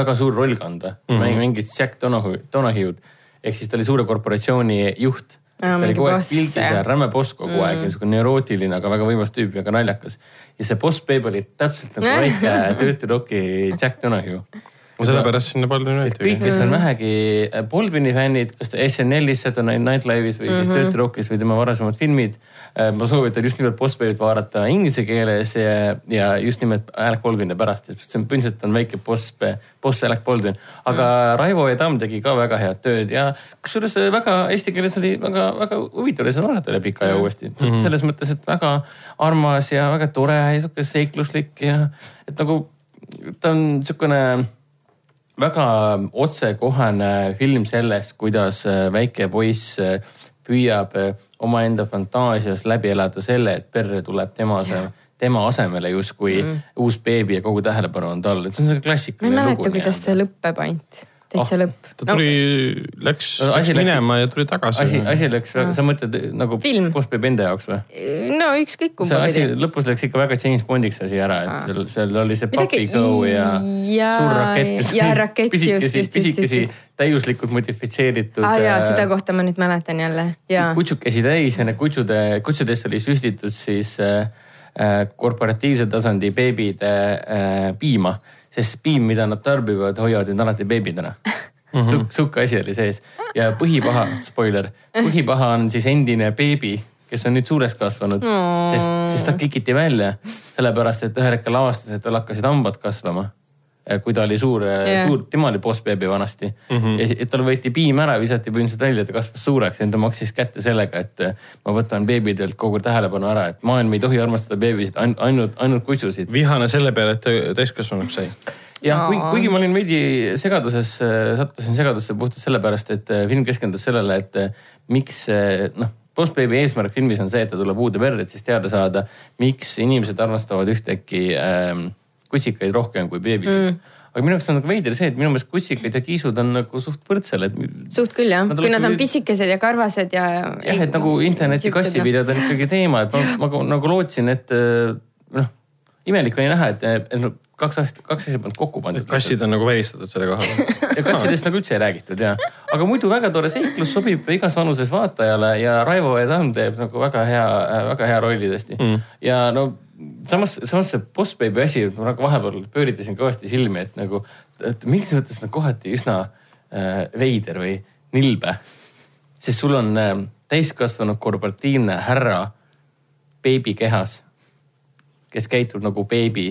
S4: väga suur roll kanda
S3: Mhm.
S4: mm , -hmm. mängis Jack Donahue , Donahue'd ehk siis ta oli suure korporatsiooni juht . ta
S3: Aa,
S4: oli
S3: mingi
S4: kogu aeg
S3: boss,
S4: pildis ja
S3: jah. Mhm.
S4: räme boss kogu aeg , niisugune neurootiline , aga väga võimas tüüp ja ka naljakas . ja see boss babe oli täpselt nagu väike Dirty Rocki Jack Donahue .
S2: ma sellepärast sinna palju
S4: et kõik ,
S2: näitan .
S4: kes on vähegi äh, Baldwini fännid , kas ta SNL-is , Saturday Night Live'is või siis Dirty Rockis või tema varasemad filmid . ma soovitan just nimelt boss babe'it vaadata inglise keeles ja, ja just nimelt Alec Baldwini pärast , sest see on põhimõtteliselt on väike boss , boss Alec Baldwin . aga Raivo ja Tamm tegi ka väga head tööd ja kusjuures äh, väga eesti keeles oli väga-väga huvitav oli seda vaadata üle pika aja uuesti mm . -hmm. selles mõttes , et väga armas ja väga tore ja sihuke seikluslik ja et nagu ta on sihukene väga otsekohane film sellest , kuidas äh, väike poiss äh, püüab äh, omaenda fantaasias läbi elada selle , et perre tuleb tema , tema asemele justkui mm. uus beebi ja kogu tähelepanu on tal , et see on selline
S3: ma ei
S4: klassikaline
S3: mäleta , kuidas see lõpeb ainult , täitsa
S4: Ah,
S3: lõpp .
S2: ta tuli , läks
S4: No, asi
S2: läks
S4: läks-
S2: minema ja tuli
S4: asi ,
S2: tagasi .
S4: asi läks , sa mõtled nagu
S3: Ah. Film.
S4: postbeebi enda jaoks või ?
S3: no ükskõik
S4: see
S3: kumba
S4: asi
S3: pidi .
S4: lõpus läks ikka väga James Bondiks asi ära , et seal , seal oli see
S3: Midagi-
S4: papigõu ja
S3: jaa,
S4: suur rakett , mis
S3: jaa, rakett, just, just,
S4: pisikesi
S3: just, ,
S4: pisikesi
S3: just, just.
S4: täiuslikult modifitseeritud . äh,
S3: aa jaa , seda kohta ma nüüd mäletan jälle ja
S4: kutsukesi täis ja need kutsude , kutsudesse oli süstitud siis äh, äh, korporatiivse tasandi beebide äh, piima , sest piim , mida nad tarbivad , hoiavad neid alati beebidena . Suk- , sihuke asi oli sees ja põhipaha , spoiler , põhipaha on siis endine beebi , kes on nüüd suureks kasvanud
S3: Aa.
S4: sest , sest ta klikiti välja sellepärast , et ühel hetkel avastas , et tal hakkasid hambad kasvama . kui ta oli suur
S3: Jah.
S4: yeah. , suur , tema oli boss beebi vanasti mm . -hmm. ja si- tal võeti piim ära , visati põhimõtteliselt välja , ta kasvas suureks ja ta maksis kätte sellega , et äh, ma võtan beebidelt kogu tähelepanu ära , et maailm ei tohi armastada beebisid , ainult , ainult kutsusid .
S2: vihane selle peale , et ta täiskasvanuks sai .
S4: jah no.
S3: Aa. ,
S4: kuigi ma olin veidi segaduses , sattusin segadusse puhtalt sellepärast , et äh, film keskendus sellele , et äh, miks äh, noh , Boss Baby eesmärk filmis on see , et ta tuleb uude perre , et siis teada saada , miks inimesed armastavad ühtäkki ähm, kutsikaid rohkem kui beebisid mm. aga minu jaoks on nagu veider see , et minu meelest kutsikaid ja kiisud on nagu suht võrdsel , et
S3: suht küll jah ,
S4: Nad
S3: kui nad on
S4: oleksid-
S3: pisikesed ja karvased ja .
S4: jah , et nagu interneti
S3: noh.
S4: kassipidajad on ikkagi teema , et ma, ma nagu lootsin , et äh, noh , imelik oli näha , et, et noh, kaks asja , kaks asja polnud kokku pandud .
S2: kassid on nagu välistatud selle koha peal .
S4: ja kassidest nagu üldse ei räägitud ja , aga muidu väga tore seiklus sobib igas vanuses vaatajale ja Raivo ja Tamm teeb nagu väga hea , väga hea rolli tõesti mm. . ja no samas , samas see Boss Baby asi , ma nagu vahepeal pööritasin kõvasti silmi , et nagu , et mingis mõttes nagu kohati üsna äh, veider või nilbe . sest sul on äh, täiskasvanud korporatiivne härra beebi kehas , kes käitub nagu beebi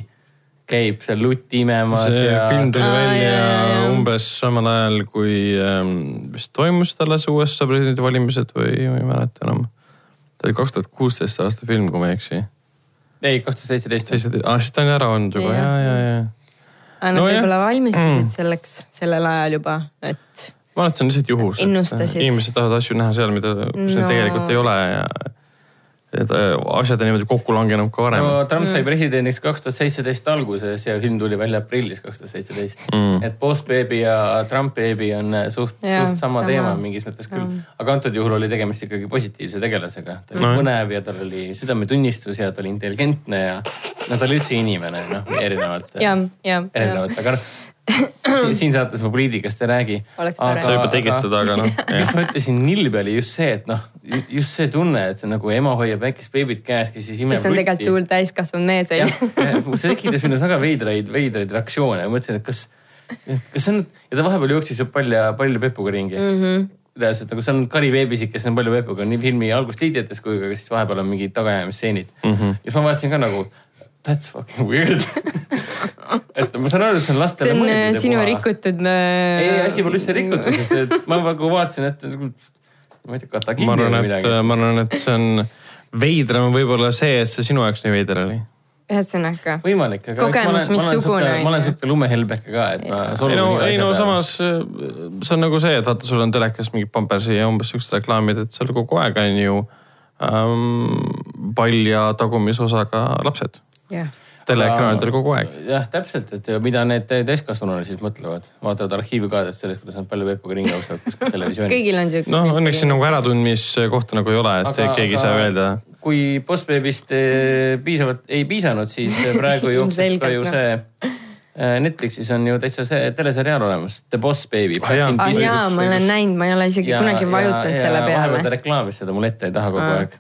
S4: käib seal lutti imemas
S2: see
S4: ja
S2: film tuli
S3: Aa, jaa, jaa,
S2: välja
S3: jaa.
S2: umbes samal ajal , kui ähm, vist toimus tallas USA presidendivalimised või ma ei mäleta enam . ta oli kaks tuhat kuusteist aasta film , kui ma ei eksi .
S4: ei , kaks tuhat seitseteist .
S2: teised , aa siis ta on ära olnud juba , ja ,
S3: Jah.
S2: ja , ja .
S3: aga nad
S2: No jah.
S3: võib-olla
S4: Mm.
S3: valmistusid selleks sellel ajal juba , et
S2: ma arvan , et see on lihtsalt juhus .
S3: Ennustasid.
S2: inimesed tahavad asju näha seal , mida kus neid
S3: No.
S2: tegelikult ei ole ja . et äh, asjad on niimoodi kokku langenud ka varem no. .
S4: no Trump
S3: Mm.
S4: sai presidendiks kaks tuhat seitseteist alguses ja film tuli välja aprillis kaks tuhat seitseteist .
S2: Mm.
S4: et Boss Baby ja Trump Baby on äh, suht ,
S3: Jaa,
S4: suht sama
S3: sama.
S4: teema mingis mõttes küll . aga antud juhul oli tegemist ikkagi positiivse tegelasega . ta oli
S2: Nojah.
S4: põnev ja tal oli südametunnistus ja ta oli intelligentne ja no ta oli üldse inimene , noh , erinevalt .
S3: Jah, jah, jah.
S4: erinevalt , aga noh , siin saates ma poliitikast ei räägi .
S3: Oleks tore.
S2: sa juba tegid seda , aga noh ,
S4: mis ma ütlesin , nilbe oli just see , et noh , just see tunne , et see on nagu ema hoiab väikest beebit käes , kes siis imeb .
S3: kes on tegelikult suur täiskasvanud mees ,
S4: jah
S3: onju .,
S4: see tekitas minus väga veidraid , veidraid reaktsioone , ma mõtlesin , et kas , kas see on ja ta vahepeal jooksis ju pall ja palli pepuga ringi mm .
S3: Mhm.
S4: -hmm reaalselt nagu see on Kari veebisik , kes on palju pepuga nii filmi algusliidjates kui ka siis vahepeal on mingid tagaajamisstseenid mm .
S2: Mhm.
S4: -hmm. ja siis ma vaatasin ka nagu that's fucking weird . et ma saan aru , see on lastele
S3: see on äh,
S4: mõeldud ja
S3: sinu
S4: puha.
S3: rikutud . äh, mm,
S4: ei , asi pole üldse rikutuses , et ma nagu vaatasin , et nagu, ma ei tea , katakiin
S2: ma arvan , et
S4: või
S2: äh,
S4: midagi .,
S2: ma arvan , et see on veidram võib-olla see , et see sinu jaoks nii veider oli .
S3: ühesõnaga ,
S4: võimalik , aga eks ma
S3: kogemus,
S4: olen- ma olen
S3: missugune
S4: sihuke- ma olen
S3: on ju.
S4: sihuke lumehelbeke ka , et ma solvun
S2: ei no ,
S4: iga
S2: ei no
S4: asja peale.
S2: samas äh, see on nagu see , et vaata , sul on telekas mingid Pampersi ja umbes siuksed reklaamid , et seal kogu aeg on ju ähm, pall ja tagumisosaga lapsed
S3: jah .
S2: teleekraanidel kogu aeg .
S4: jah , täpselt , et ja mida need tä- täiskasvanunud siis mõtlevad , vaatavad arhiivikaadet sellest , kuidas nad palju veepuga ringi jooksevad kuskil televisioonis .
S3: kõigil on siukseid .
S2: noh , õnneks siin nagu äratundmiskohta nagu ei ole , et aga, keegi ei saa öelda .
S4: kui Postbeebist eh, piisavalt ei piisanud , siis eh, praegu jookseb
S3: Ilmselgelt,
S4: ka ju
S3: noh.
S4: see eh, Netflixis on ju täitsa see teleseriaal olemas , The Boss Baby .
S2: Ah, jaa.
S3: ah jaa , ma olen näinud , ma ei ole isegi kunagi vajutanud selle
S4: vahepeal ta
S3: peale . Ah.
S4: reklaamis seda mulle ette ei taha kogu
S3: Aa.
S4: aeg .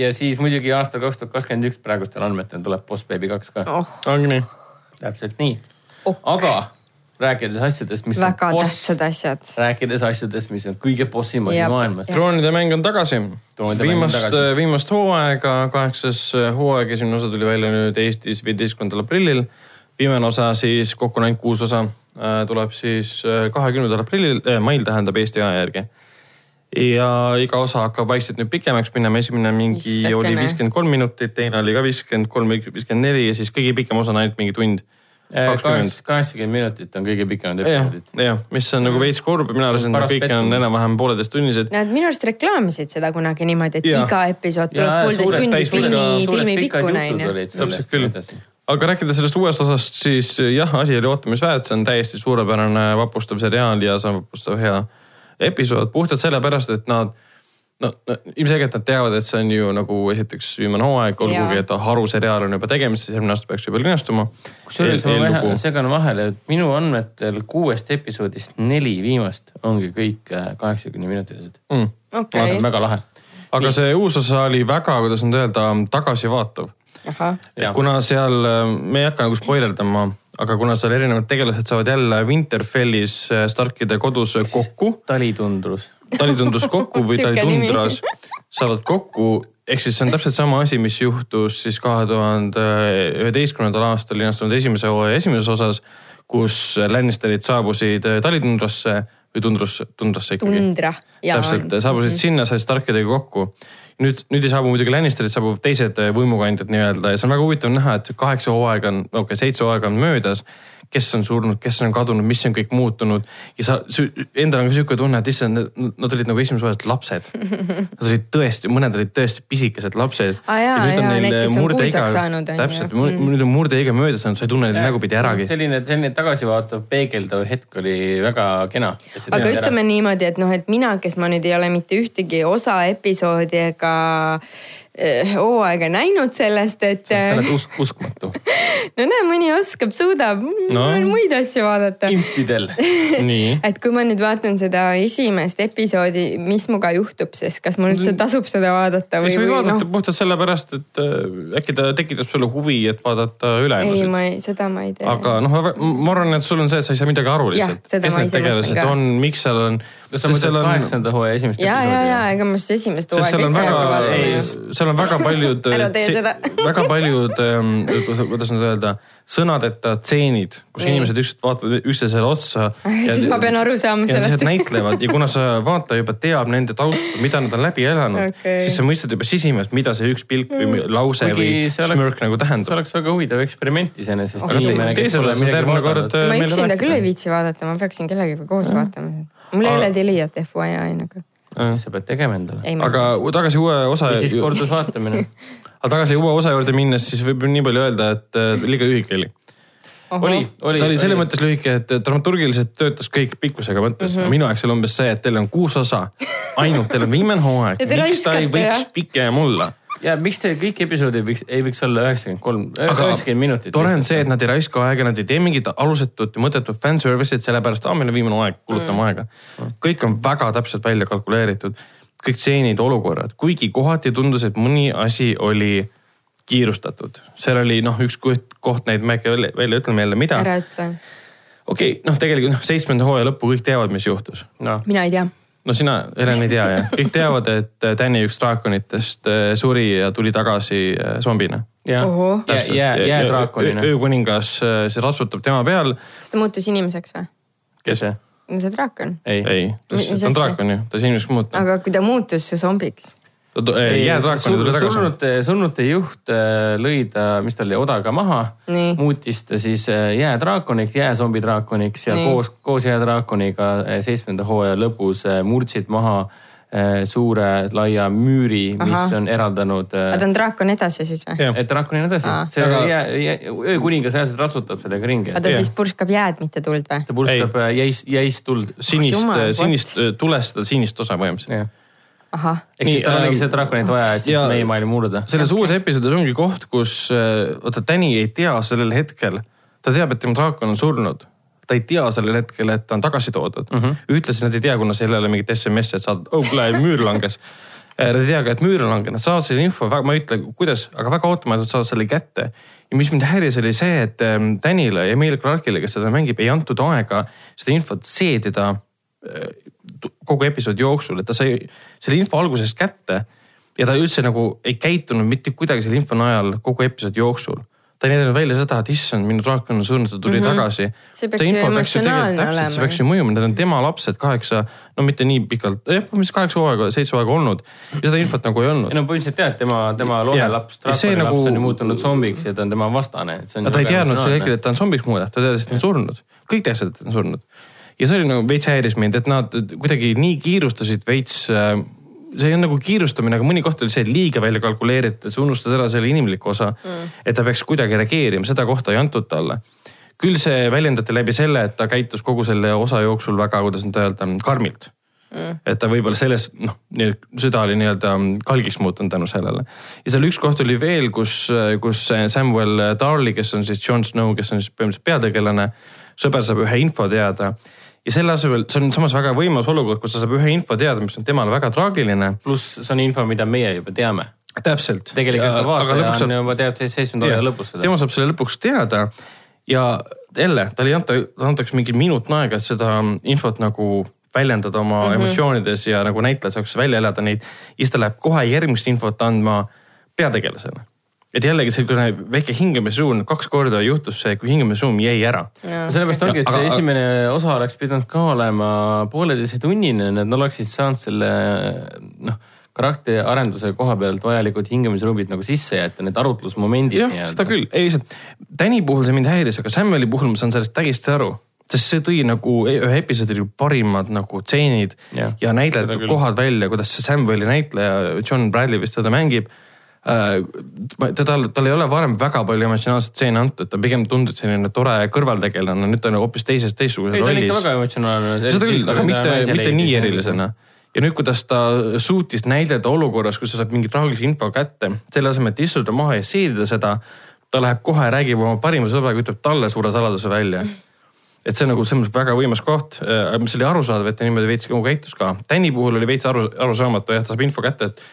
S4: ja siis muidugi aastal kaks tuhat kakskümmend üks praegustel andmetel tuleb Boss Baby kaks ka .
S3: oh ,
S2: ongi nii .
S4: täpselt nii
S3: Ok. .
S4: aga rääkides asjadest , mis
S3: Oh. väga
S4: on boss ,
S3: tähtsad asjad .
S4: rääkides asjadest , mis on kõige bossim asi
S3: Jep.
S4: maailmas .
S2: troonide mäng on tagasi .
S4: Troonide mäng on
S2: viimast äh,
S4: tagasi. ,
S2: viimast hooaega , kaheksas äh, hooaeg , esimene osa tuli välja nüüd Eestis viieteistkümnendal aprillil . viimane osa siis , kokku on ainult kuus osa , tuleb siis äh, kahekümnendal aprillil eh, , mail tähendab Eesti aja järgi . ja iga osa hakkab vaikselt nüüd pikemaks minema , esimene mingi
S3: Issakene.
S2: oli viiskümmend kolm minutit , teine oli ka viiskümmend kolm , viiskümmend neli ja siis kõige pikem osa on ainult mingi tund . kakskümmend .
S4: kaheksakümmend Äh, minutit on kõige pikemad
S2: jah
S4: episoodid .,
S2: jah , mis on nagu veits kurb , mina arvasin , et
S4: Paras
S2: kõik on
S4: pettumus.
S2: enam-vähem pooleteisttunnised .
S3: Nad minu arust reklaamisid seda kunagi niimoodi , et
S2: Jaa.
S3: iga episood tuleb
S4: Jaa,
S3: poolteist
S4: suured
S3: tundi
S2: täis-
S3: filmi ,
S4: suured
S3: filmi
S4: pikad
S3: pikkune
S4: jutud
S3: onju .
S4: olid sellest.
S2: täpselt küll . aga rääkides sellest uuest osast , siis eh, jah , asi oli ootamisväärt , see on täiesti suurepärane vapustav seriaal ja see on vapustav hea episood puhtalt sellepärast , et nad no, no ilmselgelt nad teavad , et see on ju nagu esiteks viimane hooaeg , olgugi
S3: Jaa.
S2: et haruseriaal on juba tegemises , järgmine aasta peaks juba linastuma .
S4: kusjuures ma vähe segan vahele , et minu andmetel kuuest episoodist neli viimast ongi kõik kaheksakümne minutilised .
S2: Mm.
S4: ma
S3: okei
S4: arvan , väga lahe .
S2: aga see uus osa oli väga , kuidas nüüd öelda , tagasivaatav
S3: ahah ,
S4: Jah.
S2: kuna seal , me ei hakka nagu spoilerdama , aga kuna seal erinevad tegelased saavad jälle Winterfellis äh, Starkide kodus kokku ,
S4: talitundrus .
S2: talitundus kokku või
S3: Sihuke
S2: talitundras saavad kokku , ehk siis see on täpselt sama asi , mis juhtus siis kahe tuhande üheteistkümnendal aastal linastunud esimese hooaja esimeses osas , kus Lannisterid saabusid äh, talitundrasse või tundrusse , tundrasse ikkagi .
S3: tundra .
S2: täpselt ,
S3: Mhm.
S2: saabusid sinna , said Starkidega kokku . nüüd , nüüd ei saabu muidugi Lannisterid , saabuvad teised võimukandjad nii-öelda ja see on väga huvitav näha , et kaheksa hooaega on , okei okay, , seitse hooaega on möödas . kes on surnud , kes on kadunud , mis on kõik muutunud ja sa , endal on ka sihuke tunne , et issand , nad olid nagu esimeses hooajas lapsed . Nad olid tõesti , mõned olid tõesti pisikesed lapsed .
S3: Aa, Ah, jaa, jaa, need, kes on kuulsaks saanud, on ju.
S2: äh,
S3: Mm.
S2: täpselt , nüüd on murdeiga möödas saanud , sa ei tunne neid nägupidi Nagu äragi .
S4: selline , selline tagasivaatav peegeldav hetk oli väga kena .
S3: aga ütleme niimoodi , et noh , et mina , kes ma nüüd ei ole mitte ühtegi osa episoodi ega eh, hooaega näinud sellest , et eh,
S4: sa oled usk- , uskmatu .
S3: no näe , mõni oskab , suudab no.
S2: No.
S3: muid asju vaadata .
S4: impidel .
S2: nii .
S3: et kui ma nüüd vaatan seda esimest episoodi , mis muga juhtub siis , kas mul üldse tasub seda vaadata või
S2: siis , võid
S3: või
S2: vaadata
S3: noh
S2: no. , puhtalt sellepärast , et äh, äkki ta tekitab sulle huvi , et vaadata
S3: ei ,
S2: ülejäänusid .
S3: ma ei , seda ma ei tea .
S2: aga noh , ma arvan , et sul on see , et sa ei saa midagi aru
S3: Jah,
S2: lihtsalt ,
S3: seda
S2: kes
S3: ma
S2: need
S3: ise mõtlen
S2: tegelased
S3: ka.
S2: on , miks seal on .
S4: kas sa mõtled kaheksanda hooaja esimest
S3: ja , ja , ja
S4: episoodi ?
S3: ega ma just esimest
S2: sest
S3: hooaega
S2: seal on
S3: ikka ei hakka
S2: väga ,
S3: vaatama
S2: ei ,
S3: ju .
S2: seal on väga paljud äh,
S3: Ära tee seda.
S2: väga paljud , kuidas nüüd öelda , sõnadeta tseenid , kus
S3: Nii.
S2: inimesed üksteist vaatavad üksteisele otsa .
S3: Siis ma pean aru saama
S2: ja
S3: sellest.
S2: lihtsalt näitlevad ja kuna sa vaataja juba teab nende tausta , mida nad on läbi elanud
S3: Okei. Mm.
S2: okay. , siis sa mõistad juba sisimas , mida see üks pilk või mi- lause või smörk nagu
S4: see
S2: tähendab .
S4: oleks väga huvitav eksperiment iseenesest .
S2: aga te- teisele saad järgmine kord . äh,
S3: ma üksinda küll ei . viitsi vaadata , ma peaksin kellegagi koos vaatama . mul ei ole Teliat FYI nagu .
S4: siis sa pead tegema endale .
S3: ei , ma
S2: aga tagasi uue osa .
S4: ja siis kordusvaatamine .
S2: aga tagasi uue osa juurde minnes , siis võib nii palju öelda , et äh, liiga lühike oli .
S4: oli , oli .
S2: ta oli selles . mõttes lühike , et dramaturgiliselt töötas kõik pikkusega
S3: Mhm.
S2: mõttes mm . -hmm. minu jaoks oli umbes see , et teil on kuus osa , ainult teil on viimane hooaeg
S3: Ja te .
S2: miks ta ei
S3: raiskate,
S2: võiks
S3: jah.
S2: pikem olla ?
S4: ja miks te kõik episoodid võiks , ei võiks olla üheksakümmend kolm , üheksakümmend minutit .
S2: tore on see , et nad ei raiska aega , nad ei tee mingit alusetut ja mõttetut fanservice'it , sellepärast , aa , meil on viimane aeg , kulutame mm. aega . kõik on väga täpselt välja kalkuleeritud , kõik stseenid , olukorrad , kuigi kohati tundus , et mõni asi oli kiirustatud . seal oli noh , üks koht, koht näib , ma ei hakka välja- välja ütlema jälle , mida .
S3: ära ütle ,
S2: okei okay, , noh , tegelikult noh , seitsmenda hooaja lõppu kõik teavad , mis juhtus .
S4: noh ,
S3: mina ei tea .
S2: no sina , Helen , ei tea jah ? kõik teavad , et äh, Danny üks draakonitest äh, suri ja tuli tagasi äh, zombina
S4: jah
S3: Ohoh. ,
S4: jää , jäädraakonina .
S2: öökuningas , see ratsutab tema peal .
S3: kas ta muutus inimeseks või ?
S4: kes see ?
S3: see draakon .
S4: ei, ei. .
S2: ei , ta
S3: Mis- mis
S2: ta on
S3: asja?
S2: draakon ju , ta siin just muutunud .
S3: aga kui ta muutus zombiks ,
S2: jäädraakon tuli tagasi .
S4: surnute , surnute juht äh, lõi ta , mis ta oli , odaga maha .
S3: Nii.
S4: muutis ta siis äh, jäädraakoniks , jääzombidraakoniks ja
S3: Nii.
S4: nii. koos , koos jäädraakoniga äh, seitsmenda hooaja lõpus äh, murdsid maha äh, suure laia müüri , mis
S3: Ahah.
S4: on eraldanud äh,
S3: aga ta on draakon edasi siis või ?
S2: jah ,
S4: et draakoni on edasi
S3: Aa. ,
S4: see
S2: Aga-
S4: aga... jää, jää, öökuningas reaalselt ratsutab sellega ringi .
S3: aga ta
S2: Jah.
S3: siis purskab jääd , mitte tuld või ?
S4: ta purskab äh, jäis , jäis tuld .
S2: sinist äh,
S3: Jumal, , what?
S2: sinist , tulest seda sinist osa põhimõtteliselt .
S4: ehk
S3: ahah ,
S2: Nii,
S4: siis tal
S2: ähm,
S4: oligi seda draakonit vaja , et siis
S2: ja-
S4: meie maailm murda .
S2: selles okay. uues episoodis ongi koht , kus äh, vaata Danny ei tea sellel hetkel , ta teab , et tema draakon on surnud . ta ei tea sellel hetkel , et ta on tagasi toodud mm
S4: Mhm.
S2: -hmm. . ühtlasi nad ei tea , kuna seal ei ole mingit SMS-i , et saad , oh kuule müür langes . Nad ei tea ka , et müür on langenud , nad saavad selle info , ma ei ütle , kuidas , aga väga ootamatult saavad selle kätte . ja mis mind häiris , oli see , et ähm, Danile ja Emil Clarkile , kes seda mängib , ei antud aega seda infot seedida äh, tu- kogu episoodi jooksul , et ta sai selle info algusest kätte ja ta üldse nagu ei käitunud mitte kuidagi selle info najal kogu episoodi jooksul . ta ei näidanud välja seda , et issand , minu draakon on surnud , ta tuli mm -hmm. tagasi .
S3: Mhm. See peaks ju emotsionaalne
S2: täpselt , see
S3: olema.
S2: peaks ju mõjuma , need on tema lapsed kaheksa , no mitte nii pikalt , jah , mis kaheksa hooaega , seitse hooaega olnud ja seda infot nagu ei olnud
S4: ei . no põhimõtteliselt jah , et tema , tema
S2: Jah.
S4: loomelaps ,
S2: Ja see
S4: draakoni laps
S2: nagu-
S4: on ju muutunud zombiks ja ta on tema vastane .
S2: aga ta ei teadnud sel hetkel , et ta on zombiks muudetud , ta teadis , et ta on surnud . kõik teadsid , et ta on surnud . ja see oli nagu veits häiris mind , et nad kuidagi nii kiirustasid veits . see ei olnud nagu kiirustamine , aga mõni koht oli see et liiga välja kalkuleeritud , et sa unustad ära selle inimliku osa mm. . et ta peaks kuidagi reageerima , seda kohta ei antud talle . küll see väljendati läbi selle , et ta käitus kogu selle osa jooksul väga , kuidas nüüd öelda , karmilt mm. . et ta võib-olla selles noh , süda oli nii-öelda kalgiks muutunud tänu sellele . ja seal üks koht oli veel , kus , kus Samuel Darli , kes on siis Jon Snow , kes on siis põhimõtteliselt peategelane , sõber saab ühe info teada ja selle asemel , see on samas väga võimas olukord , kus ta saab ühe info teada , mis on temale väga traagiline .
S4: pluss see on info , mida meie juba teame .
S2: täpselt .
S4: tegelikult ka vaataja
S2: lõpuks
S4: on
S2: saab
S4: juba teab siis seitsmenda
S2: Jah.
S4: aasta lõpus seda .
S2: tema saab selle lõpuks teada ja jälle talle ei anta , talle antakse mingi minut aega , et seda infot nagu väljendada oma
S4: Mhm.
S2: mm -hmm. emotsioonides ja nagu näitleja saaks välja elada neid . ja siis ta läheb kohe järgmist infot andma peategelasele . et jällegi selline väike hingamisruum , kaks korda juhtus see , kui hingamisruum jäi ära .
S4: sellepärast ongi , et
S2: Aga-
S4: see
S2: aga-
S4: esimene osa oleks pidanud ka olema pooleteisetunnine , et nad oleksid saanud selle noh , karakteri arenduse koha pealt vajalikud hingamisruumid nagu sisse jätta , need arutlusmomendid .
S2: jah , seda . küll , ei lihtsalt Täni puhul see mind häiris , aga Samueli puhul ma saan sellest täiesti aru , sest see tõi nagu e- ühe episoodi parimad nagu tseenid ja,
S4: Jah,
S2: ja
S4: seda
S2: näitletud
S4: küll.
S2: kohad välja , kuidas see Samueli näitleja John Bradley vist teda mängib . teda , tal ei ole varem väga palju emotsionaalset stseene antud , ta pigem tundus selline tore kõrvaltegelane , nüüd ta on hoopis teises , teistsuguses
S4: ei , ta oli
S2: rollis
S4: ikka väga emotsionaalne .
S2: seda küll , aga mitte , mitte nii erilisena . ja nüüd , kuidas ta suutis näidata olukorras , kus ta saab mingi traagilise info kätte , selle asemel , et istuda maha ja seedida seda , ta läheb kohe , räägib oma parima sõbraga , ütleb talle suure saladuse välja . et see on nagu selles mõttes väga võimas koht , mis oli arusaadav , et ta niimoodi veits nagu käitus ka . Tänni puhul oli veits aru , arusaamatu jah , ta saab info kätte , et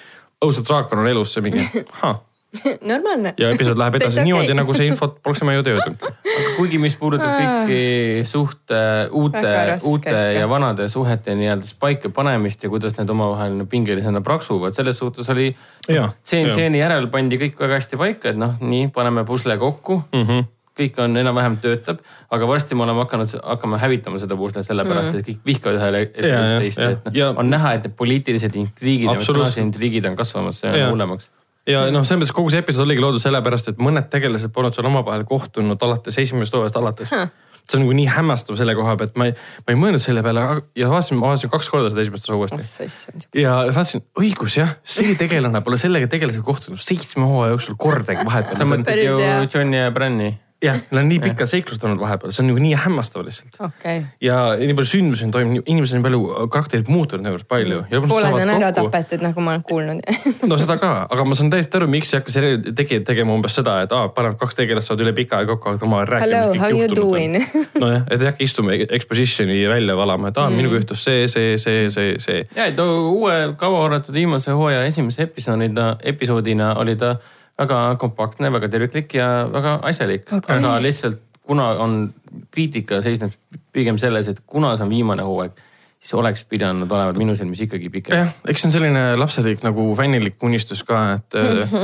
S2: õudselt draakon on elus , see mingi ahah
S3: normaalne .
S2: ja episood läheb edasi niimoodi , nagu see info poleks tema ju töötanud .
S4: aga kuigi , mis puudutab kõiki suhte , uute
S3: Väga raske ,
S4: uute
S3: ikka.
S4: ja vanade suhete nii-öelda siis paika panemist ja kuidas need omavahel nagu pingelisena praksuvad , selles suhtes oli .
S2: Jaa,
S4: tseen
S2: jaa.
S4: tseeni järel pandi kõik väga hästi paika , et noh , nii paneme pusle kokku mm .
S2: Mhm.
S4: -hmm kõik on enam-vähem töötab , aga varsti me oleme hakanud , hakkame hävitama seda puuslet sellepärast ,
S3: Mhm.
S4: et kõik vihkavad ühele
S2: Jaa, jaa,
S4: üksteist ,
S2: jaa.
S4: et noh,
S2: Ja-
S4: on näha , et need poliitilised intriigid ,
S2: Absoluutselt.
S4: emotsionaalsed intriigid on kasvamas , see
S2: Jaa.
S4: on hullemaks .
S2: ja noh , selles mõttes kogu see episood oligi loodud sellepärast , et mõned tegelased polnud seal omavahel kohtunud alates esimesest hooajast alates . see on nagu nii hämmastav selle koha pealt , ma ei , ma ei mõelnud selle peale aga- ja vaatasin , ma vaatasin kaks korda seda esimest osa uuesti . ja vaatasin , õigus jah , see tegelane pole sellega tegelasega kohtunud seitsme hooaja jooksul kordagi vahepeal .
S4: sa mõtled
S3: Päris
S4: ju
S3: hea.
S4: Johnny ja Branni
S2: jah , neil on nii pikad seiklused olnud vahepeal , see on nagu nii hämmastav lihtsalt .
S3: okei .
S2: ja nii palju sündmusi on toimunud , inimesed on nii palju , karakterid muutunud niivõrd palju .
S3: pooled on ära . tapetud , nagu ma olen kuulnud .
S2: no seda ka , aga ma saan täiesti aru , miks ei hakka selle tegijad tegema umbes seda , et aa , panevad kaks tegelast saavad üle pika aja kokku , hakkavad omavahel rääkima .
S3: Hello, how you doing? Mm.
S2: nojah , Noh et ei hakka istuma e-, exposition'i välja valama , et aa , minuga juhtus see , see , see , see , see .
S4: ja , et uue kauaoodatud viimase hooaja esimese episoodina , episoodina oli ta väga kompaktne , väga terviklik ja väga asjalik okay. . aga lihtsalt kuna on , kriitika seisneb pigem selles , et kuna see on viimane hooaeg , siis oleks pidanud olema minu silmis ikkagi pikem .
S2: jah , eks see on selline lapselik nagu fännilik unistus ka , et äh,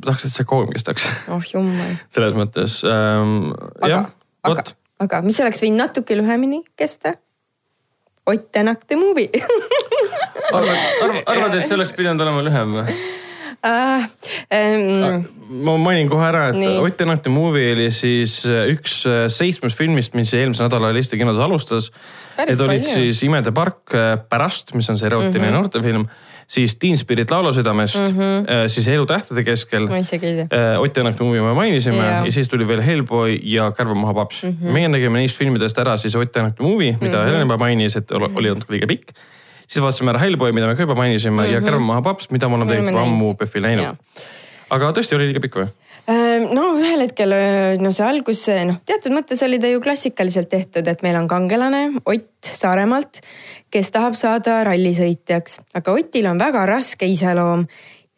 S2: tahaks , et see kauem kestaks
S3: oh jumal .
S2: selles mõttes ähm, .
S3: aga
S2: jah ,,
S3: aga
S2: vot ,,
S3: aga mis oleks võinud natuke lühemini kesta ? Ott Tänak the movie
S4: arvad , arvad , et see oleks pidanud olema lühem või ?
S3: uh, .
S2: Ah.
S3: Um,
S2: ma mainin kohe ära , et
S3: Nii.
S2: Ott Tänakti movie oli siis äh, üks äh, seitsmest filmist , mis eelmisel nädalal Eesti kinodes alustas .
S3: Päris
S2: Need olid
S3: palju. Mhm.
S2: siis Imede park , Pärast , mis on see erootiline mm -hmm. noortefilm , siis Teen Spirit laulusüdamest mm , -hmm. siis Elu tähtede keskel
S3: ma isegi ei tea .
S2: Äh, Ott Tänaku movie me mainisime yeah.
S3: Jaa. Mhm.
S2: ja siis tuli veel Hellboy ja Kärbe maha paps mm . -hmm. meie nägime neist filmidest ära siis Ott Tänaku movie , mida mm -hmm. Helen juba mainis , et ol- oli natuke liiga pikk . siis vaatasime ära Hellboy , mida me ka juba mainisime mm
S3: Mhm.
S2: -hmm. ja Kärbe maha paps , mida me oleme
S3: Me oleme
S2: tegelikult ammu
S3: näinud.
S2: PÖFFil näinud . aga tõesti oli liiga pikk või ?
S3: Ehm, no ühel hetkel , no see algus , noh , teatud mõttes oli ta ju klassikaliselt tehtud , et meil on kangelane Ott Saaremaalt , kes tahab saada rallisõitjaks , aga Otil on väga raske iseloom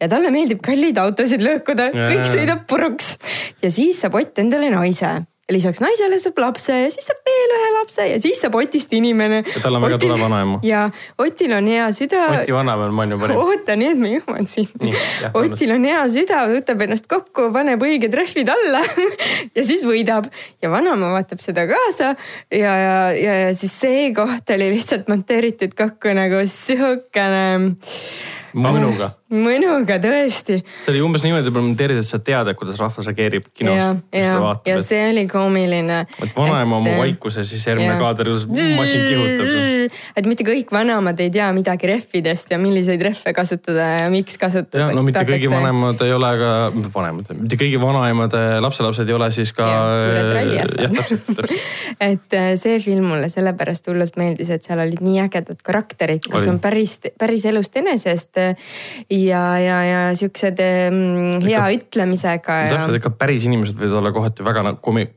S3: ja talle meeldib kalleid autosid lõhkuda , kõik sõidab puruks ja siis saab Ott endale naise lisaks naisele saab lapse ja siis saab veel ühe lapse ja siis saab Otist inimene .
S2: Ja tal on väga tore vanaema.
S3: ja Otil on hea süda .
S4: Mati Vanamäe on ju parim .
S3: oota , nii et ma jõuan sinna
S4: Nii, jah, . vabandust.
S3: Otil on hea süda , võtab ennast kokku , paneb õiged rehvid alla ja siis võidab ja vanaema vaatab seda kaasa ja , ja , ja , ja siis see koht oli lihtsalt monteeritud kokku nagu sihukene äh,
S4: mõnuga .
S3: mõnuga tõesti .
S2: see oli umbes niimoodi monteeritud , et sa tead , et kuidas rahvas reageeb kinos .
S3: ja , ja , ja
S2: et,
S3: see oli koomiline . äh,
S2: et vanaema on mu vaikuses , siis järgmine
S3: Jah.
S2: kaader , kus masin kihutab .
S3: et mitte kõik vanemad ei tea midagi rehvidest ja milliseid rehve kasutada ja miks kasutada .
S2: jah , no mitte kõigi . vanemad ei ole ka , vanemad , mitte kõigi vanaemade lapselapsed ei ole siis ka .
S3: Jah, suured ralliasjad.
S2: jah , täpselt , täpselt .
S3: et äh, see film mulle sellepärast hullult meeldis , et seal olid nii ägedad karakterid , kes
S2: Oli.
S3: on päris , päris elust enesest äh, ja , ja , ja siuksed mm, hea
S2: Ikka-
S3: ütlemisega ja
S2: täpselt , ikka päris inimesed võivad olla kohati väga nagu komi- .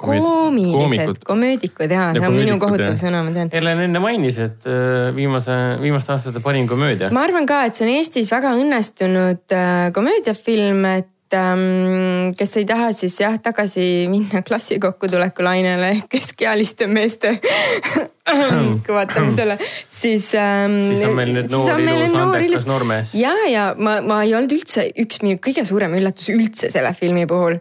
S3: koomilised ,. komöödikud ja,
S2: Ja
S3: ja , see on minu
S2: komöödikud,
S3: kohutav
S2: jah.
S3: sõna , ma tean .
S4: Helen enne mainis , et äh, viimase , viimaste aastate parim komöödia .
S3: ma arvan ka , et see on Eestis väga õnnestunud äh, komöödiafilm , et ähm, kes ei taha , siis jah , tagasi minna klassi kokkutuleku lainele ehk keskealiste meeste kõvatamisele , siis ähm, .
S4: Siis on meil need noor ilus andekas noormees.
S3: ja , ja ma , ma ei olnud üldse üks minu kõige suurem üllatus üldse selle filmi puhul .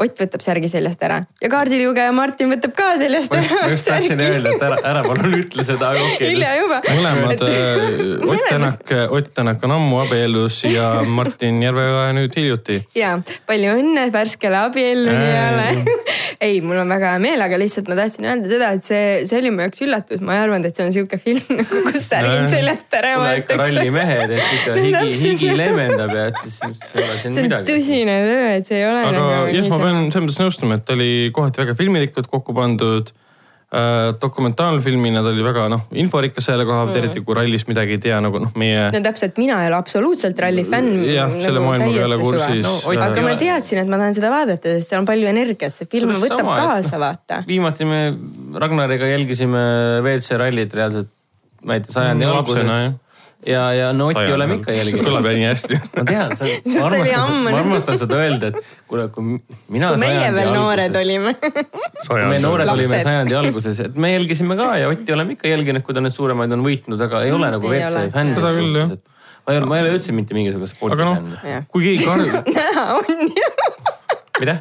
S3: Ott võtab särgi seljast ära ja kaardilugeja Martin võtab ka seljast
S4: ma
S3: ära .
S4: just- ma just tahtsin öelda , et ära , ära palun ütle seda , aga okei
S3: hilja
S4: okay, .
S3: juba .
S2: mõlemad , äh,
S4: äh,
S2: Ott Tänak , Ott Tänak on ammu abiellus ja Martin Järveoja nüüd hiljuti .
S3: ja palju õnne värskele abiellunijale . ei , mul on väga hea meel , aga lihtsalt ma tahtsin öelda seda , et see , see oli mu jaoks üllatus , ma ei arvanud , et see on sihuke film , kus särgid seljast ära
S4: kuule ikka
S3: võetakse .
S4: rallimehed , et ikka
S3: No
S4: higi ,
S3: täpselt.
S4: higi leevendab ja et siis ei ole siin
S3: see on
S4: midagi .
S3: tõsine töö , et see ei ole nagu
S2: aga jah , ma
S3: niisama-
S2: pean selles mõttes nõustuma , et ta oli kohati väga filmilikult kokku pandud . äh, dokumentaalfilmina ta oli väga noh , inforikas selle koha
S4: Mm.
S2: pealt , eriti kui rallis midagi ei tea nagu noh , meie
S3: no täpselt , mina ei ole absoluutselt ralli fänn . nagu
S2: Jah, selle maailmaga ei ole kursis. No,
S4: Ott
S3: aga
S4: ei
S3: ma
S4: ole.
S3: teadsin , et ma tahan seda vaadata , sest seal on palju energiat , see film
S4: Selles
S3: võtab
S4: sama, et-
S3: kaasa , vaata .
S4: viimati me Ragnariga jälgisime WC rallit reaalselt , ma ei tea , sajandi
S2: No,
S4: alguses
S2: Mm, lapsena, jah. .
S4: ja , ja no Otti oleme ikka jälginud .
S2: kõlab nii hästi .
S4: ma tean , see on , ma
S3: See oli
S4: armastan ,
S3: ammu.
S4: ma armastan seda öelda , et kuule , kui mina .
S3: kui meie veel noored . olime
S4: me noored
S3: Lapsed.
S4: olime sajandi alguses , et me jälgisime ka ja Otti oleme ikka jälginud , kui ta need suuremaid on võitnud , aga ei ole nagu
S3: Ei
S4: WC
S3: ole.
S4: fänn .
S2: Seda küll, jah.
S4: ma ei ole , ma ei ole üldse mitte mingisuguse spordi
S2: aga
S4: fänn .
S2: noh
S3: Jah. ,
S2: kui keegi karjub ,
S3: näha on ju ,
S4: mida ?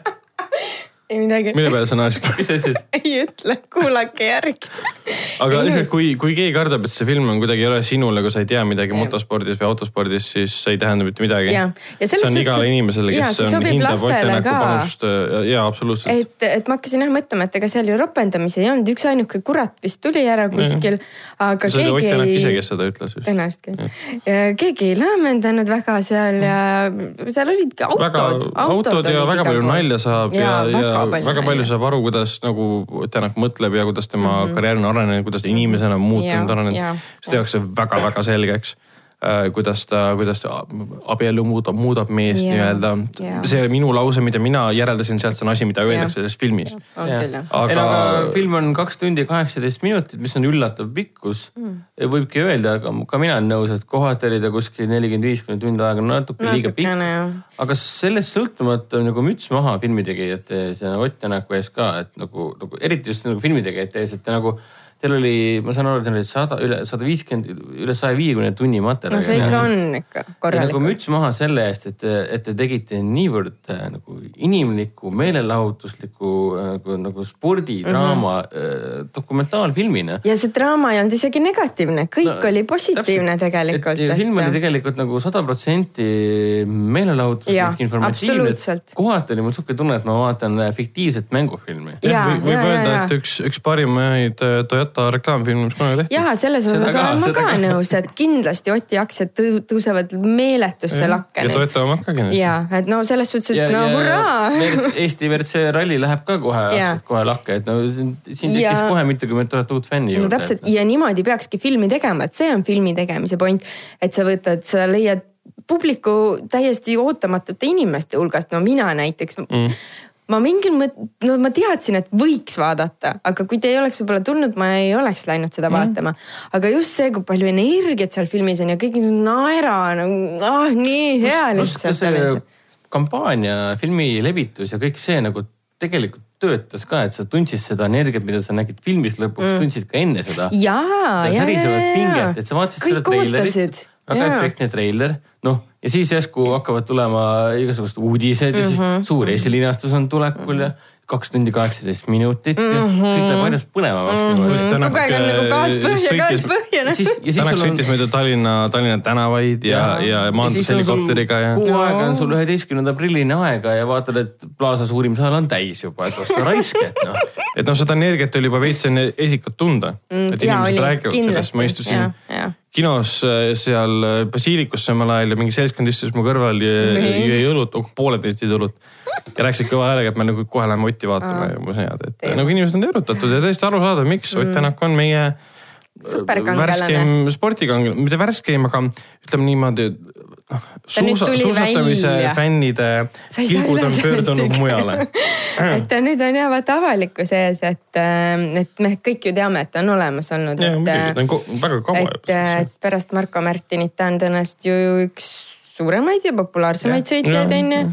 S3: ei midagi ,
S2: mille peale sa naersid ?
S4: mis asjad ?
S3: ei ütle , kuulake järgi .
S2: aga lihtsalt , kui , kui keegi kardab , et see film on kuidagi ei ole sinule , kui sa ei tea midagi motospordis või autospordis , siis see ei tähenda mitte midagi .
S3: Jaa. Ja
S2: see
S3: selles
S2: on
S3: suhtes-
S2: igale inimesele ,
S3: jaa,
S2: kes
S3: see
S2: on,
S3: sobib
S2: hindab Ott
S3: lastele
S2: Tänaku
S3: ka.
S2: panust ja, ja absoluutselt .
S3: et , et ma hakkasin jah mõtlema , et ega seal ju ropendamisi ei olnud , üksainuke kurat vist tuli ära kuskil , aga
S2: see oli Ott
S3: keegi
S2: Tänak ise ,
S3: ei
S2: kes seda ütles just .
S3: tõenäoliselt küll . keegi ei laamendanud väga seal ja seal olid ka
S2: väga
S3: autod .
S2: autod ja väga palju nalja saab ja , ja
S3: nagu- väga palju
S2: väga palju saab aru , kuidas nagu Tänak mõtleb ja kuidas tema mm -hmm. karjäär on arenenud , kuidas ta inimesena on muutunud ,
S3: Mhm. Jaa, jaa.
S2: arenenud . see tehakse väga-väga selgeks , kuidas ta , kuidas ta abielu muudab , muudab meest
S3: Jaa,
S2: nii-öelda .
S3: jaa.
S2: see oli minu lause , mida mina järeldasin sealt , see on asi , mida öeldakse
S3: Jaa.
S2: selles filmis .
S3: on küll jah .
S2: Aga-
S4: aga... ei , aga film on kaks tundi kaheksateist minutit , mis on üllatav pikkus mm. . võibki öelda , aga ka mina olen nõus , et kohati oli ta kuskil nelikümmend viis kuni tund aega natuke liiga pikk .
S3: natukene jah .
S4: aga sellest sõltumata nagu müts maha filmitegijate ees ja Ott Tänaku ees ka , et nagu , nagu eriti just nagu filmitegijate ees , et te nagu Teil oli , ma saan aru , teil oli sada , üle sada viiskümmend , üle saja viiekümne tunni materjali .
S3: no see ikka on ikka
S4: Ja nagu
S3: korralikult .
S4: müts maha selle eest , et , et te tegite niivõrd äh, nagu inimliku , meelelahutusliku äh, nagu , nagu spordidraama
S3: Mhm.
S4: mm -hmm. dokumentaalfilmina .
S3: ja see draama ei olnud isegi negatiivne , kõik no, oli positiivne täpselt. tegelikult .
S4: film oli tegelikult nagu sada protsenti
S3: Jaa,
S4: meelelahutuslik , noh, informatiivne
S3: absoluutselt. .
S4: kohati oli mul sihuke tunne , et ma vaatan äh, fiktiivset mängufilmi .
S3: Jaa,
S2: Jah, või- võib
S3: jaa,
S2: öelda ,
S3: jaa,
S2: et
S3: jaa.
S2: üks , üks parimaid äh, Toyota reklaamfilme , mis kunagi tehti .
S3: ja selles
S4: Seda
S3: osas
S4: ka,
S3: olen ma
S4: seda
S3: ka
S4: ka.
S3: nõus , et kindlasti Oti aktsiad tõu- tõusevad meeletusse lakke
S2: ja
S3: nüüd .
S2: Toyota omad ka kindlasti .
S3: ja , et no selles suhtes , et no hurraa .
S4: Eesti WRC ralli läheb ka kohe
S3: Jaa. ,
S4: kohe lakke , et no siin siin tekkis
S3: Ja-
S4: kohe mitukümmend tuhat uut fänni noh,
S3: no täpselt ja niimoodi peakski filmi tegema , et see on filmi tegemise point , et sa võtad , sa leiad publiku täiesti ootamatute inimeste hulgast , no mina näiteks mm. ma mingil mõt- , no ma teadsin , et võiks vaadata , aga kui te ei oleks võib-olla tulnud , ma ei oleks läinud seda mm. vaatama . aga just see , kui palju energiat seal filmis on ja kõik niisugused naera , no ah, nii hea lihtsalt
S4: see
S3: oli .
S4: kampaania , filmi levitus ja kõik see nagu tegelikult töötas ka , et sa tundsid seda energiat , mida sa nägid filmis lõpuks mm. , tundsid ka enne seda .
S3: jaa , jaa , jaa ,
S4: särisevat
S3: jaa ,
S4: pinget , et sa vaatasid seda
S3: kõik
S4: treilerit
S3: ootasid ,
S4: väga
S3: jaa.
S4: efektne treiler , noh ja siis järsku hakkavad tulema igasugused uudised ja
S3: Mhm.
S4: siis suur esilinastus on tulekul ja kaks tundi kaheksateist minutit ja
S3: Mhm.
S4: kõik läheb ainult põnevamaks niimoodi .
S2: Tänak,
S3: kogu aeg on nagu
S2: äh,
S3: gaas põhja , gaas
S2: sõitis-
S3: põhja ,
S4: ja
S3: noh .
S4: siis , ja siis
S2: Tänak
S4: sul on
S2: sõitis mööda Tallinna , Tallinna tänavaid ja , ja maandus helikopteriga ja .
S4: kuu aega on sul üheteistkümnenda aprillini aega ja vaatad , et plaasa suurim saal on täis juba , et oh sa raiskad noh .
S2: et noh , seda energiat oli juba veits enne esikut tunda
S3: Mm,
S2: mm, . et
S3: jaa,
S2: inimesed
S3: oli,
S2: räägivad sellest , ma
S3: kindlasti,
S2: istusin
S3: jaa, jaa.
S2: kinos äh, seal äh, Basiilikus samal ajal ja mingi seltskond istus mu kõrval ja
S3: Nee.
S2: jõi õlut , pooleteist jõid õlut . ja rääkisid kõva häälega , et me nagu kohe läheme Otti vaatama ja ma sain teada , et äh, nagu inimesed on erutatud ja täiesti arusaadav , miks Ott Tänak on meie
S3: Mm.
S2: äh,
S3: Superkangelane.
S2: värskeim spordikangelane , mitte värskeim , aga ütleme niimoodi , noh
S3: Ta nüüd
S2: suusa ,
S3: tuli
S2: suusatamise
S3: välja.
S2: fännide
S3: Sa ei saa
S2: pilgud
S3: üle
S2: on
S3: sellest
S2: pöördunud
S3: ikka.
S2: mujale
S3: et ta nüüd on jah , vaata avalikkuse ees , et , et me kõik ju teame , et ta on olemas olnud ,
S2: jaa , muidugi , ta
S3: et äh,
S2: on . ko- väga kaua
S3: et , et pärast Marko Märtinit ta on tõenäoliselt ju üks suuremaid ja populaarsemaid
S2: Jah. Jah,
S3: sõitjaid on ju .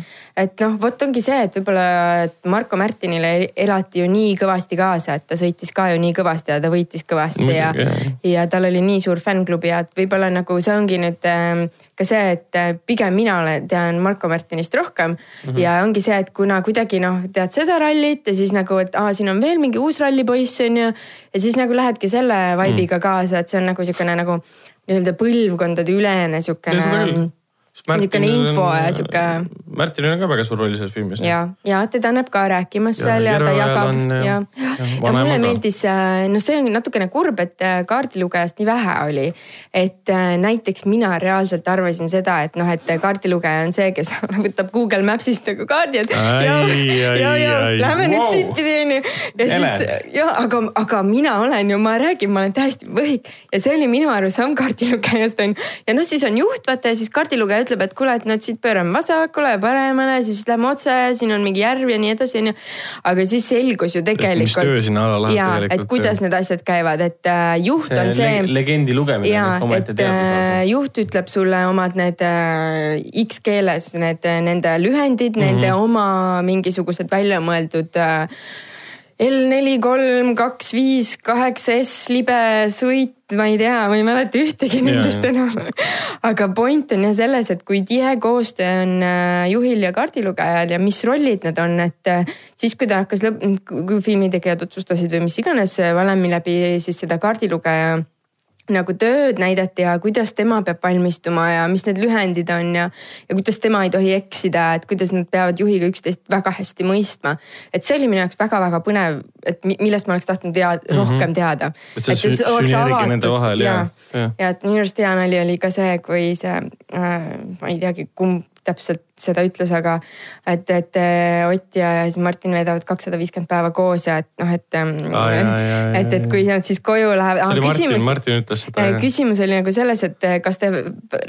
S3: et noh , vot ongi see , et võib-olla et Marko Märtinile e-, elati ju nii kõvasti kaasa , et ta sõitis ka ju nii kõvasti ja ta võitis kõvasti ja
S2: Muidugi, jah. ,
S3: ja tal oli nii suur fännklubi ja et võib-olla nagu see ongi nüüd ähm, ka see , et äh, pigem mina olen , tean Marko Märtinist rohkem mm -hmm. ja ongi see , et kuna kuidagi noh , tead seda rallit ja siis nagu , et aa , siin on veel mingi uus rallipoiss on ju . ja siis nagu lähedki selle vibe'iga kaasa , et see on nagu niisugune nagu nii-öelda põlvkondade ülene
S2: Ja seda küll.
S3: niisugune .
S2: Sest Märtinil
S3: niisugune info
S2: on-
S3: ja sihuke-
S2: Märtinil on ka väga suur roll selles filmis .
S3: ja , ja teda näeb ka rääkimas
S2: Ja
S3: seal ja ta
S2: Järveojal
S3: jagab
S2: on,
S3: ja ,
S2: jah,
S3: ja,
S2: jah,
S3: ja
S2: vanemad
S3: mulle
S2: on.
S3: meeldis , no see on natukene kurb , et äh, kaardilugejast nii vähe oli . et äh, näiteks mina reaalselt arvasin seda , et noh , et kaardilugeja on see , kes võtab Google Maps'ist nagu kaardi , et
S2: Ai,
S3: jau,
S2: ai,
S3: jau, jau,
S2: ai,
S3: lähme nüüd
S2: vau.
S3: siit pidi onju . ja siis
S4: Ele.
S3: jah , aga , aga mina olen ju , ma räägin , ma olen täiesti võhik ja see oli minu arusaam kaardilugejast on ju . ja noh , siis on juht vaata ja siis kaardilugeja ütleb , et kuule , et no siit pöörame vasakule ja paremale , siis lähme otse , siin on mingi järv ja nii edasi , onju . aga siis selgus ju tegelikult .
S2: töö sinna alla läheb tegelikult,
S3: et
S2: jah.
S3: kuidas need asjad käivad , et äh, juht
S4: see
S3: on see
S4: le- legendi lugemine
S3: ja
S4: on
S3: et
S4: omaette
S3: äh,
S4: teadus .
S3: juht ütleb sulle omad need äh, X keeles need äh, nende lühendid mm , -hmm. nende oma mingisugused väljamõeldud äh, L neli , kolm , kaks , viis , kaheksa S libe sõit , ma ei tea , ma ei mäleta ühtegi nendest
S2: jah.
S3: enam . aga point on jah selles , et kui tihe koostöö on äh, juhil ja kaardilugejal ja mis rollid need on , et äh, siis , kui ta hakkas lõpp , kui filmitegijad otsustasid või mis iganes äh, valemi läbi siis seda kaardilugeja nagu tööd näidati ja kuidas tema peab valmistuma ja mis need lühendid on ja , ja kuidas tema ei tohi eksida , et kuidas nad peavad juhiga üksteist väga hästi mõistma . et see oli minu jaoks väga-väga põnev , et mi- millest ma oleks tahtnud tea- , rohkem teada .
S2: Mhm. Et see sü- sünergia nende vahel, jah, jah.
S3: ja et minu arust hea nali oli ka see , kui see äh, , ma ei teagi , kumb täpselt seda ütlus , aga et , et eh, Ott ja ja siis Martin veedavad kakssada viiskümmend päeva koos ja et noh , et .
S2: Aa, jaa, jaa, jaa,
S3: et , et kui nad siis koju
S2: see
S3: lähevad
S2: oli . Martin , Martin ütles seda .
S3: küsimus oli nagu selles , et eh, kas te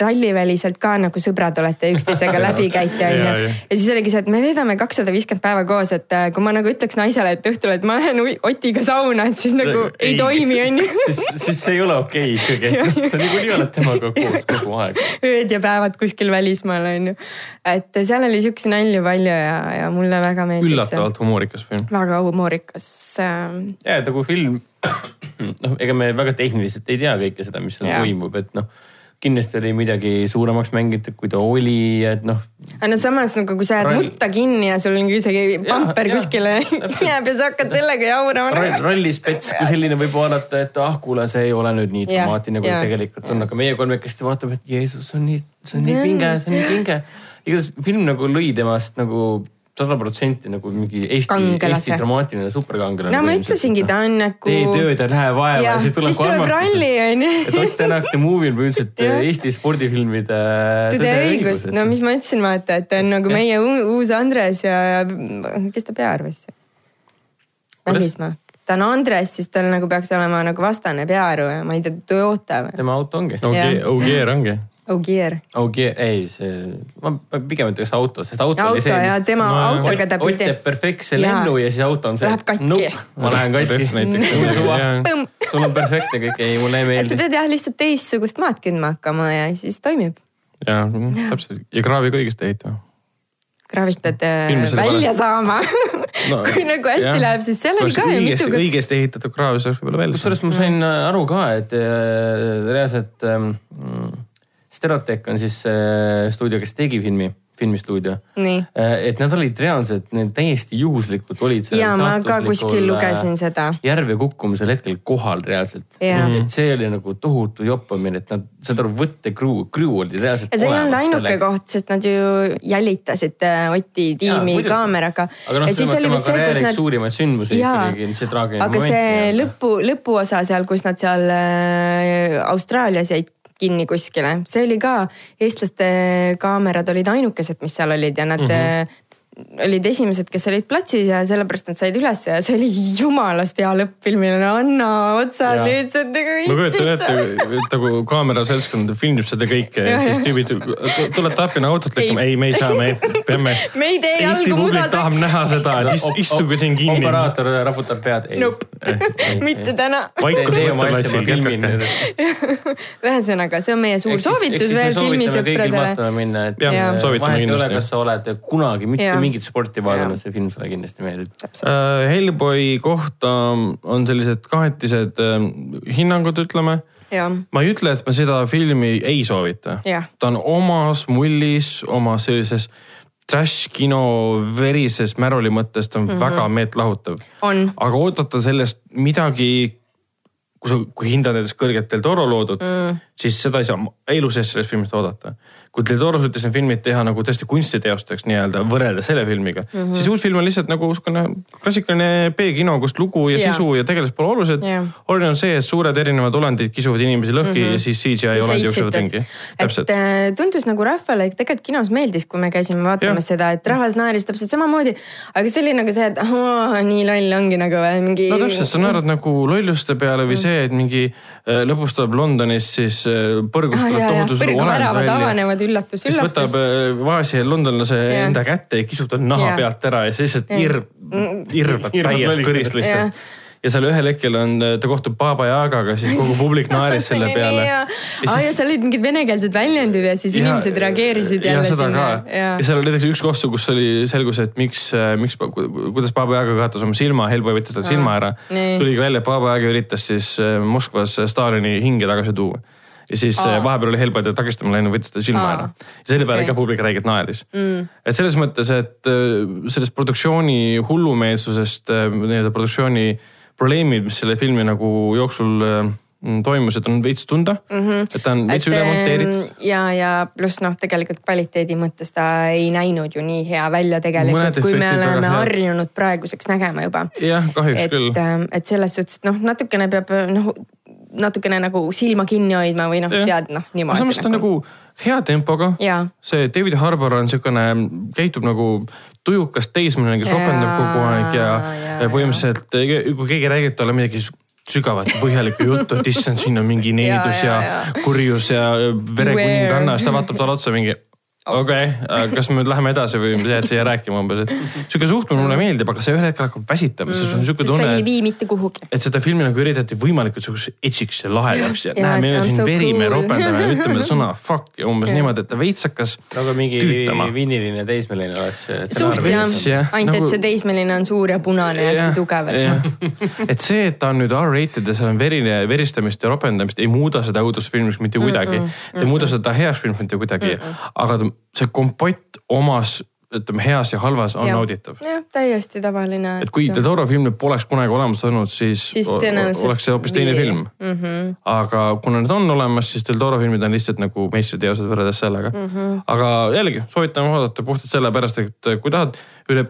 S3: ralliväliselt ka nagu sõbrad olete , üksteisega läbi käite
S2: Jaa,
S3: onju
S2: jaa. .
S3: ja siis oligi see , et me veedame kakssada viiskümmend päeva koos , et eh, kui ma nagu ütleks naisele , et õhtul , et ma lähen ui- Otiga sauna , et siis nagu ei, ei toimi onju .
S4: siis , siis see ei ole okei okay ikkagi , sa niikuinii oled temaga koos kogu aeg .
S3: ööd ja päevad kuskil välismaal on ju . et seal oli siukseid nalju palju ja , ja mulle väga meeldis see .
S2: üllatavalt humoorikas film .
S3: väga humoorikas äh, .
S4: ja , et nagu film , noh , ega me väga tehniliselt ei tea kõike seda , mis seal
S3: Jaa.
S4: toimub , et noh , kindlasti oli midagi suuremaks mängitud , kui ta oli , et noh .
S3: aga no samas nagu , kui sa jääd
S4: Rall-
S3: mutta kinni ja sul on isegi pamper
S4: jaa,
S3: kuskile
S4: täpselt.
S3: jääb ja sa hakkad sellega jaurama . noh.
S4: rallispets kui selline võib vaadata , et ah , kuule , see ei ole nüüd nii
S3: Jah,
S4: dramaatiline , kui ta
S3: jah,
S4: tegelikult on , aga meie kolmekesti vaatame , et Jeesus , see on nii , see on nii
S3: Jah.
S4: pinge , see on nii pinge . igatahes film nagu lõi temast nagu sada protsenti nagu mingi Eesti ,
S3: Kangelase.
S4: Eesti dramaatiline superkangelane .
S3: no ma ütlesingi , ta on nagu .
S4: tee tööd ja lähe vaeva ja, ja siis tuleb kolmas .
S3: ralli on
S4: et
S3: ju .
S4: Ott Tänak The Movie'l või üldiselt
S3: Jah.
S4: äh, Eesti spordifilmide
S3: Tõde ja õigus , no mis ma ütlesin , vaata , et ta on nagu meie u- uus Andres ja kes ta peaarv siis on ?
S4: Kuidas?
S3: välismaa , ta on Andres , siis tal nagu peaks olema nagu vastane peaarv ja ma ei tea , Toyota või ? Oh,
S4: tema auto ongi .
S2: Ogier ,
S3: Jah.
S2: Ogier ongi .
S3: Ogier .
S4: Augier , ei see , ma ma pigem ütleks auto , sest auto,
S3: Auto
S4: oli see .
S3: ja tema autoga ta
S4: Ott
S3: pidi-
S4: teeb perfektse
S3: Jaa.
S4: lennu ja siis auto on see .
S3: Läheb katki.
S4: ma lähen Mm.
S2: Ref näiteks.
S4: katki .
S3: Põmm .
S4: sul on perfektne kõik , ei mulle
S3: et sa
S4: ei meeldi .
S3: pead jah lihtsalt teistsugust maad kündma hakkama ja siis toimib .
S2: ja täpselt ja kraavi ka õigesti ehitama .
S3: kraavist pead äh,
S2: Filmis oli
S3: välja
S2: pärast-
S3: saama no, . kui nagu hästi
S2: jah.
S3: läheb , siis seal oli ka ju mitu
S2: õigesti ,
S3: korda .
S2: õigesti ehitatud kraav , see oleks võib-olla välja .
S4: kusjuures ma sain aru ka , et äh, reaalselt ähm, Stereotech on siis äh, stuudio , kes tegi filmi , filmistuudio .
S3: Nii.
S4: Äh, et nad olid reaalselt , need täiesti juhuslikult olid seal .
S3: Jaa, ma ka kuskil lugesin seda.
S4: järve kukkumisel hetkel kohal reaalselt .
S3: Jaa.
S4: et see oli nagu tohutu joppamine , et nad , saad aru , võttekruu , crew oli reaalselt .
S3: ja see ei olnud ainuke selleks. koht , sest nad ju jälitasid äh, Oti tiimi
S4: muidugi.
S3: ja, kaameraga .
S4: aga noh , see on tema karjääri üks suurimaid sündmusi
S3: jaa ,
S4: ikkagi , see traagiline
S3: aga see . lõpu , lõpuosa seal , kus nad seal äh, Austraalias jäid kinni kuskile , see oli ka , eestlaste kaamerad olid ainukesed , mis seal olid ja nad
S4: Mhm.
S3: mm -hmm. olid esimesed , kes olid platsis ja sellepärast nad said ülesse ja see oli jumalast hea lõpp filmile , no anna otsa
S4: Jaa.
S3: nüüd , see on nagu
S2: ma kujutan . ette , et nagu kaamera seltskond filmib seda kõike ja siis tüübid tu- tulevad appina autot lõikama , ei , me ei saa , me peame .
S3: Me ei tee jalgu
S2: Eesti publik
S3: mudaseks.
S2: tahab näha seda , et ist- istuge siin kinni .
S4: operaator raputab pead , ei
S3: Nope. . mitte täna .
S2: vaikus
S4: Tee oma asja, ma
S2: mõtteplatsil ,
S4: filmin
S2: jätkake .
S3: ühesõnaga , see on meie suur
S4: Ehk siis- ehk
S3: soovitus
S4: siis me
S3: veel
S4: soovitame kõigil
S3: filmisõpradele .
S4: vaatama minna , et
S2: Jah,
S4: äh,
S2: soovitame
S4: vahet ei ole ,
S2: kindlasti.
S4: kas sa oled kunagi mitte
S3: Jah.
S4: mingit sporti vaadanud , see film sulle kindlasti meeldib .
S2: Äh, Hellboy kohta on sellised kahetised äh, hinnangud , ütleme .
S3: jah ,
S2: ma ei ütle , et ma seda filmi ei soovita .
S3: Jah.
S2: ta on omas mullis , omas sellises trash kino verises märuli mõttes , ta on mm
S3: Mhm.
S2: -hmm. väga meeltlahutav .
S3: on ,
S2: aga oodata sellest midagi , kui sa , kui hindad näiteks kõrget Del Toro loodut mm. , siis seda ei saa ma- elu sees sellest filmist oodata . kui Del Toro suutis need filmid teha nagu tõesti kunstiteosteks nii-öelda võrrelda selle filmiga mm ,
S3: Mhm.
S2: -hmm. siis uus film on lihtsalt nagu niisugune klassikaline B-kino , kus lugu ja
S3: Jaa.
S2: sisu ja tegelased pole olulised
S3: Jaa. Mhm.
S2: oluline on see , et suured erinevad olendid kisuvad inimesi lõhki mm -hmm. ja siis CGI olend jooksevad ringi .
S3: et
S2: täpselt ,
S3: äh, tundus nagu rahvale tegelikult kinos meeldis , kui me käisime
S2: Jah.
S3: vaatamas seda , et rahvas naeris täpselt samamoodi . aga see oli nagu see , et oh, nii loll ongi nagu või, mingi .
S2: no täpselt , sa naerad nagu lolluste peale
S3: Mm.
S2: või see , et mingi äh, lõpus tuleb Londonis siis äh, põrgust
S3: ah,
S2: tuleb
S3: ja , ja
S2: tohutu suur olend
S3: põrguväravad
S2: välja
S3: avanevad , üllatus ,
S2: kes
S3: üllatus
S2: võtab . äh, vaasi londonlase
S3: Jah.
S2: enda kätte ja kisub ta naha
S3: Jah.
S2: pealt ära ja siis lihtsalt irb ,
S3: Mm.
S2: irvab
S4: Irvab
S2: täies
S4: välisele.
S2: kõris
S3: Jah.
S2: lihtsalt . ja seal ühel hetkel on , ta kohtub Baba Jagaga , siis kogu publik naeris selle peale .
S3: ja aa, ja seal olid mingid venekeelsed väljendid ja siis ja, inimesed reageerid
S2: ja,
S3: jälle
S2: seda
S3: sinna
S2: ka. . ja seal oli näiteks üks koht , kus oli , selgus , et miks , miks , kuidas Baba Jaga kaotas oma silma , Hellboy võttis tal silma ära .
S3: nii.
S2: tuligi välja , et Baba Jaga üritas siis äh, Moskvas Stalini hinge tagasi tuua . ja siis Aa. vahepeal oli Hellboy teda takistama läinud , võttis ta silma Aa.
S3: Aa.
S2: ära . ja selle peale
S3: Okei.
S2: okay. ka publik räigelt naeris mm. . et selles mõttes , et äh, sellest produktsiooni hullumeelsusest , nii-öelda produktsiooni probleemid , mis selle filmi nagu jooksul äh, toimusid , on veits tunda mm .
S3: Mhm.
S2: -hmm. et ta on veits üle monteeritud .
S3: ja , ja ehm, pluss noh , tegelikult kvaliteedi mõttes ta ei näinud ju nii hea välja
S2: Mõned
S3: tegelikult , kui me
S2: efektid väga
S3: oleme
S2: head.
S3: harjunud praeguseks nägema juba .
S2: jah , kahjuks
S3: et äh, ehm,
S2: küll .,
S3: et selles suhtes , et noh , natukene peab noh , natukene nagu silma kinni hoidma või noh , tead noh , niimoodi .
S2: samas ta nagu hea tempoga .
S3: jaa .
S2: see David Harbour on siukene , käitub nagu tujukas teismeline , kes
S3: Jaa,
S2: ropendab kogu aeg ja, ja,
S3: jaa,
S2: ja põhimõtteliselt eh, kui keegi räägib talle midagi s- sügavat ja põhjalikku juttu , et issand , siin on mingi needus ja,
S3: jaa,
S2: ja, ja kurjus ja verekuning
S3: Where? Oh.
S2: kannas , ta vaatab talle otsa mingi okei okay, , kas me nüüd läheme edasi või jääd siia rääkima umbes , et sihuke suhtumine mulle meeldib , aga see ühel hetkel hakkab väsitama , sest sul on sihuke
S3: sest sa
S2: tunne ,
S3: ei
S2: et
S3: vii mitte kuhugi .
S2: et seda filmi nagu üritati võimalikult sihukeseks etsiks ja lahedaks ja näe ,
S3: Jaa, et
S2: meil on
S3: I'm
S2: siin
S3: so
S2: verime ,
S3: cool.
S2: ropendame ja ütleme sõna fuck ja umbes niimoodi , et ta veits hakkas
S4: nagu mingi
S2: tüütama .
S4: vinniline teismeline oleks .
S3: suht
S2: Narva
S3: jah
S2: veits, jah. ,
S3: ainult et
S2: Nagu-
S3: see teismeline on suur ja punane ja hästi tugev , et noh .
S2: et see , et ta on nüüd R-rated ja seal on verine , veristamist ja ropendamist , ei muuda seda õudusfilmiks mitte kuidagi . ta ei muuda seda heaks filmiks mitte kuidagi , aga ta- see kompott omas , ütleme heas ja halvas on nauditav .
S3: jah , täiesti tavaline .
S2: et kui Del Toro film nüüd poleks kunagi olemas olnud , siis,
S3: Siis
S2: o- o-
S3: tõenäoliselt Mhm.
S2: oleks see hoopis teine
S3: vii-
S2: film mm . -hmm. aga kuna need on olemas , siis Del Toro filmid on lihtsalt nagu meistriteosed võrreldes sellega mm .
S3: Mhm.
S2: -hmm. aga jällegi soovitame vaadata puhtalt sellepärast , et kui tahad üle ,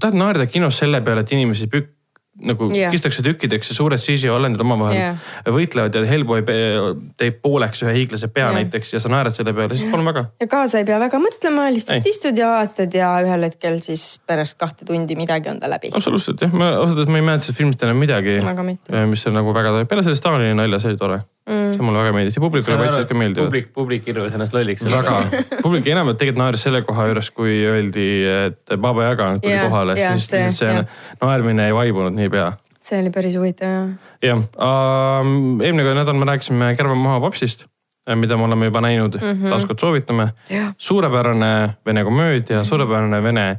S2: tahad naerda kinos selle peale , et inimesi pükk nagu
S3: Jah.
S2: yeah. kistakse tükkideks ja suured CGI-olendid omavahel
S3: Jah.
S2: yeah. võitlevad ja Hellboy pe- teeb pooleks ühe hiiglase pea yeah.
S3: Jah.
S2: näiteks ja sa naerad selle peale , siis palun väga .
S3: ja kaasa ei pea väga mõtlema , lihtsalt
S2: Ei.
S3: ei. istud ja vaatad ja ühel hetkel siis pärast kahte tundi midagi on ta läbi .
S2: absoluutselt jah , ma ausalt öeldes ma ei mäleta sellest filmist enam midagi
S3: Väga mitte. ,
S2: mis on nagu väga tore , peale selle Stalini nalja , see oli tore mm. . see mulle väga meeldis ja publikule paistis ka meeldiv .
S4: publik , publik irvas ennast lolliks .
S2: väga , publik enamalt tegelikult naeris selle koha juures , kui öeldi , et Baba Yaga tuli
S3: Jah,
S2: yeah, kohale
S3: jah,
S2: yeah, , siis
S3: see,
S2: lihtsalt see,
S3: jah.
S2: see naermine ei vaibunud niipea .
S3: see oli päris huvitav jah .
S2: jah ähm, , eelmine nädal me rääkisime Kärva maha papsist , mida me oleme juba näinud mm -hmm. , taaskord soovitame
S3: Mhm. Jah. .
S2: suurepärane vene komöödia , suurepärane vene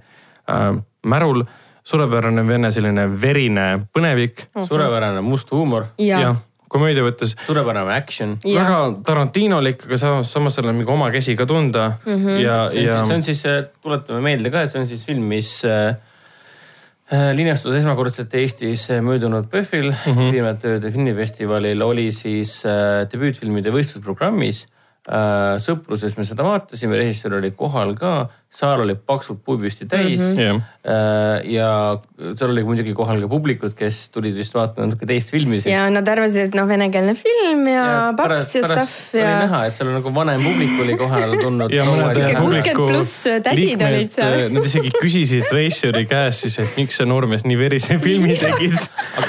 S2: äh, märul , suurepärane vene selline verine põnevik
S4: suurepärane must huumor ,
S3: ja,
S2: jah , komöödia võttes
S4: suurepärane action .
S3: Jah.
S2: väga Tarantinolik , aga samas , samas seal on mingi oma käsi ka tunda mm .
S3: Mhm.
S2: -hmm. ja ,
S4: see on
S2: ja
S4: siis , see on siis , tuletame meelde ka , et see on siis film , mis äh, äh, linastus esmakordselt Eestis äh, möödunud PÖFFil mm -hmm. , Viimati ööde filmifestivalil oli siis äh, debüütfilmide võistlusprogrammis äh, . sõpruses me seda vaatasime , režissöör oli kohal ka , saal oli paksult puupüsti täis mm .
S2: Jah.
S4: Äh, ja seal oli muidugi kohal ka publikut , kes tulid vist vaatama natuke teist filmi , sest
S3: ja nad arvasid , et noh , venekeelne film ja, ja paps ja stuff
S4: oli
S3: ja .
S4: näha , et seal on nagu vanem publik oli kohal tulnud .
S2: ja mõned
S3: Sihuke
S2: publiku
S3: 60 pluss tädid
S2: liikmed,
S3: olid seal.
S2: äh, Nad isegi küsisid reisijari käest siis , et miks see noormees nii verise filmi tegid .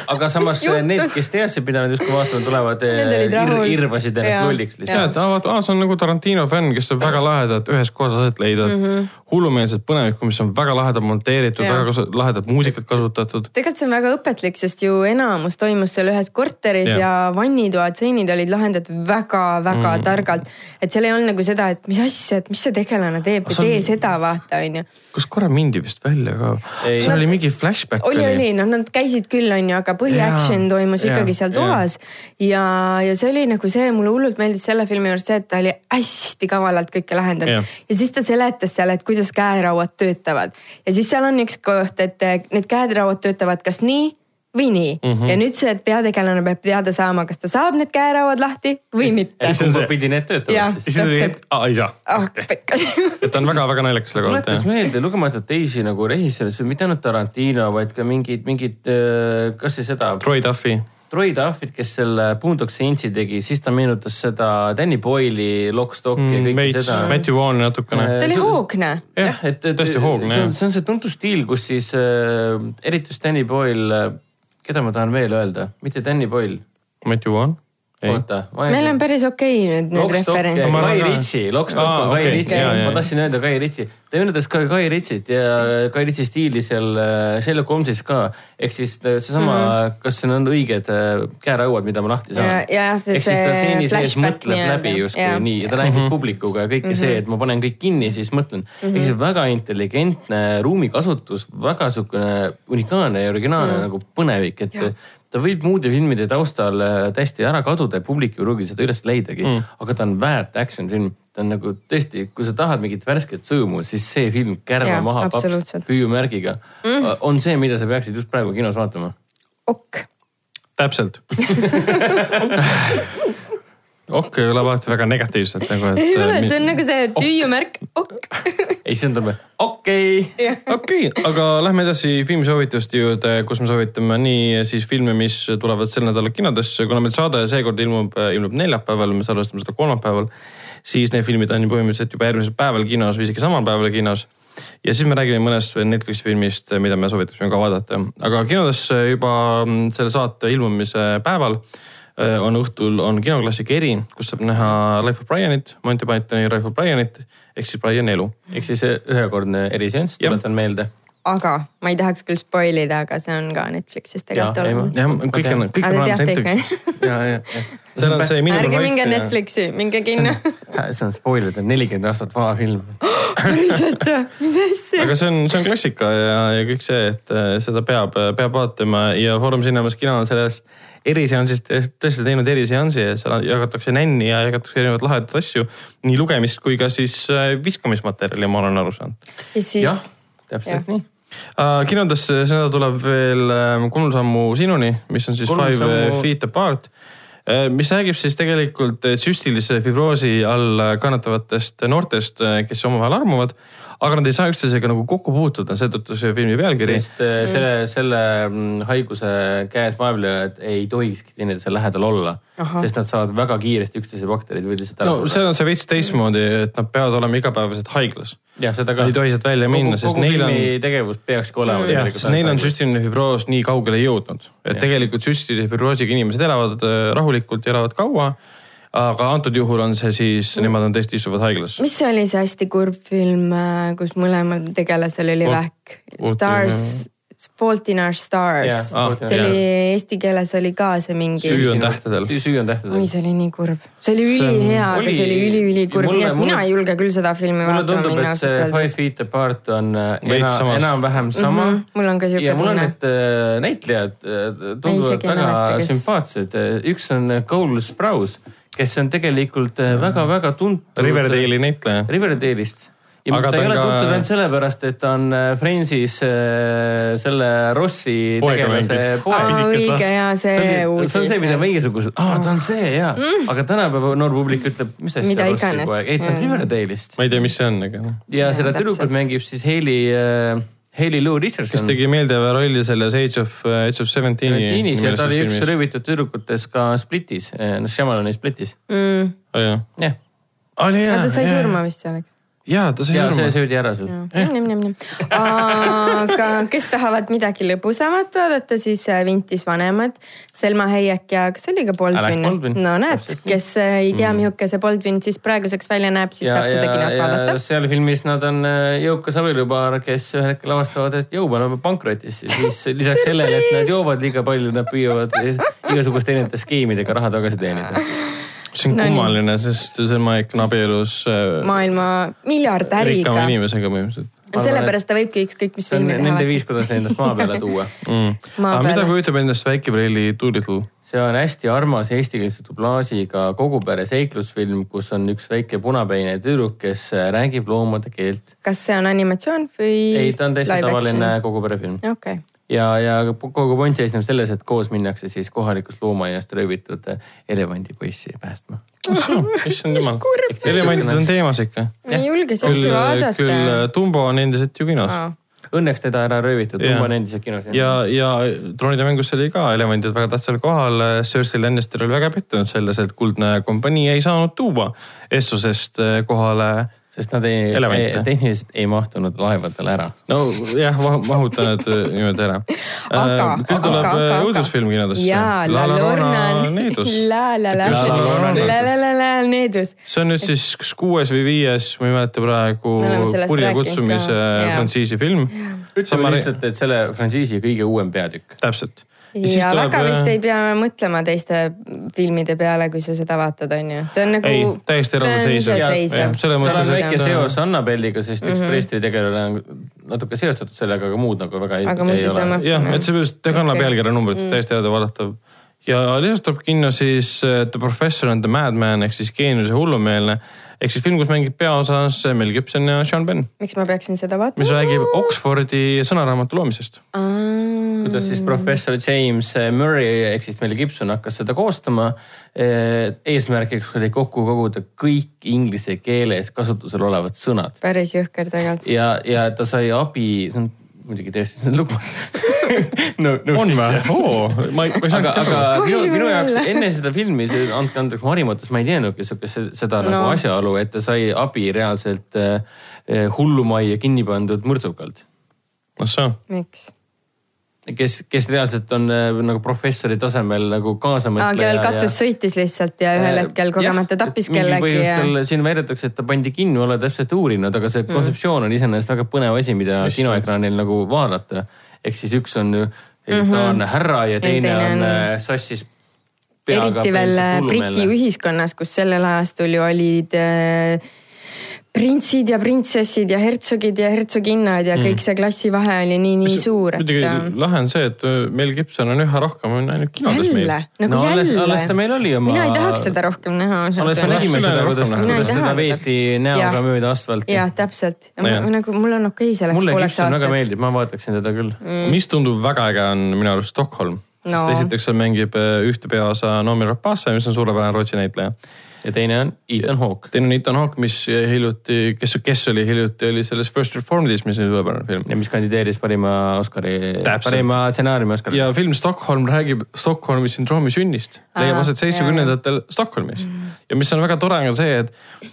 S4: aga samas eh,
S3: Mis juhtus?
S4: need , kes teadsid , mida nad justkui vaatama tulevad ,
S3: Need olid
S4: ir,
S3: rahul.
S4: irvasid ennast
S3: Jaa.
S4: lolliks
S2: ja ,
S4: lihtsalt .
S2: et aa , vaata , aa , see on nagu Tarantino fänn , kes saab väga lahedat ühes kohas aset leida mm -hmm. hullumeelset põnevikku , mis on väga lahedalt monteeritud ,
S3: Mhm. Jah.
S2: väga kasu- lahedat muusikat kasutatud .
S3: tegelikult see on väga õpetlik , sest ju enamus toimus seal ühes korteris
S2: Jah.
S3: ja, ja vannitoad , seinid olid lahendatud väga-väga
S2: Mhm.
S3: mm. targalt . et seal ei olnud nagu seda , et mis asja , et mis see tegelane teeb või
S2: see on-
S3: tee seda , vaata onju .
S2: kas korra mindi vist välja ka ?
S4: Ei.
S2: seal oli mingi flashback
S3: oli , oli , noh , nad käisid küll , onju , aga põhiaction
S2: Jaa,
S3: toimus
S2: jaa,
S3: ikkagi seal
S2: jaa.
S3: toas . ja , ja see oli nagu see , mulle hullult meeldis selle filmi juures see , et ta oli hästi kavalalt kõike
S2: Jah.
S3: lahendanud . ja siis ta seletas seal , et kuidas käerauad töötavad . ja siis seal on üks koht , et eh, need käerauad töötavad kas nii või nii mm .
S2: Mhm.
S3: -hmm. ja nüüd see , et peategelane peab teada saama , kas ta saab need käerauad lahti või mitte
S4: ja .
S2: see on
S4: kumba
S2: see.
S4: pidi need
S3: Jaa.
S4: töötavad
S2: ja
S4: siis ?
S2: siis oli
S3: täpselt.
S2: hetk , aa ei saa .
S3: ah , pekka .
S2: et ta on väga-väga naljakas selle koha
S4: tuletas
S2: pealt .
S4: meelde lugematult teisi nagu režissööre , mitte ainult Tarantino , vaid ka mingid , mingid , kas see seda ,
S2: Troy Duffy
S4: Troy Duffit , kes selle Boondock Saintsi tegi , siis ta meenutas seda Danny Boyle'i Lock , Stock ja
S2: mm, ,
S4: kõike
S2: veits
S4: seda . Äh,
S2: Matthew Vaughn natukene .
S3: ta oli hoogne .
S2: jah , et tõesti hoogne
S4: see on ,
S2: jah .
S4: see on see tuntud stiil , kus siis äh, eriti just Danny Boyle , keda ma tahan veel öelda , mitte Danny Boyle ,
S2: Matthew Vaughn .
S4: oota .
S3: meil on päris okei okay nüüd need referentsid .
S2: Ma
S4: Kai
S2: arvan ka.
S4: Ritsi , Lockstock
S2: Aa,
S4: on Kai
S2: okei,
S4: Ritsi
S2: jaa, , jaa,
S4: ma
S2: jaa.
S4: tahtsin öelda Kai Ritsi . ta meenutas ka Kai Ritsit ja Kai Ritsi stiili seal äh, Sherlock Holmesis ka . ehk siis äh, seesama mm , -hmm. kas need on õiged äh, käerauad , mida ma lahti saan
S3: Mhm. Ja- . jah, see-
S4: ehk siis ta
S3: see
S4: stseeni sees
S3: flashback
S4: mõtleb
S3: nii-öelda.
S4: läbi justkui
S3: Jaa.
S4: nii ja ta räägib
S2: Mhm.
S4: publikuga ja kõike mm -hmm. see , et ma panen kõik kinni , siis mõtlen mm . -hmm. ehk siis väga intelligentne ruumikasutus , väga sihukene unikaalne ja originaalne mm -hmm. nagu põnevik , et ja. ta võib muude filmide taustal äh, täiesti ära kaduda ja publik ei pruugi seda üles leidagi
S2: Mhm.
S4: mm , -hmm. aga ta on väärt action film ta on nagu tõesti , kui sa tahad mingit värsket sõõmu , siis see film Kärva
S3: Jaa,
S4: maha paps
S3: absoluutselt.
S4: püüumärgiga mm. on see , mida sa peaksid just praegu kinos vaatama .
S3: okk ,
S2: täpselt . ok ei ole alati väga negatiivselt nagu ,
S3: ei ole , see
S2: et .
S3: on nagu see tüüumärk , okk .
S4: ei , see on tal , okk , okei ,
S2: okei okay, , aga lähme edasi filmisoovituste juurde , kus me soovitame nii siis filme , mis tulevad sel nädalal kinodesse , kuna meil saade seekord ilmub , ilmub neljapäeval , me salvestame seda kolmapäeval . siis need filmid on ju põhimõtteliselt juba järgmisel päeval kinos või isegi samal päeval kinos . ja siis me räägime mõnest Netflixi filmist , mida me soovitaksime ka vaadata , aga kinodesse juba mm, selle saate ilmumise päeval äh, on õhtul on kinoklassika eri , kus saab näha Life of Brianit , Monty Pythoni Life of Brianit ehk siis Brian elu
S4: ehk siis ühekordne eriseanss ,
S2: Jah.
S4: tuletan meelde .
S3: aga ma ei tahaks küll spoil ida , aga see on ka Netflixis tegelikult
S4: Jaa, ei
S3: olemas .
S2: jah , kõik on , kõik on
S3: Aga te
S2: olemas
S3: teate
S2: Netflixis . ja , ja , seal on see minu .
S3: ärge minge . Netflixi , minge kinno .
S4: äh, see on spoiler , ta on nelikümmend aastat vana film .
S3: päriselt või ? mis asja ?
S2: aga see on , see on klassika ja , ja kõik see , et äh, seda peab , peab vaatama ja Foorum Cinemas kino on sellest eriseansist tõesti teinud eriseansi ja seal jagatakse nänni ja jagatakse erinevaid lahedaid asju . nii lugemist kui ka siis äh, viskamismaterjali , ma olen aru saanud .
S3: ja
S4: jah
S3: siis ,,
S4: täpselt
S3: Jah.
S4: nii .
S2: kinodesse Äh, see nädal tuleb veel äh, Kolm sammu sinuni , mis on siis
S4: Kolm
S2: Five
S4: sammu-
S2: sammu... Feet Apart Äh, mis räägib siis tegelikult süstilise fibroosi all äh, kannatavatest noortest , kes omavahel armuvad , aga nad ei saa üksteisega nagu kokku puutuda , seetõttu see filmi pealkiri .
S4: sest äh, selle , selle mm, haiguse käes vaevlejad ei tohikski teineteise lähedal olla ,
S3: Ahah.
S4: sest nad saavad väga kiiresti üksteise bakterid või lihtsalt
S2: no seal on see veits teistmoodi , et nad peavad olema igapäevaselt haiglas .
S4: jah , seda ka .
S2: Nad ei tohi sealt välja minna , sest
S4: kogu
S2: neil on
S4: filmi tegevus peakski
S3: Mm.
S4: olema .
S2: jah , sest neil on süstiline fibroos nii kaugele jõudnud , et
S4: Jah.
S2: tegelikult süstilise fibroosiga inimesed elavad äh, rahulikult ja elavad kaua . aga antud juhul on see siis , nemad on tõesti istuvad haiglas .
S3: mis see oli see hästi kurb film , kus mõlemal tegelasel oli
S2: Fort-
S3: vähk ?
S2: Fort-
S3: Stars , Fault in our stars .
S4: Jah,
S2: Ah,
S3: see
S2: jah.
S3: oli , eesti keeles oli ka see mingi
S2: Süü- . on tähtedel.
S4: süü on tähtedel
S3: oi ,. see oli nii kurb , see oli ülihea , aga see oli
S4: oli-
S3: üliülikurb ,
S4: mulle-
S3: nii et mina
S4: mulle-
S3: ei julge küll seda filmi
S4: mulle
S3: vaatama
S4: tundub ,
S3: minna
S4: et see
S3: ausalt
S4: Five
S3: öeldes .
S4: Feet Apart on äh,
S2: Veits
S4: ena,
S2: samas.
S4: enam-vähem sama mm .
S3: Mhm, mul on ka sihuke
S4: ja mul on
S3: tunne.
S4: need äh, näitlejad äh, tunduvad
S3: isegi ei
S4: väga
S3: mäleta, kes-
S4: sümpaatsed , üks on äh, Cole Sprouse , kes on tegelikult äh, väga-väga tuntud .
S2: Mhm. Riverdale'i näitleja .
S4: Riverdale'ist . ja
S2: Aga
S4: ta
S2: ta
S4: ei
S2: on
S4: ole
S2: ka-
S4: tuntud ainult sellepärast , et ta on äh, Friendsis äh, selle Rossi
S5: Poega
S4: tegelase
S5: mängis.
S4: poeg .
S5: Aa, pisikest
S3: õige
S5: last.
S3: ja Ah, see
S4: see on,
S3: uudis .
S4: see on see , mida meiesugused , aa , ta on see ja mm. , aga tänapäeva noor publik ütleb , mis asja .
S3: Mida iganes.
S4: ei , ta on
S3: Mm.
S4: Riverdale'ist
S2: ma ei tea , mis see on , aga noh .
S4: ja
S3: Jaa,
S4: seda tüdrukut
S3: täpselt.
S4: mängib siis Hailey äh, , Hailey Lou
S2: kes
S4: Richardson .
S2: tegi meeldeva rolli selles Age of , Age of Seventeen'i .
S4: Tiinis ja ta oli üks . röövitud tüdrukutest ka Splitis , noh , Shyamalani Splitis .
S2: jah ,
S4: jah ,
S2: oli hea .
S3: aga ta Mm. sai surma vist selleks .
S2: jaa , ta sai
S4: ja see
S2: surma .
S4: söödi ära seal .
S3: aga kes tahavad midagi lõbusamat vaadata , siis äh, Vintis vanemad , Selma Hayek ja kas see oli ka Baldwin
S4: Alec Baldwin. ?
S3: no näed , kes äh, ei tea , milline see Baldwin siis praeguseks välja näeb , siis
S4: ja ,
S3: saab seda
S4: ja ,
S3: kinos
S4: ja
S3: vaadata .
S4: seal filmis nad on äh, jõukas abielupaar , kes ühel hetkel avastavad , et jõu , me oleme pankrotis ja siis lisaks sellele , et nad joovad liiga palju , nad püüavad igasuguste erinevate skeemidega raha tagasi teenida .
S2: see on
S3: Nonii.
S2: kummaline , sest see Maik on abielus äh,
S3: maailma miljardäriga
S2: rikkama . inimesega põhimõtteliselt .
S3: sellepärast ta võibki ükskõik mis
S4: see on
S3: filmi teha
S4: nende . viis , kuidas endast maa peale tuua .
S3: Maa
S2: aga mida
S3: peale.
S2: kujutab endast väike Preili Doolittle ?
S4: see on hästi armas eestikeelse dublaažiga kogupere seiklusfilm , kus on üks väike punapäine tüdruk , kes äh, räägib loomade keelt .
S3: kas see on animatsioon või ?
S4: ei , ta on täiesti tavaline . kogupere film
S3: okei okay. ,
S4: ja , ja kogu point seisneb selles , et koos minnakse siis kohalikust loomaaiast röövitud äh, elevandipoissi päästma .
S2: issand jumal , elemendid on teemas ikka .
S3: ma ei julge
S2: küll äh,
S3: siukse , vaadata
S2: küll . Tumbo on endiselt ju kinos
S4: Õnneks teda ära röövitud ,
S2: Jaa.
S4: Tumba on endiselt kinos .
S2: ja , ja troonide mängus oli ka elevandid väga tähtsal kohal . Cersei Lannister oli väga pettunud selles , et kuldne kompanii ei saanud tuua Essusest äh, kohale .
S4: sest nad ei, ei
S2: Elevante. ,
S4: tehniliselt ei mahtunud laevadele ära .
S2: nojah , mahuta need äh, niimoodi ära .
S3: aga ,
S2: küll
S3: aga ,
S2: tuleb
S3: aga ,
S2: äh,
S3: aga .
S2: õudusfilm kinodesse .
S3: jaa , La Lorna on
S2: needus .
S3: La La La ,
S2: La
S3: La
S2: Lorna on
S3: La La La on needus .
S2: see on nüüd siis kas kuues või viies , ma ei mäleta praegu
S3: Me oleme , sellest
S2: kurjakutsumise
S3: rääkinud ka. Jaa.
S2: frantsiisi film .
S4: ütleme lihtsalt , et selle frantsiisi kõige uuem peatükk .
S2: täpselt .
S3: ja
S2: äh,
S3: väga
S2: eh,
S3: vist ei pea mõtlema teiste filmide peale , kui sa seda vaatad , onju . see on nagu .
S2: Ei, täiesti eraldiseisev. Jah, jah,
S4: seal
S2: Selles
S4: on
S2: mõttes,
S4: väike
S2: et-
S4: seos Annabelliga , sest üks mm -hmm. preestri tegelane on natuke seostatud sellega , aga muud nagu väga ei,
S3: Aga muidu
S4: ei
S3: see on
S4: ole .
S3: mõte-
S2: jah , et see just ta kannab
S3: Okei.
S2: okay. pealkirja numbrit mm. , täiesti headavalatav . ja lisaks tuleb kinno siis äh, The Professor and the Madman ehk siis geenius ja hullumeelne ehk siis film , kus mängib peaosas Mel Gibson ja Sean Penn ,
S3: miks ma peaksin seda
S2: mis
S3: vaatama ?
S2: räägib Oxfordi sõnaraamatu loomisest .
S4: kuidas siis professor James Murray ehk siis Mel Gibson hakkas seda koostama . eesmärgiks oli kokku koguda kõik inglise keeles kasutusel olevad sõnad
S3: päris jõhker tegelikult .
S4: ja , ja ta sai abi , see on muidugi tõesti see on lugu no, .
S2: on või ? oo , ma ei , ma ei
S4: aga ,
S2: saanudki
S4: aga
S2: aru .
S4: minu ,
S3: Oi,
S4: minu
S3: mul.
S4: jaoks enne seda filmi , andke andeks , ma harimatust ma ei teadnudki siukest seda no. nagu
S3: No.
S4: asjaolu , et ta sai abi reaalselt äh, äh, hullumajja kinni pandud mõrtsukalt
S2: ah sa ,
S3: miks ?
S4: kes , kes reaalselt on äh, nagu professori tasemel nagu
S3: aa ,
S4: kaasamõtleja .
S3: kellel katus sõitis lihtsalt ja
S4: Äh,
S2: Äh,
S3: ühel hetkel kogemata tappis kellegi ja . Mm.
S4: ja . siin väidetakse , et ta pandi kinni , olla täpselt uurinud , aga see kontseptsioon on iseenesest väga põnev asi , mida kinoekraanil nagu vaadata . ehk siis üks on ju elitaarne mm -hmm. härra ja teine, teine
S3: Mhm. teine
S4: on
S3: on-
S4: äh, sassis .
S3: eriti veel äh, Briti ühiskonnas , kus sellel ajastul ju olid äh, printsid ja printsessid ja hertsogid ja hertsoginnad
S4: Mm.
S3: ja kõik see klassivahe oli nii , nii suur , et
S2: muidugi
S3: äh,
S2: lahe on see , et Mel Gibson on üha rohkem on ainult kinodes meil .
S3: jälle , nagu
S4: No alles-
S3: jälle .
S4: alles ta meil oli oma-
S3: mina ei tahaks teda rohkem näha
S4: alles me
S2: Mina
S4: nägime
S2: ei
S4: seda ,
S2: taha
S4: kuidas ,
S2: seda.
S4: kuidas teda veeti näoga
S3: Jah.
S4: mööda asfalti .
S3: jah , täpselt .
S2: Jah.
S3: nagu mul on okei selleks
S4: mulle
S3: pooleks
S4: Gibson väga
S3: aastaks . Mm.
S4: meeldib , ma vaataksin teda küll .
S2: mis tundub väga äge , on minu arust Stockholm no. . sest
S3: No.
S2: esiteks seal mängib eh, ühte peaosa Noomi Rapace , mis on suurepärane Rootsi näitleja .
S4: ja teine on Ethan Hawke .
S2: teine on Ethan Hawke , mis hiljuti , kes , kes oli hiljuti , oli selles First Reformed'is , mis oli suurepärane film .
S4: ja mis kandideeris parima Oscari ,
S2: Täpselt.
S4: parima stsenaariumi Oscari .
S2: ja film Stockholm räägib Stockholmi sündroomi sünnist , leiab
S3: Aa, Mm.
S2: aset seitsmekümnendatel Stockholmis . ja mis on väga tore , on see , et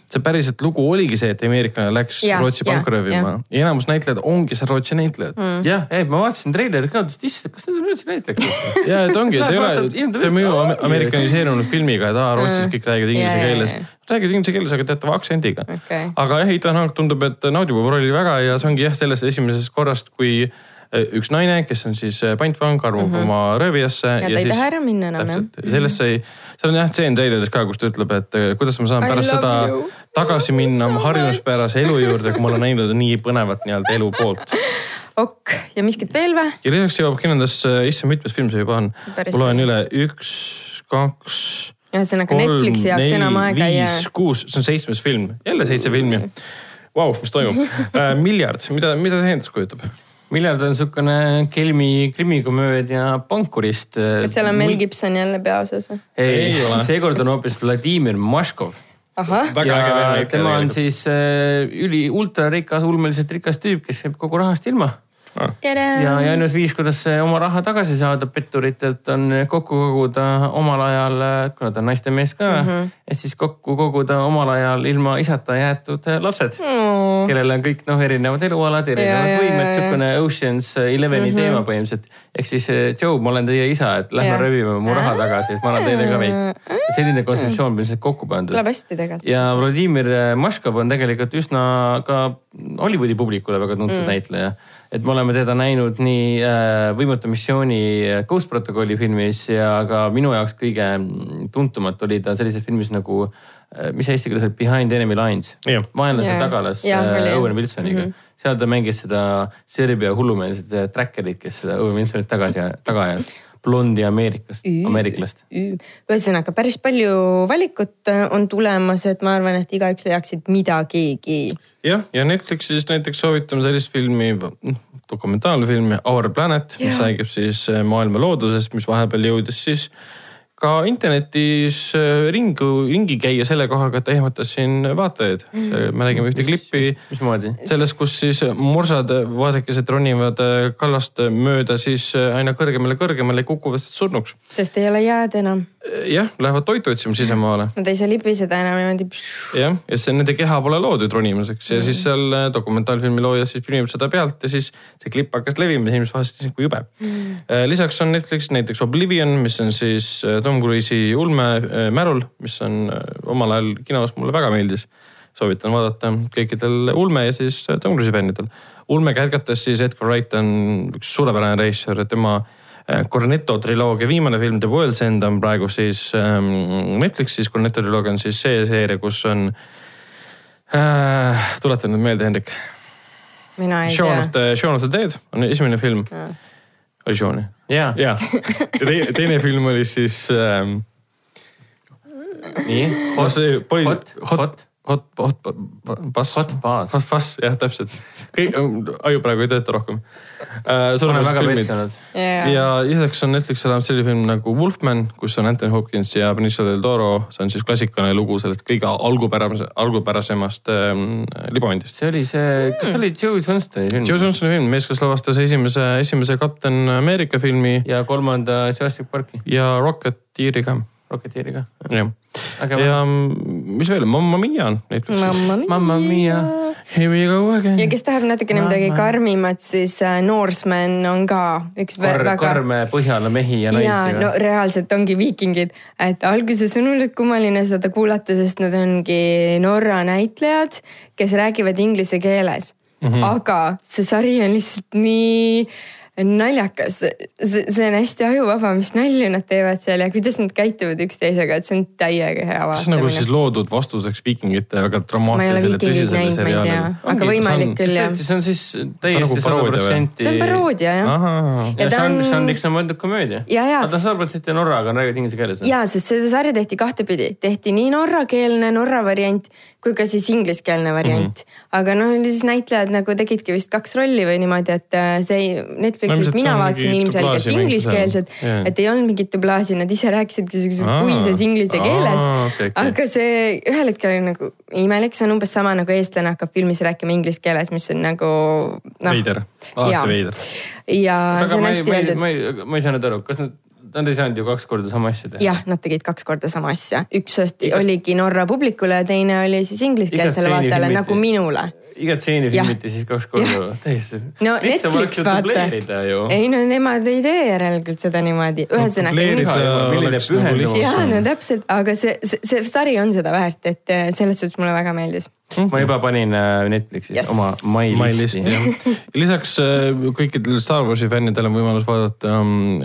S2: see päriselt lugu oligi see , et ameeriklane läks
S3: Jah,
S2: Rootsi
S3: jah,
S2: panka röövima
S3: jah.
S2: ja enamus näitlejad ongi seal Rootsi näitlejad mm. .
S4: jah , ei ma vaatasin treileri ka , mõtlesin , et issand , kas need on üldse näitlejad .
S2: ja et ongi , et ei
S4: Vaatad,
S2: ole ,
S4: inimene
S2: te ei mõju
S4: mõtleb,
S2: ame-
S4: aa,
S2: amerikaniseerunud filmiga , et aa Rootsis kõik räägivad inglise
S3: Jaa, jaa,
S2: keeles
S3: jaa. .
S2: räägivad inglise keeles , aga teatava aktsendiga
S3: Okei.
S4: Ah,
S2: aga jah , Ethan Hawke tundub , et naudib oma rolli väga ja see ongi jah , sellest esimesest korrast , kui eh, üks naine , kes on siis eh, pantvang , arvab mm -hmm. oma röövijasse .
S3: Mhm. ta ei taha ära minna enam, jah. Mhm.
S2: täpselt , sellest sai , seal on jah tseen treileris ka , kus ta ütleb , et eh, kuidas ma saan
S3: I
S2: pärast
S3: love
S2: seda
S3: you. Oh,
S2: tagasi minna oma
S3: So much.
S2: harjumuspärase elu juurde , kui ma olen näinud nii põnevat nii-öelda elu poolt .
S3: ok , ja miskit veel või ?
S2: ja lisaks jõuab kinodesse , issand , mitmes film see juba on ?
S3: Päris
S2: ma loen üle , üks , kaks ,
S3: ühesõnaga
S2: kolm ,
S3: Nagu Netflixi jaoks enam
S2: neli ,
S3: aega ei jää .
S2: viis , kuus , see on seitsmes film , jälle seitse filmi . Vau , mis toimub äh, ? miljard , mida , mida see endast kujutab ?
S4: miljard on niisugune kelmi krimikomöödia pankurist .
S3: kas seal on Mel ? Gibson jälle peaosas või ?
S4: ei
S2: Ei ole.
S4: ole , seekord on hoopis Vladimir Maškov .
S3: ahah ,
S2: väga äge venelane
S4: ja
S2: ikka
S4: tema on
S2: tegelikult.
S4: siis äh, üli , ultrarikas , ulmeliselt rikas tüüp , kes jääb kogu rahast ilma .
S2: Ah.
S4: ja , ja ainus viis , kuidas see oma raha tagasi saada petturitelt on kokku koguda omal ajal , kuna ta on naistemees ka mm ,
S3: Mhm.
S4: -hmm. et siis kokku koguda omal ajal ilma isata jäetud äh, lapsed
S3: Hmm. Oo.
S4: kellel on kõik noh , erinevad elualad , erinevad
S3: Ja,
S4: ja,
S3: ja,
S4: võimed ,
S3: ja, ja.
S4: niisugune Ocean's Eleveni
S3: Mhm.
S4: mm -hmm. teema põhimõtteliselt . ehk siis eh, Joe , ma olen teie isa , et lähme
S3: Ja.
S4: röövime mu raha tagasi , et ma annan teile ka veits . selline kontseptsioon põhimõtteliselt kokku pandud .
S3: Kõlab hästi tegelikult.
S4: ja Vladimir eh, Maškov on tegelikult üsna ka Hollywoodi publikule väga tuntud mm. näitleja . et me oleme teda näinud nii eh, Võimatu missiooni eh, Ghost Protocolli filmis ja ka minu jaoks kõige mm, tuntumat oli ta sellises filmis nagu eh, mis eesti keeles oli Behind Enemy Lines
S2: Jah.
S4: vaenlase yeah.
S3: Jaa.
S4: tagalas
S3: Jah,
S4: äh,
S3: oli, jah. Mhm.
S4: Owen Wilsoniga mm . -hmm. seal ta mängis seda Serbia hullumeelset äh, trackerit , kes seda Owen Wilsonit tagasi , taga ajas . blondi Ameerikast , ameeriklast .
S3: ühesõnaga päris palju valikut äh, on tulemas , et ma arvan , et igaüks leiaks siit midagigi .
S2: jah , ja Netflixis näiteks soovitame sellist filmi , dokumentaalfilmi Our Planet , mis räägib siis eh, maailma loodusest , mis vahepeal jõudis siis ka internetis eh, ringu , ringi käia selle kohaga , et ta ehmatas siin vaatajaid . me nägime ühte klippi
S4: mismoodi ?
S2: sellest , kus siis morsad , vaesekesed ronivad eh, kallast mööda siis eh, aina kõrgemale , kõrgemale ja kukuvad sealt surnuks .
S3: sest ei ole jääd enam ,
S2: jah , lähevad toitu otsima sisemaale .
S3: nad ei saa libiseda enam niimoodi
S2: jah , ja see nende keha pole loodud ronimiseks ja mm. siis seal eh, dokumentaalfilmi looja siis filmib seda pealt ja siis see klipp hakkas levima ja inimesed vaatasid nagu jube mm. . lisaks on Netflix näiteks Oblivion , mis on siis eh, Tom Cruise'i ulme eh, märul , mis on eh, omal ajal kinos mulle väga meeldis . soovitan vaadata kõikidel ulme ja siis eh, Tom Cruise'i fännidel . ulme kärgates siis Edgar Wright on üks suurepärane režissöör , tema eh, Cornetto triloogia viimane film The World's End on praegu siis ähm, Netflixis , Cornetto triloogia on siis see seeria , kus on äh, , tuletan nüüd meelde , Hendrik .
S3: mina ei
S2: Shaun of
S3: tea .
S2: the , Shaun of the Dead on esimene film . oli Shaun jah ?
S4: jaa ,
S2: jaa , ja tei- teine film oli siis ähm, .
S4: nii , hot , hot , hot ,
S2: hot , hot , pass .
S4: Hot Fuzz.
S2: hot pass , jah , täpselt . kõik , aju praegu ei tööta rohkem uh, .
S4: olen väga pettunud .
S3: ja ,
S2: ja lisaks on Netflixi olemas selline film nagu Wolfman , kus on Anthony Hopkins ja Benicio del Toro , see on siis klassikaline lugu sellest kõige algupärase , algupärasemast ähm, libamendist .
S4: see oli see ,
S3: Mm.
S4: kas ta oli Joe Johnstoni
S2: Joe
S4: film
S2: Johnsoni film , mees , kes lavastas esimese , esimese Captain America filmi ja,
S4: ja kolmanda Jurassic Parki
S2: ja Rocketeeri ka ,
S4: Rocketeeriga .
S2: jah .
S4: Aga
S2: ja mm, mis veel , Mamma Mia on Netflixis .
S4: Mamma
S3: mamma
S4: Mia.
S3: mia .
S2: Here we go again
S3: ja . kes tahab natukene midagi karmimat , siis äh, Norseman on ka üks vä-
S4: Kar- ,
S3: väga
S4: karme Põhjala mehi ja
S3: ja
S4: naisi .
S3: no reaalselt ongi viikingid , et alguses on hullult kummaline seda kuulata , sest nad ongi Norra näitlejad , kes räägivad inglise keeles mm . -hmm. aga see sari on lihtsalt nii naljakas , see see on hästi ajuvaba , mis nalju nad teevad seal ja kuidas nad käituvad üksteisega , et see on täiega hea
S2: see on nagu siis
S3: vaatamine .
S2: loodud vastuseks viikingite väga
S3: ma ei ole
S2: dramaatilisele
S3: viikingeid näinud ,
S2: tõsisele
S3: ma ei tea , aga võimalik küll jah .
S4: see on siis
S2: nagu
S4: täiesti sada
S2: paroodia või?
S4: protsenti .
S3: ta on paroodia jah .
S2: seriaal .
S4: ja
S3: Ja
S4: see
S3: ta
S4: on ,
S3: on-
S4: see on , eks see on mõeldud komöödia .
S3: Ja, ja.
S4: aga ta on sada protsenti Norraga , räägid inglise keeles .
S3: ja sest seda sarja tehti kahtepidi , tehti nii norrakeelne Norra variant kui ka siis ingliskeelne variant mm .
S2: Mhm.
S3: -hmm. aga noh , siis näitlejad nagu tegidki vist kaks rolli või niimoodi , et äh, see ei- Netflixis
S2: Ilmselt
S3: no, mina
S2: see on
S3: vaatasin
S2: mingi
S3: ilmselgelt
S2: dublaaži mäng
S3: ingliskeelset
S2: seal. Jaa. ,
S3: et ei olnud mingit dublaaži , nad ise rääkisidki siukses
S2: Aa.
S3: puises inglise
S2: Aa,
S3: keeles .
S2: okei, okei.
S3: aga see ühel hetkel oli nagu imelik , see on umbes sama nagu eestlane hakkab filmis rääkima inglise keeles , mis on nagu no.
S2: Veider. Alati
S3: Jaa.
S2: veider.
S3: ja see on
S4: ma ei ,
S3: hästi
S4: ma ei ,
S3: öeldud
S4: ma ei , ma ei saanud aru , kas nad , nad ei saanud ju kaks korda sama asja teha .
S3: jah , nad tegid kaks korda sama asja , üks õhti oligi Norra publikule ja teine oli siis ingliskeelsele
S4: Igat seeni
S3: vaatajale
S4: filmiti.
S3: nagu minule .
S4: igat seeni
S3: Jah.
S4: filmiti siis kaks korda
S3: Jah. ,
S4: täiesti .
S3: no Netflix vaata . ei no nemad ei tee järelikult seda niimoodi , ühesõnaga .
S2: äh, nagu
S3: ja no täpselt , aga see, see , see sari on seda väärt , et eh, selles suhtes mulle väga meeldis .
S4: ma juba panin äh, Netflixis yes.
S3: Yes.
S4: oma My
S2: My Listi
S4: Listi,
S2: jah . lisaks äh, kõikidel Star Warsi fännidel on võimalus vaadata um,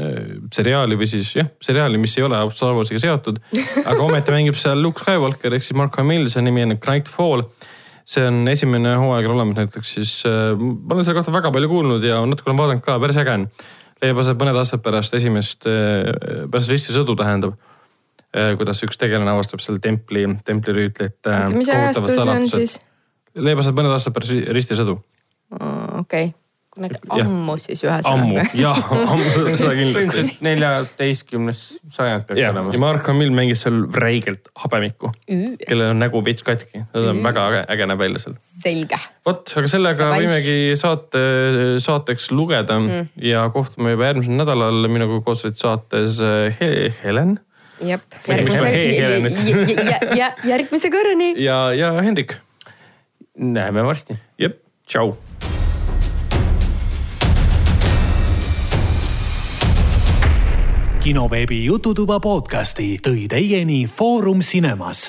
S2: seriaali või siis jah , seriaali , mis ei ole Star Warsiga seotud , aga ometi mängib seal Luke Skywalker ehk siis Mark Hamill , see nimi on Knightfall . see on esimene hooaeg on olemas näiteks siis äh, , ma olen selle kohta väga palju kuulnud ja natuke olen vaadanud ka , päris äge on . leiab aset mõned aastad pärast esimest äh, , pärast ristisõdu tähendab äh, kuidas üks tegelane avastab seal templi , äh, templirüütlite .
S3: mis ajastus see on siis ?
S2: leiab aset mõned aastad pärast ristisõdu
S3: okei , kunagi
S2: Jah.
S3: ammu siis
S2: ammu
S3: ühesõnaga .
S2: jah , ammu seda seda kindlasti .
S4: põhimõtteliselt neljateistkümnes sajand peaks
S2: ja
S4: yeah. olema .
S2: Mark Hamill mängis seal räigelt habemikku , kellel on nägu veits katki , ta on väga äge , äge näeb välja seal .
S3: selge ,
S2: vot , aga sellega
S3: Davai.
S2: võimegi saate , saateks lugeda mm. ja kohtume juba järgmisel nädalal minuga koos olid saates eh, He Helen
S3: jep .
S2: Muidu mis ma hee keelan nüüd.
S3: järgmise korrani .
S2: ja , ja Hendrik .
S4: näeme varsti
S2: jep , tšau .
S1: kinoveebi Jututuba podcasti tõi teieni Foorum Cinemas